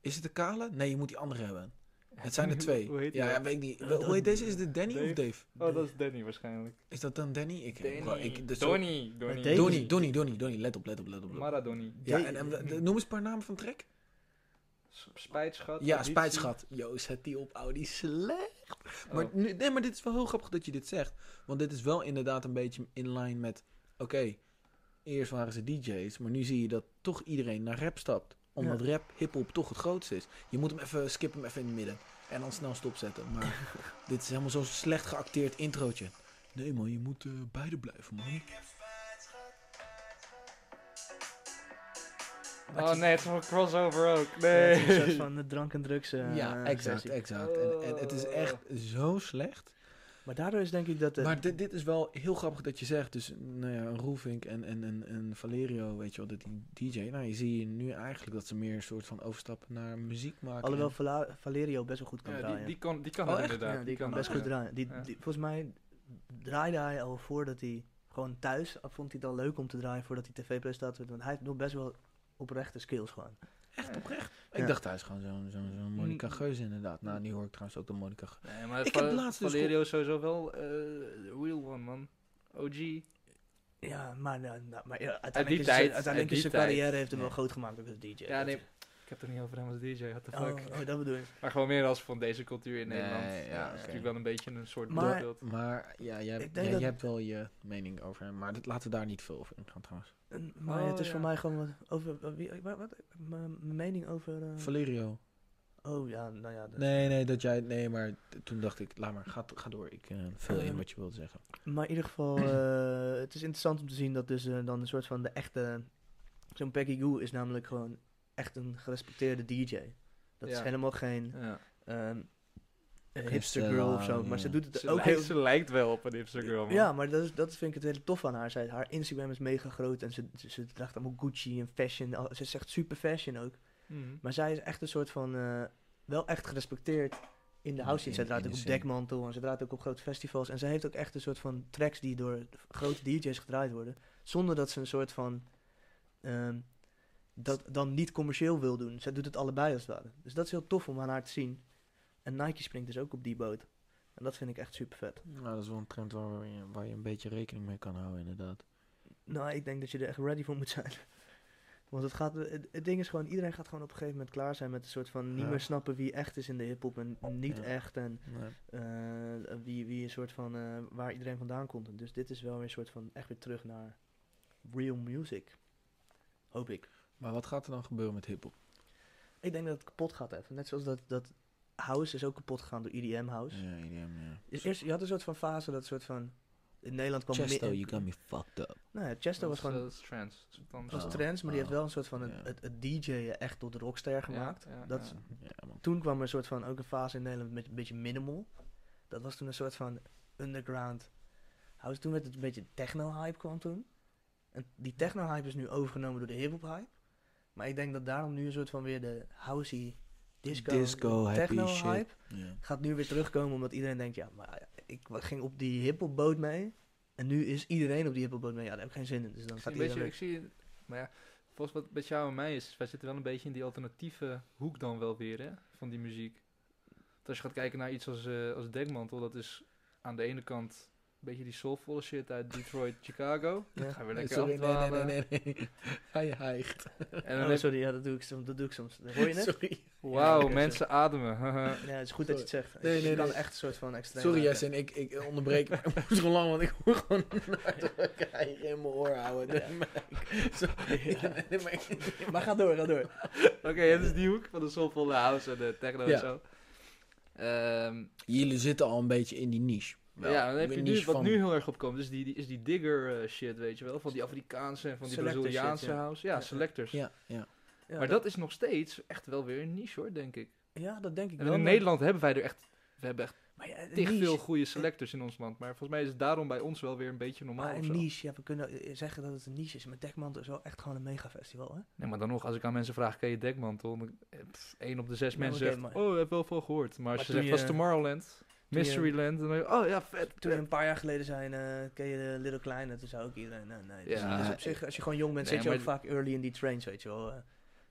Speaker 3: Is het de kale? Nee, je moet die andere hebben. Het zijn er twee.
Speaker 4: Hoe heet die
Speaker 3: ja,
Speaker 4: ook?
Speaker 3: ja, weet ik niet. Wel, Hoe heet deze? Is dit Danny of
Speaker 4: Dave.
Speaker 3: Dave?
Speaker 4: Oh, dat is Danny waarschijnlijk.
Speaker 3: Is dat dan Danny? Ik, ik, dus-
Speaker 4: Donny.
Speaker 2: Maar
Speaker 4: Donny.
Speaker 2: Dave-
Speaker 3: Donnie, Donnie, Donnie, Donnie, let op, let op, let op. let op.
Speaker 4: Maradoni.
Speaker 3: Ja, en, en de- de- noem eens een paar namen van trek.
Speaker 4: S- Spijtschat.
Speaker 3: Ja,
Speaker 4: Aditya.
Speaker 3: spijtschat. Yo, zet die op, Audi slecht.
Speaker 4: Oh.
Speaker 3: Maar, nu- nee, maar dit is wel heel grappig dat je dit zegt. Want dit is wel inderdaad een beetje in lijn met... Oké, eerst waren ze DJ's, maar nu zie je dat toch iedereen naar rap stapt. Omdat
Speaker 2: Ja.
Speaker 3: rap, hiphop toch het grootste is. Je moet hem even, skip hem even in het midden. En dan snel stopzetten. Maar dit is helemaal zo'n slecht geacteerd introotje. Nee man, je moet eh, beide blijven man.
Speaker 4: Oh nee, het is wel een crossover ook.
Speaker 2: Ja, het
Speaker 4: Nee.
Speaker 2: is een soort van eh, drank en drugs. eh,
Speaker 3: ja, exact,
Speaker 2: sessie. Oh.
Speaker 3: exact. En, en het is echt zo slecht.
Speaker 4: e-
Speaker 2: Maar daardoor is denk ik dat. eh,
Speaker 3: Maar dit, dit is wel heel grappig dat je zegt. Dus nou ja, een Roelvink en, en, en, en Valerio, weet je wel, dat die DJ. Nou, je ziet nu eigenlijk dat ze meer een soort van overstappen naar muziek maken.
Speaker 2: alhoewel
Speaker 3: En-
Speaker 2: Vala- Valerio best wel goed kan
Speaker 4: Ja, die,
Speaker 2: draaien.
Speaker 4: die kan, die kan
Speaker 3: Oh,
Speaker 4: het
Speaker 3: echt?
Speaker 4: inderdaad.
Speaker 2: ja, die, kan
Speaker 4: het,
Speaker 2: best goed
Speaker 4: ja.
Speaker 2: draaien. Die,
Speaker 4: Ja.
Speaker 2: die- volgens mij draaide hij al voordat hij gewoon thuis vond hij het al leuk om te draaien voordat hij tv-presentator werd. Want hij heeft nog best wel oprechte skills gewoon.
Speaker 3: echt oprecht.
Speaker 2: Ja.
Speaker 3: Ik dacht thuis gewoon zo'n zo, zo Monica Geuze inderdaad. Nou, nu hoor ik trouwens ook de Monica Geuze.
Speaker 4: Nee, maar
Speaker 3: Ik
Speaker 4: Va-
Speaker 3: heb laatst dus
Speaker 4: Valerio is sowieso wel eh, de real one, man. OG.
Speaker 2: Ja, maar, nou, nou, maar ja,
Speaker 4: Uit die
Speaker 2: uiteindelijk, is,
Speaker 4: tijd,
Speaker 2: zijn-
Speaker 4: uit
Speaker 2: uiteindelijk
Speaker 4: die
Speaker 2: is zijn
Speaker 4: tijd.
Speaker 2: carrière heeft hem
Speaker 3: Ja.
Speaker 2: wel groot gemaakt ook als DJ.
Speaker 4: Ja,
Speaker 2: Dat
Speaker 4: nee.
Speaker 2: is-
Speaker 4: Ik heb het er niet over hem als DJ, what the
Speaker 2: Oh,
Speaker 4: fuck.
Speaker 2: oh, dat bedoel ik.
Speaker 4: Maar gewoon meer als van deze cultuur in
Speaker 3: Nee,
Speaker 4: Nederland.
Speaker 3: ja,
Speaker 4: Ja, dat is
Speaker 3: oké.
Speaker 4: natuurlijk wel een beetje een soort
Speaker 2: Maar-
Speaker 4: voorbeeld.
Speaker 3: Maar ja, jij,
Speaker 2: Ik denk
Speaker 3: jij,
Speaker 2: dat-
Speaker 3: jij hebt wel je mening over hem. Maar dat, laten we daar niet veel over ingaan trouwens.
Speaker 2: En- Maar
Speaker 4: Oh,
Speaker 2: het is
Speaker 4: ja.
Speaker 2: voor mij gewoon wat over. wa- wie- wa- wat, mijn mijn mening over. eh,
Speaker 3: Mm. Valerio.
Speaker 2: oh ja, nou ja. dat-
Speaker 3: Nee, nee, dat jij... Nee, maar t- toen dacht ik, laat maar, ga, ga door. Ik eh, vul in wat je wilde zeggen.
Speaker 2: Maar in ieder geval, eh, het is interessant om te zien dat dus eh, dan een soort van de echte... Zo'n Peggy Goo is namelijk gewoon echt een gerespecteerde DJ. Dat is
Speaker 4: Ja.
Speaker 2: helemaal geen
Speaker 4: Ja.
Speaker 2: ehm, een hipster girl of zo. Maar ze doet het
Speaker 4: Ze,
Speaker 2: ook
Speaker 4: lijkt,
Speaker 2: heel...
Speaker 4: ze lijkt wel op een hipster girl, man.
Speaker 2: Ja, maar dat, is, dat vind ik het hele tof aan haar. Zij, haar Instagram is mega groot en ze, ze, ze draagt allemaal Gucci en fashion. Al- Ze is echt super fashion ook.
Speaker 4: Mhm.
Speaker 2: Maar zij is echt een soort van... eh, wel echt gerespecteerd in de
Speaker 3: Ja,
Speaker 2: house scene.
Speaker 3: in-
Speaker 2: Zij draait
Speaker 3: in
Speaker 2: ook
Speaker 3: de
Speaker 2: op
Speaker 3: scene.
Speaker 2: dekmantel en ze draait ook op grote festivals. En zij heeft ook echt een soort van tracks die door grote DJ's gedraaid worden. Zonder dat ze een soort van... ehm, dat dan niet commercieel wil doen. Zij doet het allebei als het ware. Dus dat is heel tof om aan haar te zien. En Nike springt dus ook op die boot. En dat vind ik echt super vet.
Speaker 3: Nou, dat is wel een trend waar je, waar je een beetje rekening mee kan houden, inderdaad.
Speaker 2: Nou, ik denk dat je er echt ready voor moet zijn. Want het, gaat, het, het ding is gewoon, iedereen gaat gewoon op een gegeven moment klaar zijn met een soort van niet
Speaker 3: Ja.
Speaker 2: meer snappen wie echt is in de hip-hop en niet
Speaker 3: Ja.
Speaker 2: echt. En
Speaker 3: Nee.
Speaker 2: eh, wie, wie een soort van eh, waar iedereen vandaan komt. Dus dit is wel weer een soort van echt weer terug naar real music. Hoop ik.
Speaker 3: Maar wat gaat er dan gebeuren met hip-hop?
Speaker 2: Ik denk dat het kapot gaat even. Net zoals dat, dat house is ook kapot gegaan door EDM house.
Speaker 3: Ja, IDM, ja.
Speaker 2: Dus eerst, je had een soort van fase dat soort van in Nederland kwam
Speaker 3: Chesto,
Speaker 2: meer-
Speaker 3: you got me fucked up.
Speaker 2: Nou ja, Chesto was gewoon
Speaker 4: Dat is trans. Dat is wat anders.
Speaker 2: was
Speaker 3: Oh,
Speaker 2: trends, maar die heeft
Speaker 3: oh,
Speaker 2: wel een soort van het,
Speaker 3: ja.
Speaker 2: het, het DJ'en echt tot rockster
Speaker 4: Ja,
Speaker 2: gemaakt.
Speaker 4: ja,
Speaker 2: dat
Speaker 4: ja.
Speaker 2: is-
Speaker 3: Ja, man.
Speaker 2: Toen kwam er een soort van ook een fase in Nederland met een beetje minimal. Dat was toen een soort van underground house. Toen werd het een beetje techno-hype kwam toen. En die techno-hype is nu overgenomen door de hip-hop hype. Maar ik denk dat daarom nu een soort van weer de housey disco,
Speaker 3: Disco, happy
Speaker 2: techno-hype
Speaker 3: shit. Ja.
Speaker 2: gaat nu weer terugkomen omdat iedereen denkt, ja, maar ik wa- ging op die hiphopboot mee. En nu is iedereen op die hiphopboot mee. Ja, daar heb ik geen zin in. Dus dan
Speaker 4: Ik
Speaker 2: gaat
Speaker 4: zie, een
Speaker 2: iedereen
Speaker 4: beetje, ik
Speaker 2: weer-
Speaker 4: zie, maar ja, volgens wat met jou en mij is, wij zitten wel een beetje in die alternatieve hoek dan wel weer, hè, van die muziek. Want als je gaat kijken naar iets als, eh, als Dekmantel, dat is aan de ene kant een beetje die soulvolle shit uit Detroit, Chicago.
Speaker 2: Ja.
Speaker 4: Gaan we
Speaker 3: Nee,
Speaker 4: lekker
Speaker 3: sorry, nee, nee,
Speaker 4: afdwalen.
Speaker 3: nee, nee, nee. Hij hijgt.
Speaker 4: En dan
Speaker 2: Oh,
Speaker 4: heb je-
Speaker 2: sorry, ja, dat doe ik soms. Dat doe ik soms. Hoor je het?
Speaker 3: Sorry.
Speaker 4: wauw,
Speaker 2: Ja, oké,
Speaker 4: mensen ademen. haha.
Speaker 2: Ja, het is goed dat je het zegt.
Speaker 3: Nee,
Speaker 2: je
Speaker 3: nee,
Speaker 2: kan
Speaker 3: nee.
Speaker 2: echt een soort van extreem.
Speaker 3: Sorry,
Speaker 2: maken.
Speaker 3: Jess, en ik, ik onderbreek. maar ik moest gewoon lang, want ik hoor gewoon ik hijg in mijn oor houden.
Speaker 2: Ja.
Speaker 3: Sorry.
Speaker 2: Ja.
Speaker 3: Nee, maar ik-
Speaker 2: Maar ga door, ga door.
Speaker 4: Oké, het is die hoek van de soulvolle house en de techno
Speaker 3: Ja.
Speaker 4: en zo. Ehm,
Speaker 3: Jullie zitten al een beetje in die niche.
Speaker 4: ja, dan heb
Speaker 3: Een
Speaker 4: je nu,
Speaker 3: niche
Speaker 4: wat
Speaker 3: van-
Speaker 4: nu heel erg opkomt, is die, die, is die digger eh, shit, weet je wel. Van die Afrikaanse en van die
Speaker 2: Selector shit,
Speaker 4: Braziliaanse
Speaker 2: ja.
Speaker 4: house. Ja,
Speaker 2: Ja, ja.
Speaker 4: selectors.
Speaker 3: Ja, ja.
Speaker 2: Ja,
Speaker 4: maar dat is nog steeds echt wel weer een niche hoor, denk ik.
Speaker 2: ja, dat denk ik
Speaker 4: En
Speaker 2: wel.
Speaker 4: in
Speaker 2: maar-
Speaker 4: Nederland hebben wij er echt, we hebben echt
Speaker 2: maar ja, een
Speaker 4: tig
Speaker 2: niche.
Speaker 4: veel goede selectors in ons land. Maar volgens mij is het daarom bij ons wel weer een beetje normaal
Speaker 2: Maar
Speaker 4: of
Speaker 2: een
Speaker 4: zo.
Speaker 2: niche, ja, we kunnen eh, zeggen dat het een niche is. Maar Dekmantel is wel echt gewoon een megafestival, hè?
Speaker 4: Nee, maar dan nog, als ik aan mensen vraag, ken je Dekmantel? Dan, eh, pff, één op de zes
Speaker 2: Ja,
Speaker 4: mensen
Speaker 2: oké,
Speaker 4: zegt,
Speaker 2: maar-
Speaker 4: oh, ik heb wel veel gehoord. Maar, als je
Speaker 2: toen
Speaker 4: zegt, was
Speaker 2: je-
Speaker 4: Tomorrowland,
Speaker 2: je-
Speaker 4: Mysteryland, dan denk je, oh ja, vet.
Speaker 2: Toen we een paar jaar geleden zijn, eh ken je de Little Kleine, toen zei ook iedereen, nee, nee. Dus,
Speaker 4: Ja,
Speaker 2: dus op zich, als je gewoon jong bent,
Speaker 4: nee,
Speaker 2: zit je ook
Speaker 4: maar-
Speaker 2: vaak early in die trains, weet je wel. eh.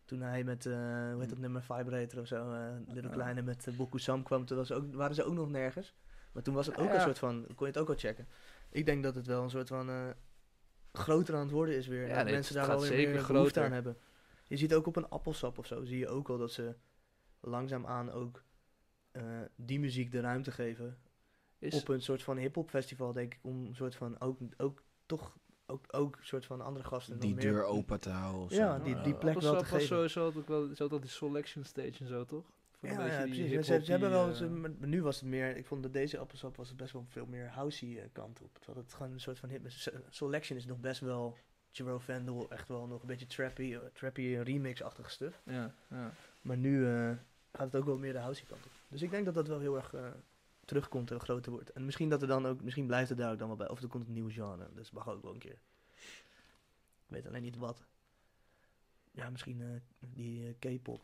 Speaker 2: toen hij met, eh, hoe heet dat nummer, Vibrator of zo, eh, Little
Speaker 4: Ah.
Speaker 2: Kleine met uh, Sam kwam, toen was ook, waren ze ook nog nergens. Maar toen was het ook
Speaker 4: Ja.
Speaker 2: een soort van, kon je het ook al checken. Ik denk dat het wel een soort van eh, groter aan het worden is weer.
Speaker 4: Ja,
Speaker 2: en dat
Speaker 4: nee,
Speaker 2: mensen
Speaker 4: het
Speaker 2: daar wel
Speaker 4: gaat
Speaker 2: weer meer
Speaker 4: zeker
Speaker 2: behoefte
Speaker 4: groter.
Speaker 2: aan hebben. Je ziet ook op een appelsap of zo, zie je ook al dat ze langzaamaan ook eh, die muziek de ruimte geven
Speaker 4: Is,
Speaker 2: op een soort van hip-hop festival, denk ik, om een soort van ook, ook toch ook, ook een soort van andere gasten. nog
Speaker 3: Die
Speaker 2: meer-
Speaker 3: deur open te houden of
Speaker 2: Ja,
Speaker 3: zo.
Speaker 2: Ah, die-
Speaker 4: Ja,
Speaker 2: die plek wel te
Speaker 4: Appelsap was
Speaker 2: geven.
Speaker 4: sowieso altijd wel, zo dat die selection stage en zo, toch? Voor
Speaker 2: Ja,
Speaker 4: een beetje
Speaker 2: ja,
Speaker 4: die
Speaker 2: precies. Maar Ze,
Speaker 4: hiphop,
Speaker 2: ze hebben wel,
Speaker 4: die,
Speaker 2: ze-
Speaker 4: eh,
Speaker 2: maar nu was het meer, ik vond dat deze appelsap was het best wel veel meer housey eh, kant op. Terwijl het gewoon een soort van hip, se- selection is nog best wel Jero Vandal, echt wel nog een beetje trappy, eh, trappy remix-achtige stuff.
Speaker 4: ja, ja.
Speaker 2: Maar nu eh, gaat het ook wel meer de housey kant op. Dus ik denk dat dat wel heel erg eh, terugkomt en groter wordt. En misschien dat er dan ook, misschien blijft het daar ook dan wel bij. Of er komt een nieuw genre. Dus mag ook wel een keer. Ik weet alleen niet wat. Ja, misschien eh, die eh, K-pop.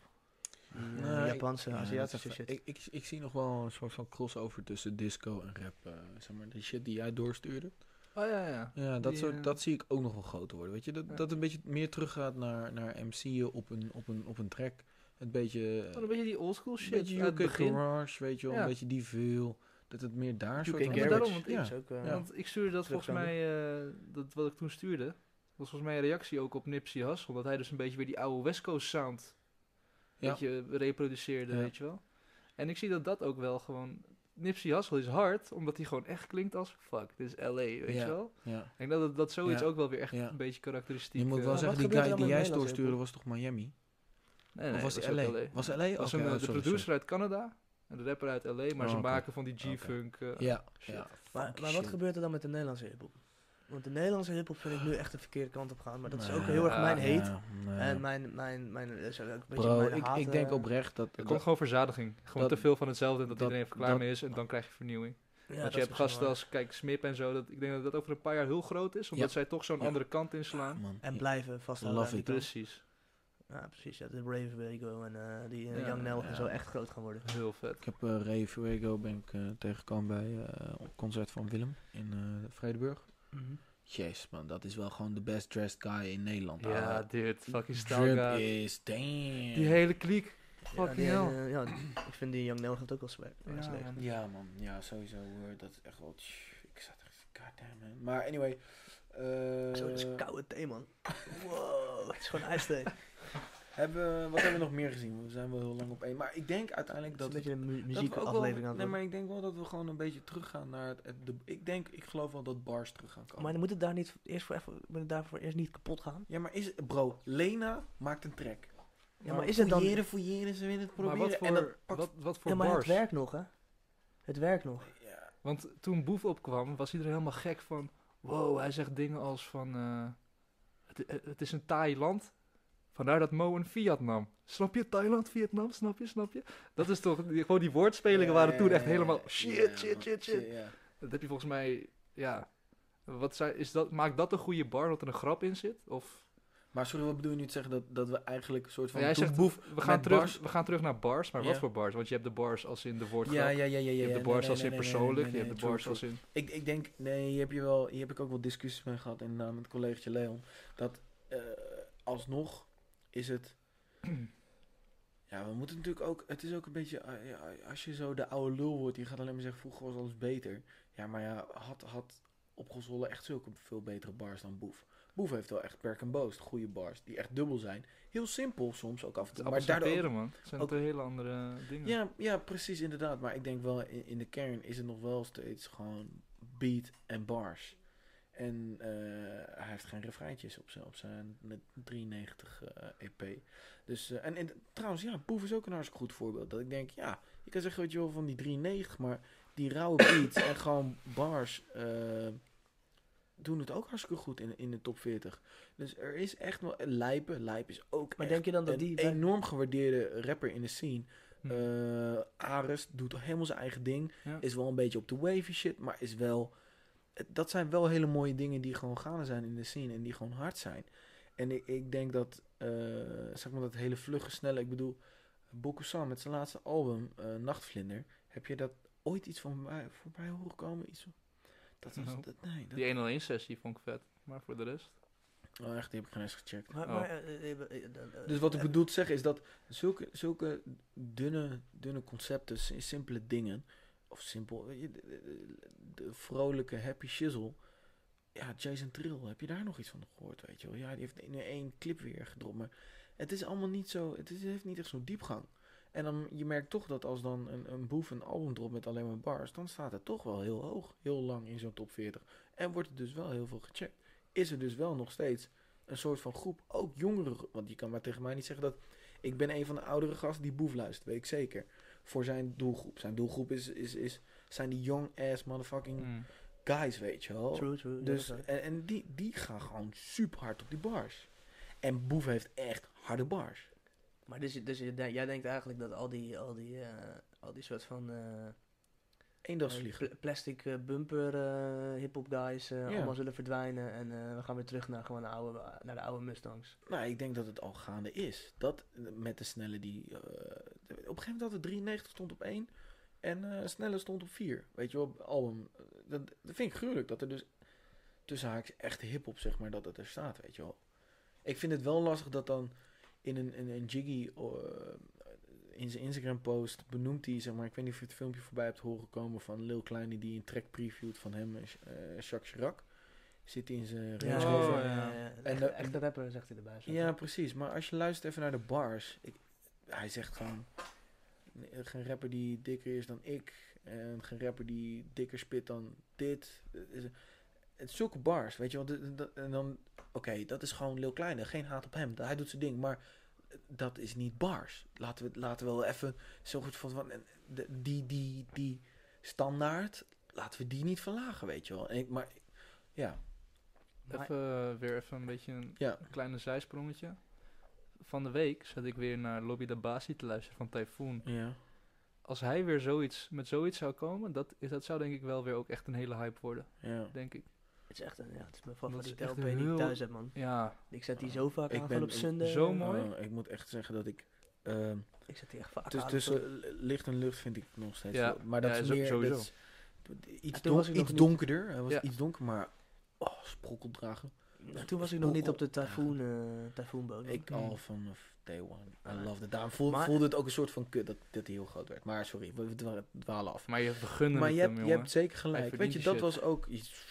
Speaker 2: Die eh,
Speaker 3: Nou, ik-
Speaker 2: Japanse,
Speaker 3: Ja, dat is
Speaker 2: Aziatische
Speaker 3: even-
Speaker 2: shit.
Speaker 3: Ik, ik, ik zie nog wel een soort van crossover tussen disco en rap. eh, zeg maar, die shit die jij doorstuurde.
Speaker 4: Oh ja, ja.
Speaker 3: Ja, dat,
Speaker 4: Die,
Speaker 3: soort,
Speaker 4: eh,
Speaker 3: dat zie ik ook nog wel groter worden. Weet je, dat,
Speaker 4: Ja.
Speaker 3: dat een beetje meer teruggaat naar, naar MC'en op een, op, een, op een track. Een beetje... eh,
Speaker 4: Dan een beetje die oldschool
Speaker 3: een
Speaker 4: shit
Speaker 3: beetje
Speaker 4: uit het
Speaker 3: UK
Speaker 4: begin.
Speaker 3: Garage, weet je wel.
Speaker 4: Ja.
Speaker 3: Een beetje die veel. Dat het meer daar soort
Speaker 2: UK
Speaker 3: van-
Speaker 4: Garage. daarom, want
Speaker 2: ik
Speaker 3: ja.
Speaker 2: is ook... eh,
Speaker 3: Ja.
Speaker 4: Want ik stuurde dat volgens
Speaker 2: Terugkomen.
Speaker 4: mij, eh, dat wat ik toen stuurde, was volgens mij een reactie ook op Nipsey Hussle. Dat hij dus een beetje weer die oude West Coast sound
Speaker 3: Ja.
Speaker 4: weet je, reproduceerde,
Speaker 3: Ja.
Speaker 4: weet je wel. En ik zie dat dat ook wel gewoon... Nipsey Hussle is hard, omdat hij gewoon echt klinkt als fuck, dit is L.A., weet
Speaker 3: Ja.
Speaker 4: je wel.
Speaker 3: ja.
Speaker 4: Ik denk dat, dat dat zoiets
Speaker 3: Ja.
Speaker 4: ook wel weer echt
Speaker 3: Ja.
Speaker 4: een beetje karakteristiek...
Speaker 3: Je moet wel
Speaker 4: eh,
Speaker 2: wat
Speaker 3: zeggen, die
Speaker 2: gebeurt er
Speaker 3: guy
Speaker 2: dan
Speaker 3: die
Speaker 2: met
Speaker 3: jij
Speaker 2: Nederlandse
Speaker 3: doorstuurde
Speaker 2: hip-hop?
Speaker 3: was toch Miami?
Speaker 4: nee, nee,
Speaker 3: of was
Speaker 4: dat
Speaker 3: het
Speaker 4: ook
Speaker 3: LA? Was het LA?
Speaker 4: was
Speaker 3: Oké,
Speaker 4: een, eh,
Speaker 3: oh,
Speaker 4: de
Speaker 3: sorry,
Speaker 4: producer
Speaker 3: sorry.
Speaker 4: uit Canada en de rapper uit L.A., maar
Speaker 3: Oh,
Speaker 4: ze
Speaker 3: oké. Oh,
Speaker 4: maken van die G-funk... eh,
Speaker 3: Ja,
Speaker 4: shit.
Speaker 3: ja.
Speaker 2: Maar,
Speaker 3: Fuck
Speaker 2: maar wat
Speaker 3: shit.
Speaker 2: gebeurt er dan met de Nederlandse hip-hop? Want de Nederlandse hip-hop vind ik nu echt de verkeerde kant op gaan. Maar dat is ook
Speaker 3: Nee,
Speaker 2: heel erg
Speaker 3: ah,
Speaker 2: mijn heet.
Speaker 3: ja, nee.
Speaker 2: En eh, mijn, mijn, mijn, dat is ook een beetje
Speaker 3: Bro,
Speaker 2: mijn
Speaker 3: ik,
Speaker 2: haat,
Speaker 3: ik denk
Speaker 2: eh,
Speaker 3: oprecht dat...
Speaker 4: Er komt gewoon verzadiging. Gewoon
Speaker 3: dat-
Speaker 4: te veel van hetzelfde en dat,
Speaker 3: dat-
Speaker 4: iedereen even klaar
Speaker 3: dat-
Speaker 4: mee is en dan krijg je vernieuwing.
Speaker 2: ja,
Speaker 4: Want
Speaker 2: dat
Speaker 4: je
Speaker 2: is
Speaker 4: hebt gasten
Speaker 2: misschien
Speaker 4: als, kijk, Smip en zo, dat, ik denk dat dat over een paar jaar heel groot is, omdat
Speaker 3: Ja.
Speaker 4: zij toch zo'n
Speaker 3: Ja.
Speaker 4: andere kant inslaan.
Speaker 3: man,
Speaker 2: waar. En
Speaker 3: ja.
Speaker 2: blijven vasthouden.
Speaker 3: Love
Speaker 2: aan die
Speaker 3: it.
Speaker 2: kant.
Speaker 4: Precies.
Speaker 2: Ja, precies. Ja, de Brave Bego en eh, die eh,
Speaker 4: Ja,
Speaker 2: Young Nel
Speaker 3: ja.
Speaker 2: en zo echt groot gaan worden.
Speaker 4: Heel vet.
Speaker 3: Ik heb eh Ray Fuego ben ik eh, tegengekomen bij eh een concert van Willem in eh Vredeburg. Jezus man, dat is wel gewoon de best dressed guy in Nederland.
Speaker 4: Ja,
Speaker 3: ouwe.
Speaker 4: dit. Fucking
Speaker 3: Drip
Speaker 4: style
Speaker 3: is damn.
Speaker 4: Die hele kliek.
Speaker 2: Ja, die,
Speaker 4: Fucking hell.
Speaker 2: eh, ja, ik vind die Young Nel gaat ook wel zwaar.
Speaker 4: Ja,
Speaker 2: Ja,
Speaker 4: man.
Speaker 3: Ja man, ja sowieso hoor, dat is echt wel... tch, Ik zat echt, goddamn man. Maar anyway. eh,
Speaker 2: Zo, dat is koude thee, man. Wow, het is gewoon ijsthee. Het
Speaker 3: hebben, we- wat hebben we nog meer gezien? We zijn wel heel lang op één. Maar ik denk uiteindelijk
Speaker 2: is een
Speaker 3: dat...
Speaker 2: beetje een mu-
Speaker 3: dat we ook wel-
Speaker 2: muziekaflevering aan
Speaker 3: Nee,
Speaker 2: het
Speaker 3: maar
Speaker 2: worden.
Speaker 3: ik denk wel dat we gewoon een beetje teruggaan naar het... het- de, ik denk, ik geloof wel dat bars terug gaan komen.
Speaker 2: Maar dan moet het daar niet eerst voor even, moet het daarvoor eerst niet kapot gaan?
Speaker 3: Ja, maar is het, bro, Lena maakt een track.
Speaker 2: Ja, maar is het dan...
Speaker 3: Fouilleren, fouilleren, ze willen het
Speaker 4: Maar
Speaker 3: proberen.
Speaker 4: wat
Speaker 3: en
Speaker 4: voor,
Speaker 3: dat pakt...
Speaker 4: wat, wat voor
Speaker 2: Ja, maar het
Speaker 4: bars?
Speaker 2: werkt nog, hè? Het werkt nog.
Speaker 3: Ja,
Speaker 4: Want toen Boef opkwam, was iedereen helemaal gek van... Wow, hij zegt dingen als van... eh, het, eh, het is een taai land. Vandaar dat Mo een Fiat nam. Snap je? Thailand, Vietnam, snap je, snap je? Dat is toch... Die, gewoon die woordspelingen waren toen echt helemaal... Shit,
Speaker 3: Ja,
Speaker 4: shit, shit, shit.
Speaker 3: ja.
Speaker 4: Dat heb je volgens mij... Ja. Wat zei, is dat, maakt dat een goede bar dat er een grap in zit? Of...
Speaker 3: Maar sorry, wat bedoel je nu te zeggen? Dat, dat we eigenlijk een soort van...
Speaker 4: Ja, jij
Speaker 3: toen
Speaker 4: zegt,
Speaker 3: Boef-
Speaker 4: we, gaan
Speaker 3: met
Speaker 4: terug,
Speaker 3: bars-
Speaker 4: we gaan terug naar bars, maar
Speaker 3: Ja.
Speaker 4: wat voor bars? Want je hebt de bars als in de woordgrap.
Speaker 3: Ja, ja, ja, ja,
Speaker 4: Je
Speaker 3: ja.
Speaker 4: hebt
Speaker 3: ja,
Speaker 4: de
Speaker 3: nee,
Speaker 4: bars
Speaker 3: nee,
Speaker 4: als in
Speaker 3: nee, nee,
Speaker 4: persoonlijk.
Speaker 3: nee,
Speaker 4: je hebt
Speaker 3: nee,
Speaker 4: de bars
Speaker 3: true,
Speaker 4: als in...
Speaker 3: true. Ik, ik denk, nee, hier heb, je wel, hier heb ik ook wel discussies mee gehad inderdaad met collegaatje Leon. Dat eh, alsnog is het... Ja, we moeten natuurlijk ook... Het is ook een beetje... eh, ja, als je zo de oude lul wordt, die gaat alleen maar zeggen... Vroeger was alles beter. Ja, maar ja, had, had opgezwollen echt zulke veel betere bars dan Boef. Boef heeft wel echt perk en boost, goede bars, die echt dubbel zijn. Heel simpel soms ook af en
Speaker 4: Het is
Speaker 3: toe. Maar
Speaker 4: appels en
Speaker 3: daardoor ook-
Speaker 4: peren, man. Het zijn
Speaker 3: ook-
Speaker 4: twee hele andere dingen.
Speaker 3: ja, ja, precies, inderdaad. Maar ik denk wel, in, in de kern is het nog wel steeds gewoon beat en bars. En eh, hij heeft geen refreintjes op zijn, op zijn net 93 eh, EP. Dus, eh, en, en trouwens, ja, Boef is ook een hartstikke goed voorbeeld. Dat ik denk, ja, je kan zeggen wat je wil van die 93, maar die rauwe beats en gewoon bars eh, doen het ook hartstikke goed in, in de top 40. Dus er is echt wel, Lijpen, Lijpen is ook
Speaker 2: Maar
Speaker 3: echt
Speaker 2: denk je dan dat
Speaker 3: een
Speaker 2: die... bij-
Speaker 3: enorm gewaardeerde rapper in de scene.
Speaker 4: Hm.
Speaker 3: Eh, Ares doet helemaal zijn eigen ding.
Speaker 4: Ja.
Speaker 3: Is wel een beetje op de wavy shit, maar is wel... Dat zijn wel hele mooie dingen die gewoon gaande zijn in de scene en die gewoon hard zijn. En ik, ik denk dat, eh, zeg maar dat hele vlugge, snelle... Ik bedoel, Bokusan met zijn laatste album, eh, Nachtvlinder... Heb je dat ooit iets van mij, voorbij horen komen? Iets van- dat was,
Speaker 4: Nou,
Speaker 3: dat, nee, dat,
Speaker 4: Die 101 sessie vond ik vet. Maar voor de rest...
Speaker 3: oh, echt, die heb ik geen eens gecheckt.
Speaker 2: Maar,
Speaker 4: Oh.
Speaker 2: maar, eh, eh, eh, eh, dan, eh,
Speaker 3: Dus wat ik
Speaker 2: eh,
Speaker 3: bedoel te zeggen is dat zulke, zulke dunne, dunne concepten, si- simpele dingen, of simpel, weet je, de, de- de vrolijke happy shizzle. Ja, Jason Trill, heb je daar nog iets van gehoord, weet je wel? Ja, die heeft nu één clip weer gedropt, maar het is allemaal niet zo, het, is, het heeft niet echt zo'n diepgang. En dan, je merkt toch dat als dan een, een boef een album dropt met alleen maar bars, dan staat het toch wel heel hoog, heel lang in zo'n top 40. En wordt er dus wel heel veel gecheckt. Is er dus wel nog steeds een soort van groep, ook jongeren. Want je kan maar tegen mij niet zeggen dat ik ben een van de oudere gasten die boef luistert, weet ik zeker. Voor zijn doelgroep. Zijn doelgroep is, is, is, zijn die young ass motherfucking
Speaker 4: Mm.
Speaker 3: guys, weet je wel.
Speaker 2: True, true. ja,
Speaker 3: Dus,
Speaker 2: dat is waar.
Speaker 3: en en die, die gaan gewoon super hard op die bars. En Boef heeft echt harde bars.
Speaker 2: Maar dus, je- dus je denkt- jij denkt eigenlijk dat al die, al die, eh, al die soort van eh,
Speaker 3: Eendagsvliegen.
Speaker 2: Dus pla- plastic eh, bumper eh hip-hop guys eh,
Speaker 3: Ja.
Speaker 2: allemaal zullen verdwijnen en eh, we gaan weer terug naar gewoon de oude, naar de oude Mustangs.
Speaker 3: Nou, ik denk dat het al gaande is. Dat eh, met de snelle die... eh, op een gegeven moment had het 93 stond op 1 en eh, snelle stond op 4. Weet je wel, album. Eh, Dat, dat vind ik gruwelijk. Dat er dus tussen haakjes echt hip-hop, zeg maar, dat het er staat, weet je wel. Ik vind het wel lastig dat dan in een, in een Jiggy eh, in zijn Instagram-post benoemt hij, zeg maar, ik weet niet of je het filmpje voorbij hebt horen komen van Lil Kleine die een track previewt van hem en eh Jacques Chirac. Zit hij in zijn Range
Speaker 4: ja,
Speaker 3: Rover.
Speaker 4: ja, ja.
Speaker 2: eh, Echt,
Speaker 3: de-
Speaker 2: echte rapper zegt hij erbij. zo.
Speaker 3: Ja, precies. Maar als je luistert even naar de bars. Ik, hij zegt gewoon... nee, Geen rapper die dikker is dan ik. En geen rapper die dikker spit dan dit. Het is- Het is zulke bars, weet je wel. de- de- En dan... Oké, dat is gewoon Lil Kleine. Geen haat op hem. Hij doet zijn ding. Maar dat is niet bars. Laten we, laten we wel even... Zo goed van... van- en de- Die, die, die standaard... Laten we die niet verlagen, weet je wel. En ik, maar... Ja...
Speaker 2: Maar-
Speaker 4: Even, eh, weer even een beetje een
Speaker 3: Ja.
Speaker 4: kleine zijsprongetje. Van de week zat ik weer naar Lobby de Basi te luisteren van Typhoon.
Speaker 3: Ja.
Speaker 4: Als hij weer zoiets, met zoiets zou komen, dat, is, dat zou denk ik wel weer ook echt een hele hype worden,
Speaker 3: Ja.
Speaker 4: denk ik.
Speaker 2: Het is echt een, ja, het is mijn
Speaker 4: is
Speaker 2: favoriete
Speaker 4: echt
Speaker 2: LP die ik
Speaker 4: heel-
Speaker 2: thuis heb, man.
Speaker 4: Ja,
Speaker 2: Ik zet die zo vaak
Speaker 3: Ah, Ik
Speaker 2: aan,
Speaker 3: ben-
Speaker 2: gewoon op
Speaker 3: ik-
Speaker 2: Sunday.
Speaker 4: zo mooi.
Speaker 3: Eh, ik moet echt zeggen dat ik... ehm,
Speaker 2: Ik zet die echt vaak
Speaker 3: Dus
Speaker 2: aan.
Speaker 3: tussen licht en lucht vind ik nog steeds.
Speaker 4: Ja,
Speaker 3: wel- Maar dat
Speaker 4: ja,
Speaker 3: is
Speaker 4: zo-
Speaker 3: meer
Speaker 4: sowieso.
Speaker 3: dat is iets,
Speaker 2: En toen was
Speaker 3: don-
Speaker 2: ik nog
Speaker 3: iets
Speaker 2: niet-
Speaker 3: donkerder. Hij was
Speaker 4: Ja.
Speaker 3: iets donker, maar oh, sprokkeldragen.
Speaker 2: Nou, toen was ik nog niet op de tyfoon, eh tyfoonboot.
Speaker 3: Ik
Speaker 4: Mm.
Speaker 3: al vanaf day one. I
Speaker 2: Ah.
Speaker 3: love it. Daarom voel-
Speaker 2: Maar-
Speaker 3: voelde het ook een soort van kut dat, dat hij heel groot werd. Maar sorry, we we dwa- dwalen af.
Speaker 4: maar je vergunde
Speaker 3: Maar
Speaker 4: het
Speaker 3: je
Speaker 4: hem,
Speaker 3: hebt, je
Speaker 4: jongen.
Speaker 3: hebt zeker
Speaker 4: Hij
Speaker 3: gelijk. Weet
Speaker 4: verdient
Speaker 3: je,
Speaker 4: die
Speaker 3: dat
Speaker 4: shit.
Speaker 3: was ook iets...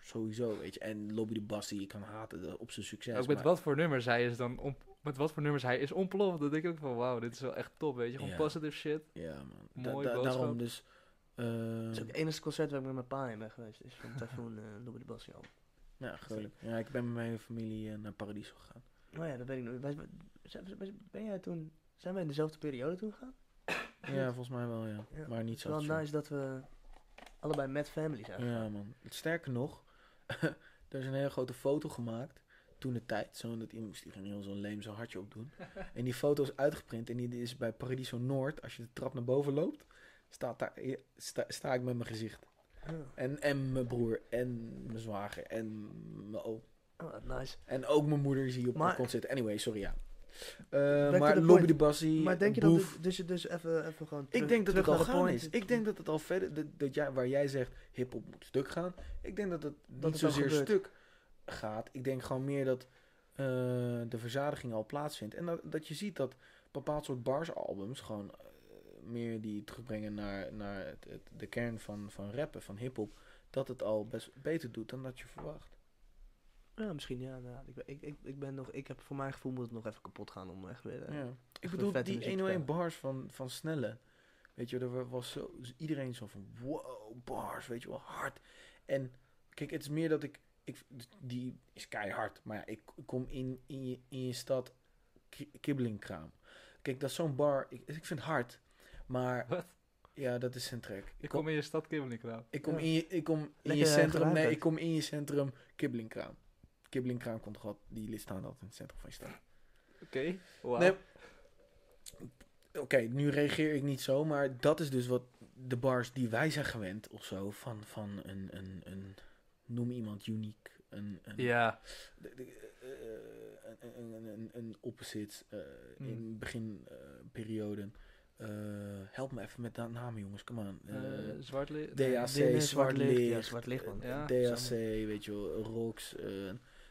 Speaker 3: Sowieso, weet je. En Lobby de Bas die je kan haten de- op zijn succes.
Speaker 4: ook met
Speaker 3: maar-
Speaker 4: wat voor nummers hij is dan om, met wat voor nummers hij is ontploft. Dan denk ik ook van wauw, dit is wel echt top, weet je. Gewoon
Speaker 3: Ja.
Speaker 4: positive shit.
Speaker 3: Ja, man. Da-
Speaker 4: Mooi
Speaker 3: da-
Speaker 4: boodschap.
Speaker 3: daarom dus... ehm,
Speaker 2: Het is ook het enige concert waar ik met mijn pa in ben geweest. Is van Typhoon eh Lobby de Bassi al.
Speaker 3: ja, gruwelijk. Ja, ik ben met mijn hele familie eh, naar Paradiso gegaan.
Speaker 2: Nou ja, dat weet ik nog. Wij- wij- zijn- wij- Ben jij toen... Zijn wij in dezelfde periode toen gegaan?
Speaker 3: Ja, volgens mij wel, ja.
Speaker 2: Ja.
Speaker 3: Maar niet
Speaker 2: Het
Speaker 3: zo
Speaker 2: is wel
Speaker 3: absurd.
Speaker 2: nice dat we allebei met families zijn.
Speaker 3: Ja, man. Sterker nog, er is een hele grote foto gemaakt. Toen de tijd, zo dat iemand moest die ging heel zo'n leem zo'n hartje opdoen. En die foto is uitgeprint en die is bij Paradiso Noord. Als je de trap naar boven loopt, staat daar, eh, sta, sta ik met mijn gezicht.
Speaker 2: Ja.
Speaker 3: En, en mijn broer, en mijn zwager, en mijn oom.
Speaker 2: Oh, wat nice.
Speaker 3: En ook mijn moeder zie je op
Speaker 2: Maar-
Speaker 3: mijn kont zitten. Anyway, sorry ja. Eh,
Speaker 2: to
Speaker 3: maar
Speaker 2: the
Speaker 3: Lobby
Speaker 2: point.
Speaker 3: de Bassie,
Speaker 2: Maar denk je dat
Speaker 3: eh, Boef,
Speaker 2: dit, dus, dus even, even gewoon terug,
Speaker 3: ik denk dat
Speaker 2: terug
Speaker 3: het al
Speaker 2: naar de
Speaker 3: gaan
Speaker 2: point.
Speaker 3: is. Ik denk dat het al verder, dat, dat jij, waar jij zegt hip-hop moet stuk gaan. Ik denk dat het niet
Speaker 2: het al
Speaker 3: zozeer
Speaker 2: gebeurt.
Speaker 3: stuk gaat. Ik denk gewoon meer dat eh, de verzadiging al plaatsvindt. En dat, dat je ziet dat bepaald soort barsalbums gewoon eh, meer die terugbrengen naar, naar het, het- de kern van, van rappen, van hip-hop. Dat het al best beter doet dan dat je verwacht.
Speaker 2: Ja, misschien ja. inderdaad. ik, ben- ik, ik, ik ben nog... Ik heb voor mijn gevoel moet het nog even kapot gaan om echt weer... eh,
Speaker 3: Ja. Ik
Speaker 2: een
Speaker 3: bedoel,
Speaker 2: vette
Speaker 3: die
Speaker 2: muziek te
Speaker 3: 101
Speaker 2: hebben.
Speaker 3: bars van, van Snelle. Weet je, er was zo, dus iedereen zo van, wow, bars, weet je wel, hard. En kijk, het is meer dat ik, ik die is keihard, maar ja, ik kom in, in, je, in je stad ki- kibbelingkraam. Kijk, dat is zo'n bar, ik, ik vind het hard, maar
Speaker 4: Wat?
Speaker 3: ja, dat is zijn track.
Speaker 4: Ik kom in je stad Kimberley
Speaker 3: Ik kom
Speaker 2: Ja.
Speaker 3: in je, ik kom in je
Speaker 2: Lekker, eh,
Speaker 3: centrum.
Speaker 2: geluid
Speaker 3: Nee,
Speaker 2: uit.
Speaker 3: ik kom in je centrum Kibbelingkraam. Kibbelingkraam komt god, die list staan altijd in het centrum van je stad.
Speaker 4: Oké, wauw.
Speaker 3: Nee. Oké, nu reageer ik niet zo, maar dat is dus wat de bars die wij zijn gewend of zo van, van een, een, een noem iemand uniek, een, een,
Speaker 4: Ja,
Speaker 3: de- de- eh, eh, een, een, een, een opposite eh,
Speaker 4: Hmm.
Speaker 3: in beginperiode. help me even met de namen, jongens, come on. Eh,
Speaker 4: eh, zwart licht.
Speaker 3: DAC,
Speaker 2: Nee, nee,
Speaker 3: zwart,
Speaker 2: Ja,
Speaker 3: licht.
Speaker 2: zwart licht, man.
Speaker 4: Ja.
Speaker 3: DAC, weet je wel, Rox, eh,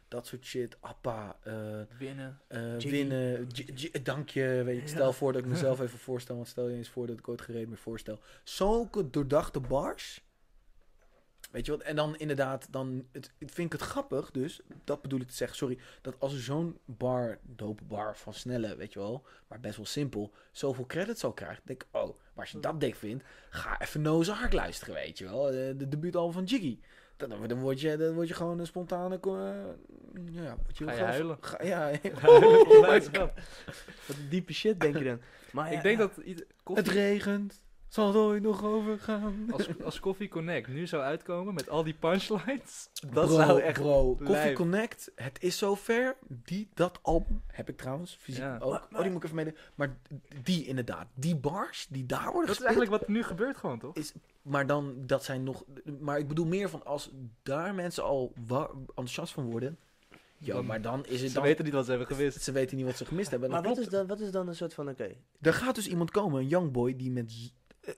Speaker 3: dat soort shit. Appa, eh,
Speaker 4: Winnen.
Speaker 3: eh,
Speaker 2: Jiggy.
Speaker 3: winnen, J- J- dank je. Weet je,
Speaker 2: Ja.
Speaker 3: stel voor dat ik mezelf even voorstel, want stel je eens voor dat ik ooit gereed meer voorstel. Zulke doordachte bars. Weet je wat? En dan inderdaad, dan het, het vind ik het grappig, dus dat bedoel ik te zeggen, sorry, dat als er zo'n bar, dope bar van snelle, weet je wel, maar best wel simpel, zoveel credits al krijgt, denk ik, oh, maar als je dat dik vindt, ga even Noze Ark luisteren, weet je wel, Eh, de debuutalbum van Jiggy. Dan, dan, word je, dan word je gewoon een spontane, eh, ja, word je heel
Speaker 4: Ga je
Speaker 3: grappig.
Speaker 4: huilen?
Speaker 3: Ga- ja, Oh
Speaker 2: Wat een diepe shit denk je dan. Maar ja,
Speaker 4: ik denk
Speaker 2: ja.
Speaker 4: dat ieder- koffie,
Speaker 3: Het regent, zal het ooit nog overgaan.
Speaker 4: als, als Coffee Connect nu zou uitkomen met al die punchlines.
Speaker 2: Dat
Speaker 3: bro,
Speaker 2: zou echt...
Speaker 3: Bro, Coffee
Speaker 2: lijp.
Speaker 3: Connect, het is zover. Die, dat album, heb ik trouwens fysiek
Speaker 4: Ja.
Speaker 3: ook. oh, die moet ik even meedoen. Maar die inderdaad, die bars die daar worden
Speaker 4: Dat is
Speaker 3: gespeeld.
Speaker 4: eigenlijk wat nu gebeurt gewoon, toch?
Speaker 3: Maar dan, dat zijn nog... Maar ik bedoel meer van, als daar mensen al wa- enthousiast van worden... Yo,
Speaker 4: Dan-
Speaker 3: maar dan is het
Speaker 4: Ze
Speaker 3: dan...
Speaker 4: weten niet wat ze hebben gewist.
Speaker 3: Ze weten niet wat ze gemist hebben. En
Speaker 2: Maar
Speaker 3: dan
Speaker 2: wat
Speaker 3: klopt
Speaker 2: is, dan, wat is dan een soort van... Oké,
Speaker 3: Er gaat dus iemand komen, een youngboy, die met... z-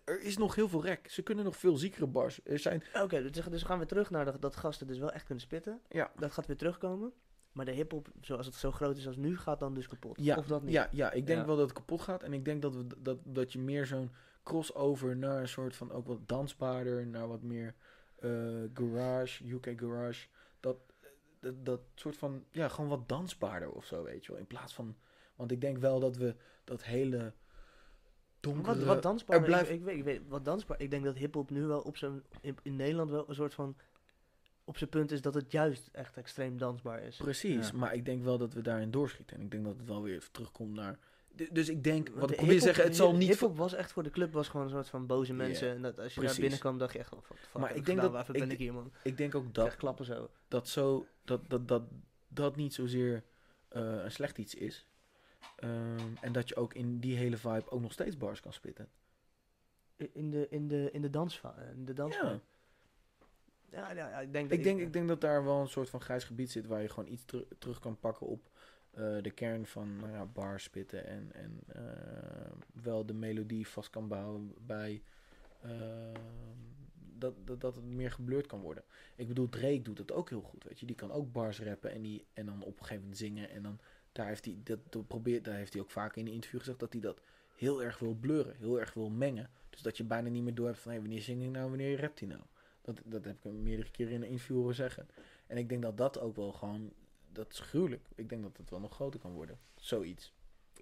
Speaker 3: Er is nog heel veel rek. Ze kunnen nog veel ziekere bars. Er zijn
Speaker 2: Oké, dus, dus gaan we terug naar dat, dat gasten dus wel echt kunnen spitten.
Speaker 3: Ja.
Speaker 2: Dat gaat weer terugkomen. Maar de hiphop, zoals het zo groot is als nu, gaat dan dus kapot.
Speaker 3: Ja,
Speaker 2: of dat niet.
Speaker 3: Ja, ja ik denk
Speaker 4: Ja.
Speaker 3: wel dat het kapot gaat. En ik denk dat, we, d- dat, dat je meer zo'n crossover naar een soort van ook wat dansbaarder, naar wat meer eh, garage, UK garage. Dat, dat, dat soort van, ja, gewoon wat dansbaarder of zo, weet je wel. In plaats van, want ik denk wel dat we dat hele
Speaker 2: Wat,
Speaker 3: donkere...
Speaker 2: wat dansbaar,
Speaker 3: er blijft-
Speaker 2: ik, ik, weet, ik weet, wat dansbaar, ik denk dat hiphop nu wel op zijn, in, in Nederland wel een soort van, op zijn punt is dat het juist echt extreem dansbaar is.
Speaker 3: Precies,
Speaker 4: Ja.
Speaker 3: maar ik denk wel dat we daarin doorschieten. En ik denk dat het wel weer terugkomt naar... D- Dus ik denk,
Speaker 2: Want
Speaker 3: wat
Speaker 2: de
Speaker 3: ik probeer
Speaker 2: hiphop-
Speaker 3: te zeggen, het zal
Speaker 2: hi-
Speaker 3: niet...
Speaker 2: hiphop was echt voor de club, was gewoon een soort van boze mensen. En dat als je daar
Speaker 3: precies.
Speaker 2: binnenkwam, dacht je echt van, fuck,
Speaker 3: Maar
Speaker 2: maar
Speaker 3: ik
Speaker 2: ik
Speaker 3: denk
Speaker 2: gedaan,
Speaker 3: dat-
Speaker 2: waarvoor
Speaker 3: ik
Speaker 2: ben ik
Speaker 3: denk-
Speaker 2: hier, man?
Speaker 3: Ik denk ook
Speaker 2: Dat
Speaker 3: dat
Speaker 2: klappen zo.
Speaker 3: dat zo dat dat dat, dat niet zozeer eh, een slecht iets is. Ehm, en dat je ook in die hele vibe ook nog steeds bars kan spitten.
Speaker 2: In de, in de, in de dansva- in de dans.
Speaker 3: Ja.
Speaker 2: Ja. Ja, ja, ik denk dat
Speaker 3: Ik denk, ik denk dat daar wel een soort van grijs gebied zit waar je gewoon iets teru- terug kan pakken op eh, de kern van nou ja, bars spitten. En, en eh, wel de melodie vast kan bouwen bij ehm, dat, dat, dat het meer geblurred kan worden. Ik bedoel, Drake doet dat ook heel goed. Weet je? Die kan ook bars rappen en, die, en dan op een gegeven moment zingen. En dan daar heeft hij dat dat probeert, daar heeft hij ook vaak in een interview gezegd dat hij dat heel erg wil blurren, heel erg wil mengen. Dus dat je bijna niet meer door hebt van hey, wanneer zing hij nou, wanneer rapt hij nou. Dat, dat heb ik hem meerdere keren in een interview horen zeggen. En ik denk dat dat ook wel gewoon, dat is gruwelijk. Ik denk dat het wel nog groter kan worden. Zoiets.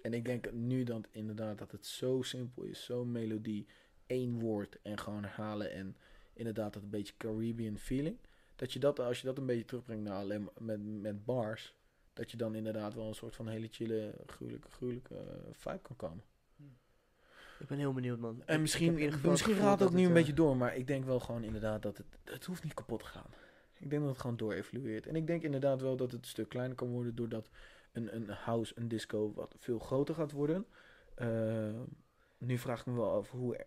Speaker 3: En ik denk nu dan inderdaad dat het zo simpel is, zo'n melodie, één woord en gewoon herhalen en inderdaad dat een beetje Caribbean feeling. Dat je dat, als je dat een beetje terugbrengt naar alleen maar met, met bars, dat je dan inderdaad wel een soort van hele chille, gruwelijke, gruwelijke eh, vibe kan komen.
Speaker 2: Ik ben heel benieuwd, man.
Speaker 3: En
Speaker 2: heb
Speaker 3: misschien,
Speaker 2: in ieder geval
Speaker 3: misschien
Speaker 2: het gevoel
Speaker 3: gaat het ook
Speaker 2: dat
Speaker 3: nu
Speaker 2: het,
Speaker 3: een
Speaker 2: eh,
Speaker 3: beetje door, maar ik denk wel gewoon inderdaad dat het, het hoeft niet kapot te gaan. Ik denk dat het gewoon door evolueert. En ik denk inderdaad wel dat het een stuk kleiner kan worden doordat een, een house, een disco wat veel groter gaat worden. Eh, nu vraag ik me wel af hoe er-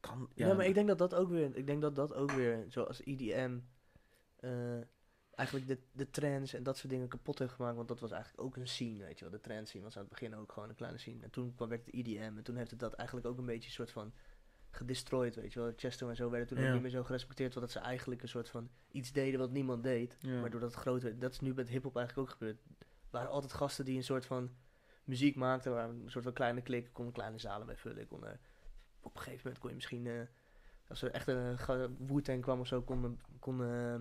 Speaker 3: kan.
Speaker 2: Ja, maar ik denk dat dat ook weer, ik denk dat dat ook weer, zoals EDM, eh, eigenlijk de, de trends en dat soort dingen kapot heeft gemaakt. Want dat was eigenlijk ook een scene, weet je wel. De trend scene was aan het begin ook gewoon een kleine scene. En toen kwam werd de EDM en toen heeft het dat eigenlijk ook een beetje een soort van gedestroyed, weet je wel. Chesto en zo werden toen
Speaker 3: Ja.
Speaker 2: ook niet meer zo gerespecteerd, want dat ze eigenlijk een soort van iets deden wat niemand deed.
Speaker 3: Ja.
Speaker 2: Maar doordat het groot werd, dat is nu met hip-hop eigenlijk ook gebeurd. Er waren altijd gasten die een soort van muziek maakten, waar een soort van kleine klik, kon kleine zalen mee vullen. Ik Kon, eh, op een gegeven moment kon je misschien, eh, als er echt een eh, ga- Wu-Tang kwam of zo, kon, kon eh,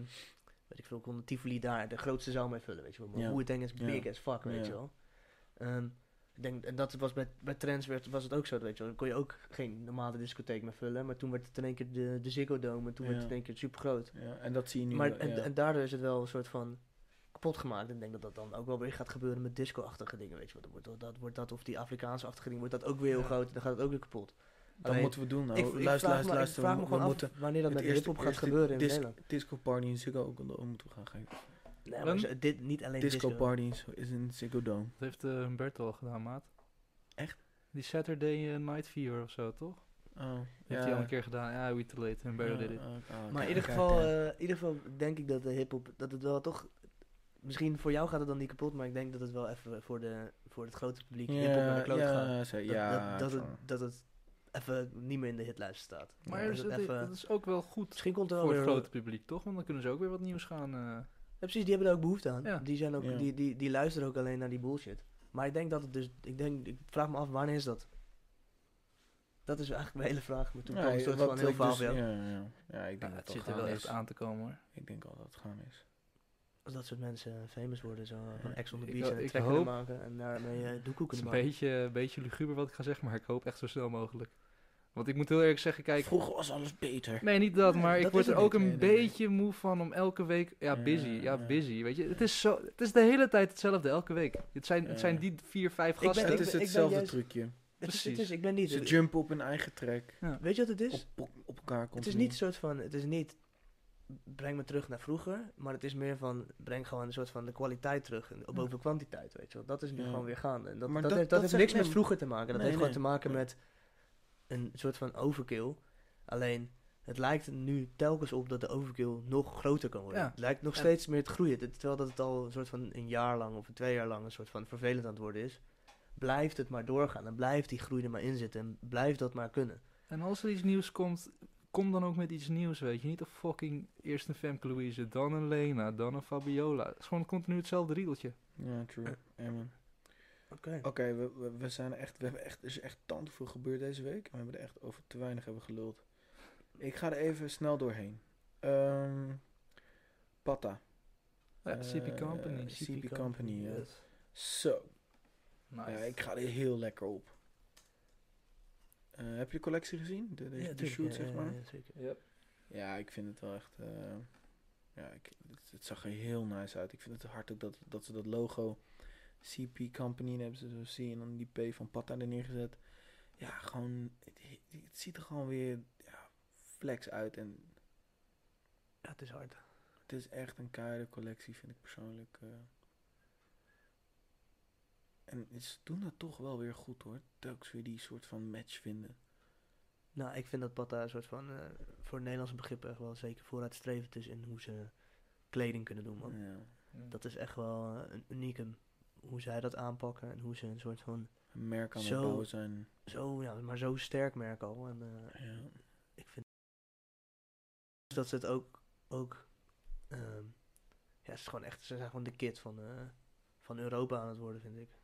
Speaker 2: weet ik veel, kon Tivoli daar de grootste zaal mee vullen, weet je wel. Maar
Speaker 3: Ja.
Speaker 2: Wu-Tang is
Speaker 3: Ja.
Speaker 2: big as fuck, weet
Speaker 3: Ja.
Speaker 2: je wel. Ehm, ik denk, en dat was bij, bij trends werd, was het ook zo, weet je wel. Dan kon je ook geen normale discotheek meer vullen, maar toen werd het in één keer de, de Ziggo Dome en toen werd
Speaker 3: Ja.
Speaker 2: het in één keer super groot.
Speaker 3: Ja, en dat zie je nu.
Speaker 2: Maar
Speaker 3: wel,
Speaker 2: en,
Speaker 3: ja.
Speaker 2: en daardoor is het wel een soort van kapot gemaakt. En ik denk dat dat dan ook wel weer gaat gebeuren met disco-achtige dingen. Weet je, wel. dan wordt dat, dat, wordt dat of die Afrikaanse-achtige dingen, wordt dat ook weer heel
Speaker 3: Ja.
Speaker 2: groot. en Dan gaat het ook weer kapot.
Speaker 3: dat
Speaker 2: alleen-
Speaker 3: moeten we doen. Nou.
Speaker 2: ik,
Speaker 3: luister,
Speaker 2: ik
Speaker 3: luister,
Speaker 2: vraag me,
Speaker 3: luister.
Speaker 2: Ik vraag
Speaker 3: we
Speaker 2: me gewoon
Speaker 3: we
Speaker 2: af
Speaker 3: moeten
Speaker 2: wanneer dat
Speaker 3: het
Speaker 2: met
Speaker 3: eerste-
Speaker 2: hip-hop gaat
Speaker 3: eerste
Speaker 2: gebeuren in
Speaker 3: disc-
Speaker 2: Nederland.
Speaker 3: disco party in Ziggo ook al- moeten we gaan geven.
Speaker 2: Nee, maar
Speaker 4: Waarom?
Speaker 2: ze- dit, niet alleen disco.
Speaker 3: Disco party in- is in Ziggo Dome.
Speaker 4: Dat heeft eh Humberto al gedaan, maat.
Speaker 3: Echt?
Speaker 4: Die Saturday eh, Night Fever of zo, toch?
Speaker 3: Oh,
Speaker 4: Heeft hij al een keer gedaan. Ja, we too late. Humberto did it.
Speaker 2: Maar in ieder, geval, eh, in ieder geval denk ik dat de hip-hop, dat het wel toch. Misschien voor jou gaat het dan niet kapot, maar ik denk dat het wel even voor, de, voor het grote publiek hip-hop naar de kloot gaat.
Speaker 3: eh, ja, ze-
Speaker 2: Dat,
Speaker 3: ja,
Speaker 2: dat, dat,
Speaker 3: zo.
Speaker 2: het, dat het even niet meer in de hitlijst staat.
Speaker 4: Maar
Speaker 2: Ja.
Speaker 4: er is-
Speaker 2: Dat
Speaker 4: dat,
Speaker 2: even-
Speaker 4: dat is ook wel goed
Speaker 2: Misschien komt er wel
Speaker 4: voor het
Speaker 2: weer
Speaker 4: grote publiek, toch? Want dan kunnen ze ook weer wat nieuws gaan. eh.
Speaker 2: Ja, precies, die hebben er ook behoefte aan.
Speaker 4: Ja.
Speaker 2: Die, zijn ook,
Speaker 3: Ja.
Speaker 2: die, die, die luisteren ook alleen naar die bullshit. Maar ik denk dat het dus, ik, denk, ik vraag me af, wanneer is dat? Dat is eigenlijk mijn hele vraag. Maar toen kwam een soort
Speaker 3: wat
Speaker 2: van heel
Speaker 3: ik
Speaker 2: verhaal
Speaker 3: dus-
Speaker 2: van, ja,
Speaker 3: ja, ja, ja, ik
Speaker 4: Ja,
Speaker 3: denk dat
Speaker 4: het
Speaker 3: dat
Speaker 4: zit er
Speaker 3: gaan
Speaker 4: wel
Speaker 3: is.
Speaker 4: echt aan te komen hoor.
Speaker 3: Ik denk al dat het gaan is.
Speaker 2: Als dat soort mensen eh, famous worden, zo van
Speaker 3: Ja.
Speaker 2: Ex on the
Speaker 4: Ik-
Speaker 2: Beach en een
Speaker 4: ik
Speaker 2: track kunnen
Speaker 4: hoop-
Speaker 2: maken en daarmee eh doekoe
Speaker 4: Het is
Speaker 2: kunnen
Speaker 4: een
Speaker 2: maken.
Speaker 4: beetje, een beetje luguber wat ik ga zeggen, maar ik hoop echt zo snel mogelijk. Want ik moet heel eerlijk zeggen, kijk...
Speaker 3: Vroeger was alles beter.
Speaker 4: Nee, niet dat, maar
Speaker 3: Nee,
Speaker 4: ik
Speaker 3: dat
Speaker 4: word
Speaker 3: is
Speaker 4: er
Speaker 3: het
Speaker 4: ook
Speaker 3: niet.
Speaker 4: een
Speaker 3: Nee, nee, nee.
Speaker 4: beetje moe van om elke week... Ja,
Speaker 3: Ja,
Speaker 4: busy, ja,
Speaker 3: ja.
Speaker 4: busy, weet je. Het is, zo, het is de hele tijd hetzelfde, elke week. Het zijn, het zijn
Speaker 3: Ja.
Speaker 4: die vier, vijf
Speaker 2: ben-
Speaker 4: gasten.
Speaker 2: ik
Speaker 3: Het
Speaker 2: ben-
Speaker 3: is
Speaker 2: ik ben
Speaker 3: hetzelfde
Speaker 2: juist-
Speaker 3: trucje.
Speaker 2: Het is, het
Speaker 4: Precies.
Speaker 2: is, ik ben niet...
Speaker 3: Ze jumpen op hun eigen track.
Speaker 2: weet je wat het
Speaker 3: Op,
Speaker 2: is?
Speaker 3: op, op elkaar komt.
Speaker 2: Het is niet een soort van, het is niet, breng me terug naar vroeger, maar het is meer van, breng gewoon een soort van de kwaliteit terug en op
Speaker 4: Ja.
Speaker 2: boven kwantiteit, weet je wel. Dat is nu
Speaker 3: Ja.
Speaker 2: gewoon weer gaan. En dat,
Speaker 3: Maar
Speaker 2: dat,
Speaker 3: dat-
Speaker 2: heeft,
Speaker 3: dat
Speaker 2: dat heeft
Speaker 3: zegt-
Speaker 2: niks
Speaker 3: nee,
Speaker 2: met vroeger te maken. Dat
Speaker 3: nee,
Speaker 2: heeft gewoon
Speaker 3: nee.
Speaker 2: te maken
Speaker 3: Nee.
Speaker 2: met een soort van overkill. Alleen, het lijkt nu telkens op dat de overkill nog groter kan worden.
Speaker 4: Ja.
Speaker 2: Het lijkt nog
Speaker 4: En-
Speaker 2: steeds meer te groeien. Dit- Terwijl dat het al een soort van een jaar lang of twee jaar lang een soort van vervelend aan het worden is. Blijft het maar doorgaan en blijft die groei er maar in zitten en blijft dat maar kunnen.
Speaker 4: En als er iets nieuws komt, kom dan ook met iets nieuws, weet je. Niet een fucking eerst een Femke Louise, dan een Lena, dan een Fabiola. Het is gewoon continu hetzelfde riedeltje.
Speaker 3: Ja, true.
Speaker 2: Eh.
Speaker 3: Amen.
Speaker 2: Oké.
Speaker 3: Oké, we, we, we zijn echt, we hebben echt, er is echt tant veel gebeurd deze week. We hebben er echt over te weinig hebben geluld. Ik ga er even snel doorheen. Ehm Patta.
Speaker 4: Ja, CP
Speaker 3: Eh,
Speaker 4: Company.
Speaker 3: CP Company, ja. Zo.
Speaker 4: Nice.
Speaker 3: Ja, ik ga er heel lekker op. Eh, heb je de collectie gezien? De, de, de shoot, zeg maar? Ja, ik vind het wel echt. eh, ja, ik, het, het zag er heel nice uit. Ik vind het hard ook dat, dat ze dat logo CP Company, en hebben ze zo'n C en dan die P van Patta er neergezet. Ja, gewoon, het, het ziet er gewoon weer ja, flex uit en
Speaker 2: Ja, het is hard.
Speaker 3: het is echt een keiharde collectie, vind ik persoonlijk. eh. En ze doen dat toch wel weer goed hoor, telkens weer die soort van match vinden.
Speaker 2: Nou, ik vind dat Patta een soort van, eh, voor Nederlandse begrippen echt wel zeker vooruitstrevend is in hoe ze kleding kunnen doen, man.
Speaker 3: Ja.
Speaker 2: Dat is echt wel eh, een unicum. Hoe zij dat aanpakken en hoe ze een soort van,
Speaker 3: Een merk aan het
Speaker 2: Zo.
Speaker 3: bouwen zijn.
Speaker 2: zo, ja, maar zo sterk merk al. En eh,
Speaker 3: Ja.
Speaker 2: ik vind dat ze het ook, ook ehm, ja, het is gewoon echt, ze zijn gewoon de kid van, eh, van Europa aan het worden, vind ik.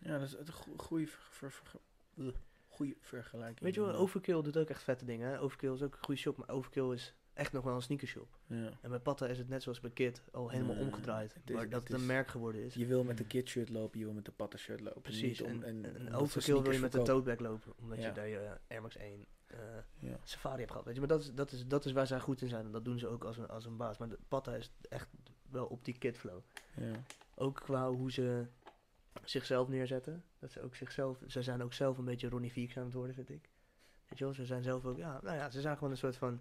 Speaker 3: Ja, dat is een goede ver, ver- eh, goeie vergelijking.
Speaker 2: Weet je wel,
Speaker 3: inderdaad.
Speaker 2: Overkill doet ook echt vette dingen. Hè? Overkill is ook een goede shop, maar Overkill is echt nog wel een sneakershop.
Speaker 3: Ja.
Speaker 2: En bij Patta is het net zoals bij Kid al helemaal
Speaker 3: Nee,
Speaker 2: omgedraaid.
Speaker 3: het is-
Speaker 2: maar dat
Speaker 3: het
Speaker 2: het een
Speaker 3: is-
Speaker 2: merk geworden is.
Speaker 3: Je wil met de kidshirt lopen, je wil met de pattenshirt lopen.
Speaker 2: Precies.
Speaker 3: Niet om-
Speaker 2: en, en,
Speaker 3: omdat ze
Speaker 2: Overkill wil je
Speaker 3: sneakers
Speaker 2: met de
Speaker 3: verkopen.
Speaker 2: toteback lopen. Omdat
Speaker 3: Ja.
Speaker 2: je daar je eh, Air Max 1 eh,
Speaker 3: Ja.
Speaker 2: safari hebt gehad. Weet je? Maar dat is, dat, is, dat is waar zij goed in zijn. En dat doen ze ook als een, als een baas. Maar de- Patta is echt wel op die Kid flow.
Speaker 3: Ja.
Speaker 2: Ook qua hoe ze zichzelf neerzetten. Dat ze ook zichzelf... Ze zijn ook zelf een beetje Ronnie Vieks aan het worden, vind ik. Weet je wel, ze zijn zelf ook... Ja, nou ja, ze zijn gewoon een soort van...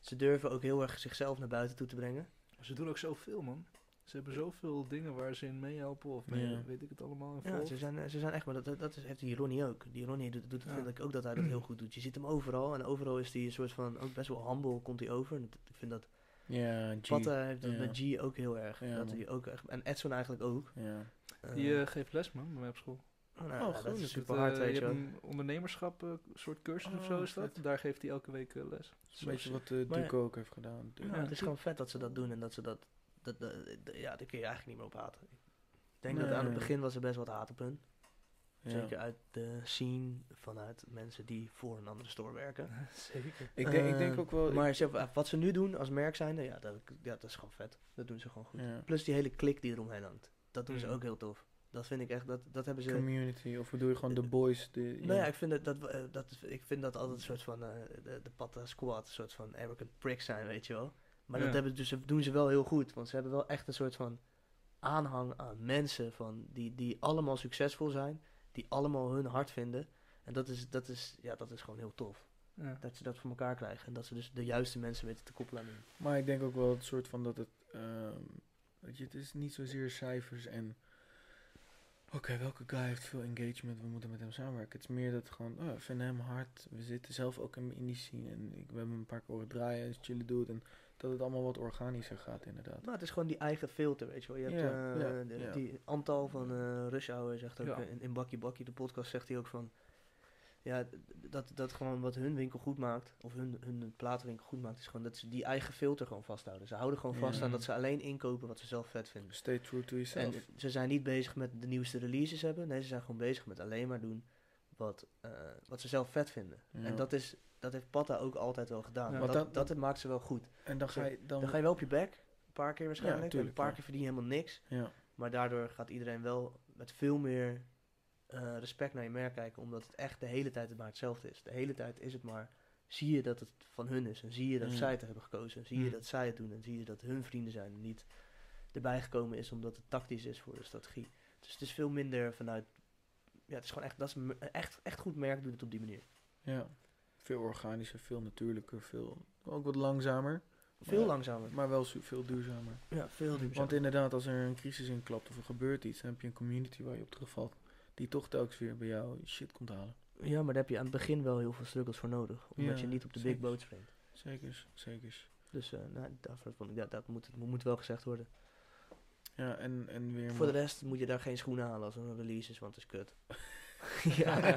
Speaker 2: Ze durven ook heel erg zichzelf naar buiten toe te brengen.
Speaker 4: Ze doen ook zoveel, man. Ze hebben zoveel dingen waar ze in meehelpen of mee,
Speaker 3: Ja.
Speaker 4: weet ik het allemaal. in
Speaker 2: Ja,
Speaker 4: volgen.
Speaker 2: ze zijn, eh, ze zijn echt... Maar dat, dat- dat is, heeft die Ronnie ook. Die Ronnie doet, doet
Speaker 4: Ja.
Speaker 2: vind ik ook dat hij dat
Speaker 3: Mm.
Speaker 2: heel goed doet. Je ziet hem overal. En overal is hij een soort van... Ook best wel humble komt hij over. En dat- ik vind dat...
Speaker 3: Ja, G.
Speaker 2: Patta heeft dat
Speaker 3: ja.
Speaker 2: met G ook heel erg.
Speaker 3: Ja,
Speaker 2: dat
Speaker 3: man.
Speaker 2: hij ook echt, en Edson eigenlijk ook.
Speaker 3: Ja.
Speaker 2: Eh,
Speaker 4: Die eh, geeft les, man, bij mij op school.
Speaker 2: nou,
Speaker 3: oh,
Speaker 2: ja,
Speaker 3: goed,
Speaker 2: dat
Speaker 3: dat
Speaker 2: is
Speaker 3: is
Speaker 2: super hard,
Speaker 4: Eh,
Speaker 2: weet je
Speaker 4: hebt
Speaker 2: wel.
Speaker 4: een ondernemerschap eh, soort cursus of
Speaker 3: Oh,
Speaker 4: zo is dat.
Speaker 3: vet.
Speaker 4: Daar geeft hij elke week eh, les.
Speaker 3: Dat is een beetje wat eh,
Speaker 2: Maar ja.
Speaker 3: Duco ook heeft gedaan.
Speaker 2: Ja,
Speaker 3: natuurlijk.
Speaker 2: het is gewoon vet dat ze dat doen en dat ze dat, dat, dat- dat- ja, daar kun je eigenlijk niet meer op haten. Ik denk dat aan het
Speaker 3: Nee.
Speaker 2: begin was er best wat haat op hun.
Speaker 3: Ja.
Speaker 2: Zeker uit de scene vanuit mensen die voor een andere store werken.
Speaker 4: Zeker.
Speaker 3: Ik, denk ik denk
Speaker 2: Eh,
Speaker 3: ook wel...
Speaker 2: Maar ze, eh, wat ze nu doen als merk zijnde, ja dat, ja, dat is gewoon vet. Dat doen ze gewoon goed.
Speaker 3: ja. Mm.
Speaker 2: Plus die hele klik die eromheen hangt. Dat doen ze
Speaker 4: Mhm.
Speaker 2: ook heel tof. Dat vind ik echt, dat, dat hebben ze...
Speaker 3: Community, of bedoel je gewoon de boys? De,
Speaker 2: Nou ja, ik vind dat, dat, we- eh, dat, ik vind dat altijd een soort van eh, de, de patta squad, een soort van arrogant pricks zijn, weet je wel. Maar dat
Speaker 4: Ja.
Speaker 2: hebben, dus, dat doen ze wel heel goed, want ze hebben wel echt een soort van aanhang aan mensen van die, die allemaal succesvol zijn, die allemaal hun hart vinden. En dat is, dat, is, ja, dat is gewoon heel tof,
Speaker 4: Ja.
Speaker 2: dat ze dat voor elkaar krijgen. En dat ze dus de juiste mensen weten te koppelen aan hun.
Speaker 3: Maar ik denk ook wel het soort van dat het. ehm, weet je, het is niet zozeer cijfers en. Oké, welke guy heeft veel engagement? We moeten met hem samenwerken. Het is meer dat gewoon, oh, we vinden hem hard. We zitten zelf ook in, in die scene. En ik, we hebben een paar keer horen draaien en chillen doet. En dat het allemaal wat organischer gaat, inderdaad.
Speaker 2: Maar het is gewoon die eigen filter, weet je wel. Je hebt
Speaker 3: Ja,
Speaker 2: eh,
Speaker 3: ja,
Speaker 2: de-
Speaker 3: ja.
Speaker 2: die Antal van eh Rush Hour zegt ook
Speaker 4: Ja.
Speaker 2: eh, in, in Bakkie Bakkie, de podcast, zegt hij ook van... Ja, d- dat, dat gewoon wat hun winkel goed maakt, of hun, hun platenwinkel goed maakt, is gewoon dat ze die eigen filter gewoon vasthouden. Ze houden gewoon vast
Speaker 3: Ja.
Speaker 2: aan dat ze alleen inkopen wat ze zelf vet vinden.
Speaker 3: Stay true to
Speaker 2: En
Speaker 3: yourself.
Speaker 2: ze zijn niet bezig met de nieuwste releases hebben. Nee, ze zijn gewoon bezig met alleen maar doen wat, eh, wat ze zelf vet vinden.
Speaker 3: Ja.
Speaker 2: En dat, is, dat heeft Patta ook altijd wel gedaan.
Speaker 4: Ja.
Speaker 2: Dat,
Speaker 3: Want
Speaker 2: dat,
Speaker 3: dat-
Speaker 2: maakt ze wel goed.
Speaker 3: en dan ga je. Dan,
Speaker 2: Dan ga je wel op je bek, een paar keer waarschijnlijk. en een
Speaker 3: tuurlijk,
Speaker 2: paar
Speaker 3: ja.
Speaker 2: keer verdien je helemaal niks.
Speaker 3: ja.
Speaker 2: Maar daardoor gaat iedereen wel met veel meer eh, respect naar je merk kijken. Omdat het echt de hele tijd het maar hetzelfde is. De hele tijd is het maar. Zie je dat het van hun is. En zie je dat
Speaker 3: Mm.
Speaker 2: zij het hebben gekozen. En zie je
Speaker 4: Mm.
Speaker 2: dat zij het doen. En zie je dat hun vrienden zijn. En niet erbij gekomen is omdat het tactisch is voor de strategie. Dus het is veel minder vanuit. Ja, het is gewoon echt. Dat is een me- een echt, echt goed merk doet het op die manier.
Speaker 3: ja. Veel organischer, veel natuurlijker, veel. Ook wat langzamer,
Speaker 2: Veel
Speaker 3: Ja.
Speaker 2: langzamer.
Speaker 3: maar wel su- veel duurzamer.
Speaker 2: Ja, veel duurzamer.
Speaker 3: Want inderdaad, als er een crisis in klapt of er gebeurt iets, dan heb je een community waar je op terugvalt. Die toch telkens weer bij jou shit komt halen.
Speaker 2: Ja, maar daar heb je aan het begin wel heel veel struggles voor nodig. Omdat
Speaker 3: Ja,
Speaker 2: je niet op de big
Speaker 3: zeker.
Speaker 2: boat springt.
Speaker 3: Zekers, zekers.
Speaker 2: Dus eh, nou, daarvoor vond ik, ja, dat moet, moet wel gezegd worden.
Speaker 3: Ja, en, en weer...
Speaker 2: Voor de
Speaker 3: maar-
Speaker 2: rest moet je daar geen schoenen halen als er een release is, want het is kut.
Speaker 3: nee,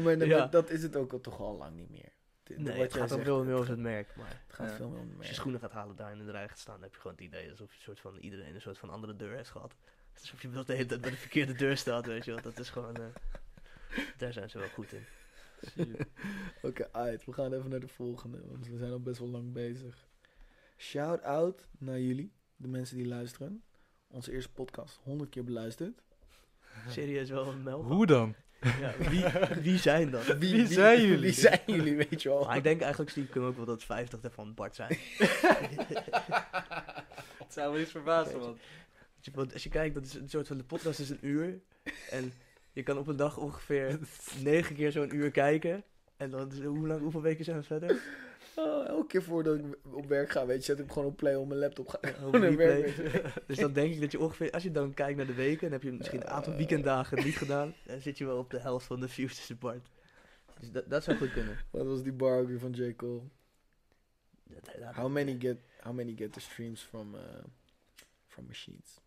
Speaker 3: maar, nee, maar
Speaker 2: Ja.
Speaker 3: dat is het ook al, toch al lang niet meer. D-
Speaker 2: Nee,
Speaker 3: d- wat
Speaker 2: het
Speaker 3: jij
Speaker 2: gaat dan
Speaker 3: zegt,
Speaker 2: veel meer
Speaker 3: het
Speaker 2: over het merk. Maar
Speaker 3: gaat- Het gaat
Speaker 4: Ja.
Speaker 3: veel meer om de
Speaker 2: als je
Speaker 3: merk.
Speaker 2: schoenen gaat halen daar en in de rij gaat staan, dan heb je gewoon het idee alsof je een soort van iedereen een soort van andere deur heeft gehad. Alsof je wel de hele tijd bij de verkeerde deur staat, weet je wel. Dat is gewoon... eh, daar zijn ze wel goed in.
Speaker 3: Oké, uit. We gaan even naar de volgende, want we zijn al best wel lang bezig. Shout-out naar jullie, de mensen die luisteren. Onze eerste podcast, 100 keer beluisterd.
Speaker 2: Serieus wel een melk.
Speaker 4: Hoe dan?
Speaker 2: Ja, wie, wie zijn dat?
Speaker 4: Wie zijn jullie?
Speaker 3: Wie zijn jullie, weet je wel?
Speaker 2: Maar ik denk eigenlijk, stiekem ook wel dat 50 daarvan Bart zijn.
Speaker 4: Het zou wel eens verbazen,
Speaker 2: Jeetje.
Speaker 4: man.
Speaker 2: Want als je kijkt, dat is een soort van de podcast is een uur. En je kan op een dag ongeveer negen keer zo'n uur kijken. En dan, is- hoe lang, hoeveel weken zijn we verder?
Speaker 3: Oh, elke keer voordat ik op werk ga, weet je, zet ik hem gewoon op play op mijn laptop. Ga,
Speaker 2: Hoe
Speaker 3: Gewoon een
Speaker 2: replay.
Speaker 3: werkweek.
Speaker 2: Dus dan denk ik dat je ongeveer, als je dan kijkt naar de weken, dan heb je misschien een aantal
Speaker 3: Eh.
Speaker 2: weekenddagen niet gedaan. Dan zit je wel op de helft van de views support. Dus dat, dat zou goed kunnen.
Speaker 3: Wat was die bar ook weer van J. Cole?
Speaker 2: Dat, dat-
Speaker 3: How many get, how many get the streams from, eh, from machines?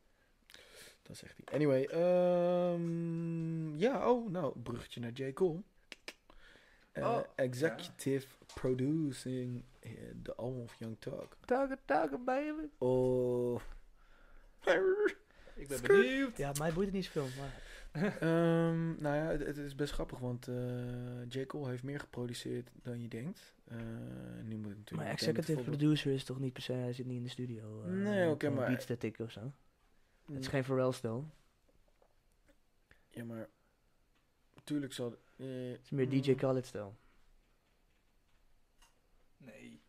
Speaker 3: Dat zegt hij. Anyway, ehm, ja, oh, nou, bruggetje naar J. Cole. Eh,
Speaker 2: Oh,
Speaker 3: executive producing eh, the album of Young Talk.
Speaker 2: Talk, talk, baby.
Speaker 3: Oh.
Speaker 4: Ik ben benieuwd.
Speaker 2: Ja, mij boeit het niet zoveel, maar...
Speaker 3: Ehm, nou ja, het, het is best grappig, want eh J. Cole heeft meer geproduceerd dan je denkt. Eh, nu moet ik natuurlijk... meteen
Speaker 2: Maar
Speaker 3: met
Speaker 2: executive
Speaker 3: voorbeeld-
Speaker 2: producer is toch niet per se, hij zit niet in de studio. eh,
Speaker 3: Nee,
Speaker 2: om
Speaker 3: oké,
Speaker 2: een
Speaker 3: maar- Mm.
Speaker 2: Beats te tikken of zo. Het is geen Pharrell Stone.
Speaker 3: Ja, maar... Tuurlijk zal... eh,
Speaker 2: Het is meer DJ Khaled stijl.
Speaker 4: Nee,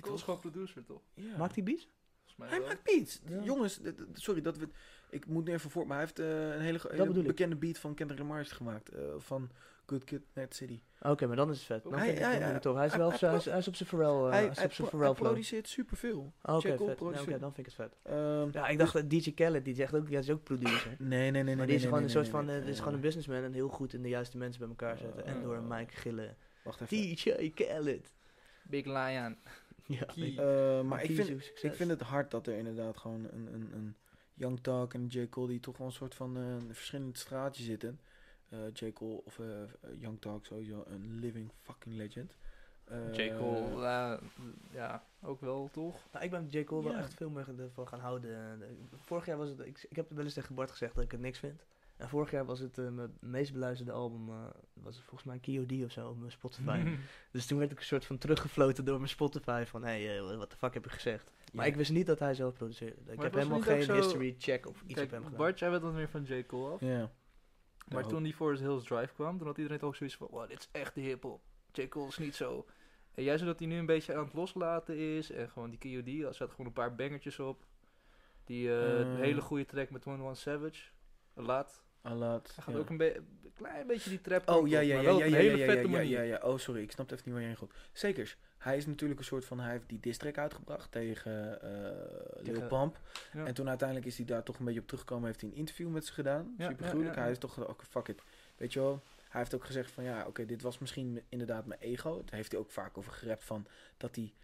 Speaker 4: Cole is
Speaker 3: toch?
Speaker 4: gewoon producer toch?
Speaker 3: Ja.
Speaker 2: Maakt hij beats?
Speaker 4: Volgens mij
Speaker 3: Hij
Speaker 4: wel.
Speaker 3: maakt beats.
Speaker 2: Ja.
Speaker 3: Jongens, d- d- sorry dat we... Ik moet nu even voor... Maar hij heeft eh, een hele, ge- hele
Speaker 2: bedoel ik.
Speaker 3: bekende beat van Kendrick Lamar heeft gemaakt. eh, van Good Kid, Mad City.
Speaker 2: Oké, maar dan is het vet. Dan
Speaker 3: Hij-
Speaker 2: vind ik
Speaker 3: hij-
Speaker 2: het wel
Speaker 3: hij-
Speaker 2: tof. Hij is
Speaker 3: hij-
Speaker 2: wel op
Speaker 3: hij
Speaker 2: zijn-
Speaker 3: pro-
Speaker 2: hij is op zijn Pharrell, eh,
Speaker 3: hij
Speaker 2: hij is
Speaker 3: hij,
Speaker 2: op zijn
Speaker 3: pro-
Speaker 2: Pharrell
Speaker 3: hij
Speaker 2: flow.
Speaker 3: produceert superveel.
Speaker 2: Oh, Oké,
Speaker 3: J. Cole
Speaker 2: vet. Nee, Oké,
Speaker 3: produceert.
Speaker 2: dan vind ik het vet.
Speaker 3: Ehm,
Speaker 2: Ja, ik dacht dat DJ Khaled, die zegt ook, die is ook producer.
Speaker 3: Nee, nee, nee, nee.
Speaker 2: maar
Speaker 3: nee,
Speaker 2: die is
Speaker 3: nee,
Speaker 2: gewoon
Speaker 3: nee,
Speaker 2: een soort
Speaker 3: nee,
Speaker 2: van,
Speaker 3: nee,
Speaker 2: eh, dit is
Speaker 3: nee, Oh.
Speaker 2: gewoon een
Speaker 3: nee.
Speaker 2: businessman en heel goed in de juiste mensen bij elkaar zetten. en door een mic gillen.
Speaker 3: Wacht even.
Speaker 2: DJ Khaled.
Speaker 4: Big Lion.
Speaker 2: Ja.
Speaker 4: Key.
Speaker 3: Eh, maar ik
Speaker 2: Key
Speaker 3: vind,
Speaker 2: to success.
Speaker 3: ik vind het hard dat er inderdaad gewoon een, een, een Young Talk en J. Cole die toch wel een soort van eh, een verschillend straatje zitten. Eh J. Cole of eh, eh, Young Talk sowieso een living fucking legend. Eh,
Speaker 4: J. Cole, eh, ja, ook wel toch?
Speaker 2: Nou, ik ben J. Cole wel
Speaker 3: Ja.
Speaker 2: echt veel meer ge- van gaan houden. Eh, Vorig jaar was het, ik, ik heb wel eens tegen Bart gezegd dat ik het niks vind. En vorig jaar was het eh, mijn meest beluisterde album, eh, was volgens mij KOD of zo op mijn
Speaker 4: Mhm.
Speaker 2: Spotify. dus toen werd ik een soort van teruggefloten door mijn Spotify van, hé, hey, wat de fuck heb ik gezegd? Maar
Speaker 3: ja.
Speaker 2: ik wist niet dat hij zelf produceerde. Ik
Speaker 4: was
Speaker 2: heb
Speaker 4: het
Speaker 2: helemaal
Speaker 4: niet ook
Speaker 2: geen
Speaker 4: zo-
Speaker 2: history check of iets op hem
Speaker 4: Kijk,
Speaker 2: gedaan.
Speaker 4: Bart, jij bent dan weer van J. Cole af.
Speaker 3: Ja.
Speaker 4: Maar
Speaker 3: Ja,
Speaker 4: toen die Forest Hills Drive kwam, toen had iedereen toch zoiets van, wow, dit is echt de hiphop. J. Cole is niet zo. En juist omdat hij nu een beetje aan het loslaten is, en gewoon die K.O.D., daar zaten gewoon een paar bangertjes op. Die eh,
Speaker 3: Eh.
Speaker 4: hele goede track met 101 Savage, Laat.
Speaker 3: Alat.
Speaker 4: Hij gaat
Speaker 3: ja.
Speaker 4: ook een, be- een klein beetje die trap kant
Speaker 3: Oh
Speaker 4: op,
Speaker 3: ja, ja,
Speaker 4: maar
Speaker 3: ja,
Speaker 4: wel
Speaker 3: ja,
Speaker 4: op een
Speaker 3: ja,
Speaker 4: hele
Speaker 3: ja,
Speaker 4: vette
Speaker 3: ja,
Speaker 4: manier.
Speaker 3: ja, ja. Oh, sorry, ik snapte even niet waar je heen gaat. Zekers, hij is natuurlijk een soort van, hij heeft die district uitgebracht tegen eh Lil
Speaker 2: Tegen-
Speaker 3: Pump.
Speaker 4: Ja.
Speaker 3: En toen uiteindelijk is hij daar toch een beetje op teruggekomen, heeft hij een interview met ze gedaan.
Speaker 4: Ja,
Speaker 3: Super
Speaker 4: ja,
Speaker 3: gruwelijk.
Speaker 4: ja,
Speaker 3: Hij
Speaker 4: ja.
Speaker 3: is toch, ge- oké, fuck it. Weet je wel, hij heeft ook gezegd van, ja, oké, dit was misschien m- inderdaad mijn ego. Daar heeft hij ook vaak over gerept van, dat hij...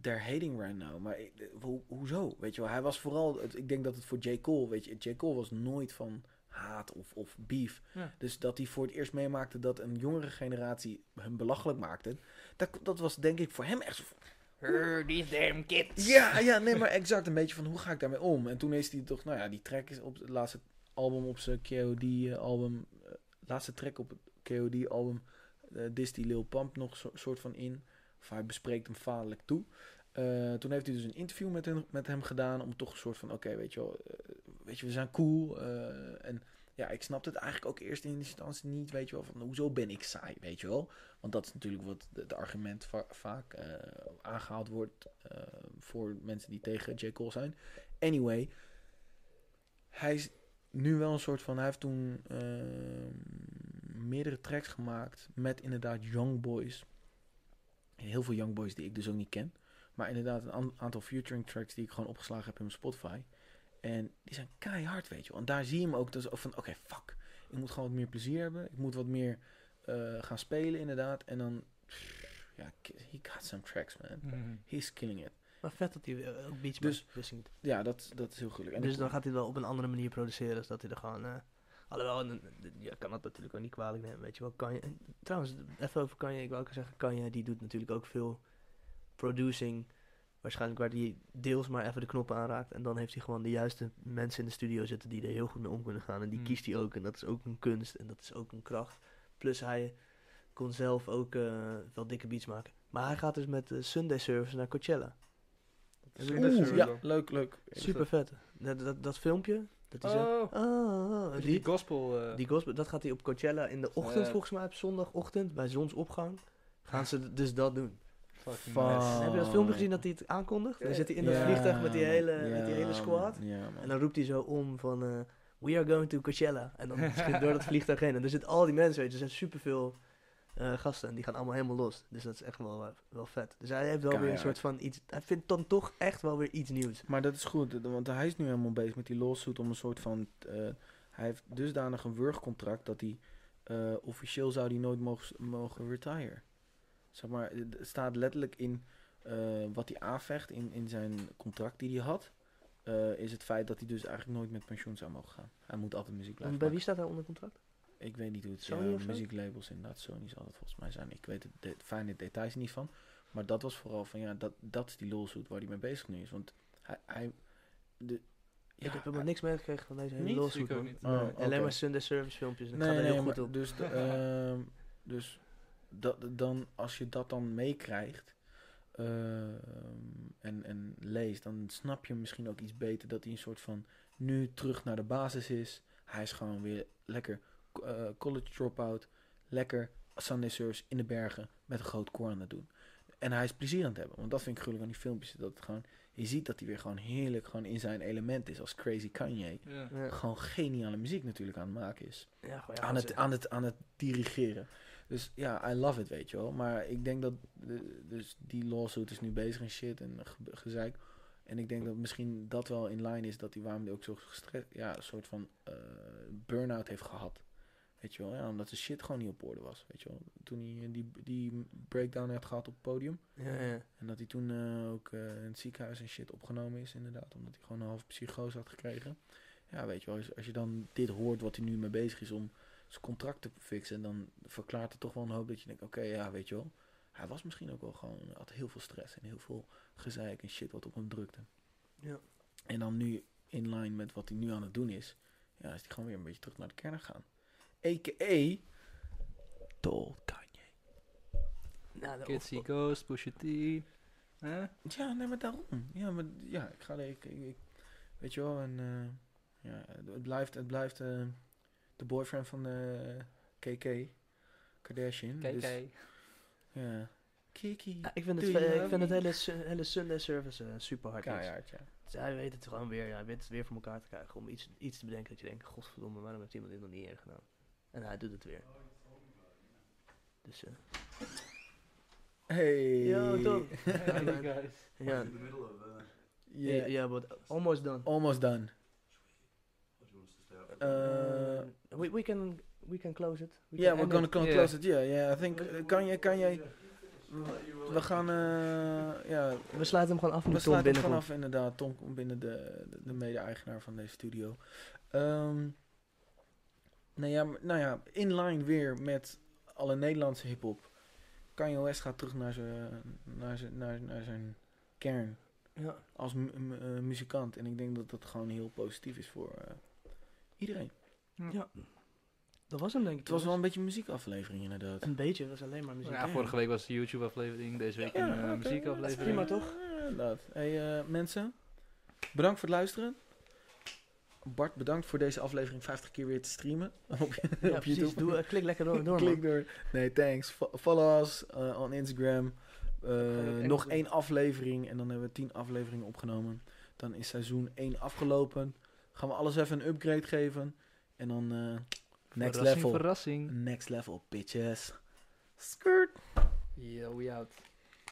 Speaker 3: They're hating right now. Maar eh, ho- hoezo? Weet je wel, hij was vooral... het- ik denk dat het voor J. Cole, weet je... J. Cole was nooit van haat of, of beef.
Speaker 4: Ja.
Speaker 3: Dus dat hij voor het eerst meemaakte dat een jongere generatie hem belachelijk maakte. Dat, dat was denk ik voor hem echt... zo van,
Speaker 4: Her, these damn kids.
Speaker 3: Ja, ja, nee, maar exact een beetje van hoe ga ik daarmee om? En toen is hij toch... Nou ja, die track is op het laatste album op zijn KOD-album... eh, laatste track op het KOD-album... eh dist die Lil Pump nog zo, soort van in. Of hij bespreekt hem vaderlijk toe. Eh, toen heeft hij dus een interview met hem, met hem gedaan om toch een soort van, oké, weet je wel, eh, weet je, we zijn cool. eh, en ja, ik snapte het eigenlijk ook eerst in instantie niet, weet je wel, van hoezo ben ik saai, weet je wel. Want dat is natuurlijk wat het argument va- vaak eh, aangehaald wordt eh, voor mensen die tegen J. Cole zijn. Anyway, hij is nu wel een soort van, hij heeft toen eh, meerdere tracks gemaakt met inderdaad Young Boys. Heel veel Young Boys die ik dus ook niet ken. Maar inderdaad, een aan- aantal featuring tracks die ik gewoon opgeslagen heb in mijn Spotify. En die zijn keihard, weet je wel. En daar zie je hem ook dus ook van, oké, fuck. Ik moet gewoon wat meer plezier hebben. Ik moet wat meer eh, gaan spelen, inderdaad. En dan, pff, ja, ki- he got some tracks, man.
Speaker 4: Mhm.
Speaker 3: He's killing it.
Speaker 2: Maar vet dat hij eh, ook beats
Speaker 3: Dus-
Speaker 2: maakt, wist ik niet.
Speaker 3: Ja, dat, dat is heel gelukkig. En
Speaker 2: Dus
Speaker 3: ik-
Speaker 2: dan gaat hij het wel op een andere manier produceren, zodat hij er gewoon... eh alhoewel, n- n- je kan dat natuurlijk ook niet kwalijk nemen, weet je wel. Kanye, en trouwens, even over Kanye, ik wil ook zeggen, Kanye die doet natuurlijk ook veel producing. Waarschijnlijk waar hij deels maar even de knoppen aanraakt. En dan heeft hij gewoon de juiste mensen in de studio zitten die er heel goed mee om kunnen gaan. En die
Speaker 4: Mm.
Speaker 2: kiest hij ook. En dat is ook een kunst en dat is ook een kracht. Plus hij kon zelf ook eh, wel dikke beats maken. Maar hij gaat dus met eh, Sunday Service naar Coachella.
Speaker 4: Dus
Speaker 2: Oeh,
Speaker 4: dat is
Speaker 3: Oeh,
Speaker 4: er
Speaker 3: ja,
Speaker 4: dan.
Speaker 3: leuk, leuk.
Speaker 2: Super vet. Dat, dat, dat filmpje. Dat hij zegt.
Speaker 4: Oh,
Speaker 2: "Ah, ah, ah,"
Speaker 4: dus
Speaker 2: die,
Speaker 4: die gospel. eh,
Speaker 2: die gospel, dat gaat hij op
Speaker 6: Eh.
Speaker 2: Coachella in de ochtend,
Speaker 4: Vet.
Speaker 2: volgens mij, op zondagochtend bij zonsopgang. Gaan ze d- dus dat doen.
Speaker 4: Fucking
Speaker 6: Fuck.
Speaker 4: nice.
Speaker 2: En heb je dat filmpje gezien dat hij het aankondigt? En dan zit hij in dat
Speaker 6: Oh. Ja,
Speaker 2: vliegtuig met die hele, met
Speaker 6: ja,
Speaker 2: die hele squad.
Speaker 6: man. Ja, man.
Speaker 2: En dan roept hij zo om van... eh, We are going to Coachella. En dan schiet door dat vliegtuig heen. En er zitten al die mensen, weet je. Er zijn superveel eh gasten. En die gaan allemaal helemaal los. Dus dat is echt wel, eh, wel vet. Dus hij heeft wel weer een
Speaker 6: Keihard.
Speaker 2: soort van iets... Hij vindt dan toch echt wel weer iets nieuws.
Speaker 3: Maar dat is goed, d- want hij is nu helemaal bezig met die lawsuit om een soort van... eh, hij heeft dusdanig een wurgcontract dat hij eh, officieel zou die nooit mogen, mogen retire. Zeg maar, eh, d- het staat letterlijk in eh, wat hij aanvecht in, in zijn contract die hij had. eh, is het feit dat hij dus eigenlijk nooit met pensioen zou mogen gaan. Hij moet altijd muziek
Speaker 2: En
Speaker 3: blijven
Speaker 2: bij
Speaker 3: maken.
Speaker 2: wie staat hij onder contract?
Speaker 3: Ik weet niet hoe het is.
Speaker 2: Sony of zo?
Speaker 3: muzieklabels inderdaad, Sony zal het volgens mij zijn. Ik weet het de, fijne details niet van. Maar dat was vooral van, ja, dat, dat is die lawsuit waar hij mee bezig nu is. Want hij... hij de, ja,
Speaker 2: ik heb helemaal
Speaker 3: hij-
Speaker 2: niks meegekregen van deze hele
Speaker 4: Niet?
Speaker 2: lawsuit,
Speaker 4: Ik ook
Speaker 2: man.
Speaker 4: niet.
Speaker 3: Oh,
Speaker 2: Nee,
Speaker 3: oké.
Speaker 2: Alleen maar Sunday Service filmpjes. En ik
Speaker 3: Nee,
Speaker 2: ga er
Speaker 3: nee,
Speaker 2: heel
Speaker 3: maar
Speaker 2: goed op.
Speaker 3: Dus, de, ehm, dus dat, dan, als je dat dan meekrijgt ehm, en, en leest, dan snap je misschien ook iets beter dat hij een soort van nu terug naar de basis is. Hij is gewoon weer lekker eh, college dropout, lekker Sunday service in de bergen met een groot koor aan het doen. En hij is plezier aan het hebben, want dat vind ik gruwelijk aan die filmpjes. Dat het gewoon, je ziet dat hij weer gewoon heerlijk gewoon in zijn element is als Crazy Kanye.
Speaker 4: Ja.
Speaker 2: Ja.
Speaker 3: Gewoon geniale muziek natuurlijk aan het maken is
Speaker 2: Ja, gewoon, ja,
Speaker 3: aan,
Speaker 2: dat
Speaker 3: het,
Speaker 2: is-
Speaker 3: aan, het, aan het dirigeren. Dus ja, I love it, weet je wel. Maar ik denk dat... eh, Dus die lawsuit is nu bezig en shit en ge- gezeik. En ik denk dat misschien dat wel in line is... dat hij waarom die ook zo gestre- Ja, een soort van eh, burn-out heeft gehad. Weet je wel, ja, omdat zijn shit gewoon niet op orde was. Weet je wel, toen hij eh, die, die breakdown heeft gehad op het podium.
Speaker 2: ja, ja.
Speaker 3: En dat hij toen eh, ook eh, in het ziekenhuis en shit opgenomen is, inderdaad. Omdat hij gewoon een half psychose had gekregen. Ja, weet je wel, als, als je dan dit hoort wat hij nu mee bezig is om zijn contract te fixen, dan verklaart het toch wel een hoop dat je denkt, oké, ja, weet je wel. Hij was misschien ook wel gewoon, had heel veel stress en heel veel gezeik en shit wat op hem drukte.
Speaker 2: Ja.
Speaker 3: En dan nu, in line met wat hij nu aan het doen is, ja, is hij gewoon weer een beetje terug naar de kern gegaan. A.k.a. Tol Kanye.
Speaker 2: Nou, de-
Speaker 4: Kids
Speaker 2: of-
Speaker 4: See Ghost, Pusha T. Hè?
Speaker 3: Ja, nee, maar daarom. Ja, maar ja, ik ga er, ik, ik- ik- weet je wel, en eh, ja, het, het blijft, het blijft eh, de boyfriend van eh, KK, Kardashian.
Speaker 4: Kijk,
Speaker 3: dus,
Speaker 4: kijk.
Speaker 3: Ja. Kiki.
Speaker 2: Ja, ik vind het,
Speaker 3: Do you
Speaker 2: eh, ik
Speaker 3: love
Speaker 2: vind het
Speaker 3: me?
Speaker 2: hele, su- hele Sunday service eh, super hard. iets.
Speaker 3: Keihard, ja.
Speaker 2: Dus hij weet het gewoon weer, ja, hij weet het weer voor elkaar te krijgen om iets, iets te bedenken dat je denkt, godverdomme, waarom heeft iemand dit nog niet eerder gedaan? En hij doet het weer. Dus eh,
Speaker 3: Hey.
Speaker 2: Yo, Tom.
Speaker 4: Hey, guys.
Speaker 2: ja,
Speaker 7: In the middle of, uh,
Speaker 3: Yeah.
Speaker 2: ja, but almost done.
Speaker 3: Almost done.
Speaker 7: what do you want us to stay up?
Speaker 3: Eh,
Speaker 2: Eh, we, we can we can close it. We
Speaker 3: yeah,
Speaker 2: can
Speaker 3: we're
Speaker 2: end
Speaker 3: gonna
Speaker 2: it.
Speaker 3: close
Speaker 4: Yeah.
Speaker 3: it. Yeah, yeah, I think, eh, kan je, kan je, we gaan, eh, ja,
Speaker 2: We sluiten hem gewoon af
Speaker 3: We
Speaker 2: met Tom
Speaker 3: sluiten hem
Speaker 2: binnenkomt.
Speaker 3: vanaf inderdaad. Tom komt binnen, de, de- de mede-eigenaar van deze studio. Ehm, nou, ja, maar- nou ja, in line weer met alle Nederlandse hip-hop. Kanye West gaat terug naar zijn, naar zijn, naar, naar zijn kern
Speaker 2: Ja.
Speaker 3: als mu- mu- eh, muzikant. En ik denk dat dat gewoon heel positief is voor eh, iedereen.
Speaker 2: ja, dat was hem denk ik.
Speaker 3: Het was wel
Speaker 2: jongens.
Speaker 3: een beetje een muziekaflevering inderdaad.
Speaker 2: een beetje, het was alleen maar muziek.
Speaker 4: dus Ja, vorige week was de YouTube-aflevering, deze week een eh,
Speaker 3: oké, dat is
Speaker 4: muziekaflevering.
Speaker 2: prima, toch?
Speaker 3: Ja, inderdaad. Hey, eh, mensen, bedankt voor het luisteren. Bart, bedankt voor deze aflevering 50 keer weer te streamen
Speaker 2: Ja,
Speaker 3: op, op
Speaker 2: precies.
Speaker 3: YouTube.
Speaker 2: Doe, eh, klik lekker door, door man.
Speaker 3: Klik door. Nee, thanks. Fo- Follow us eh, on Instagram. Eh,
Speaker 2: dat echt
Speaker 3: nog
Speaker 2: doen?
Speaker 3: één aflevering en dan hebben we 10 afleveringen opgenomen. Dan is seizoen 1 afgelopen. Gaan we alles even een upgrade geven. En dan eh, next
Speaker 4: verrassing,
Speaker 3: level.
Speaker 4: Verrassing.
Speaker 3: Next level, bitches. Skirt.
Speaker 4: Yo, we out.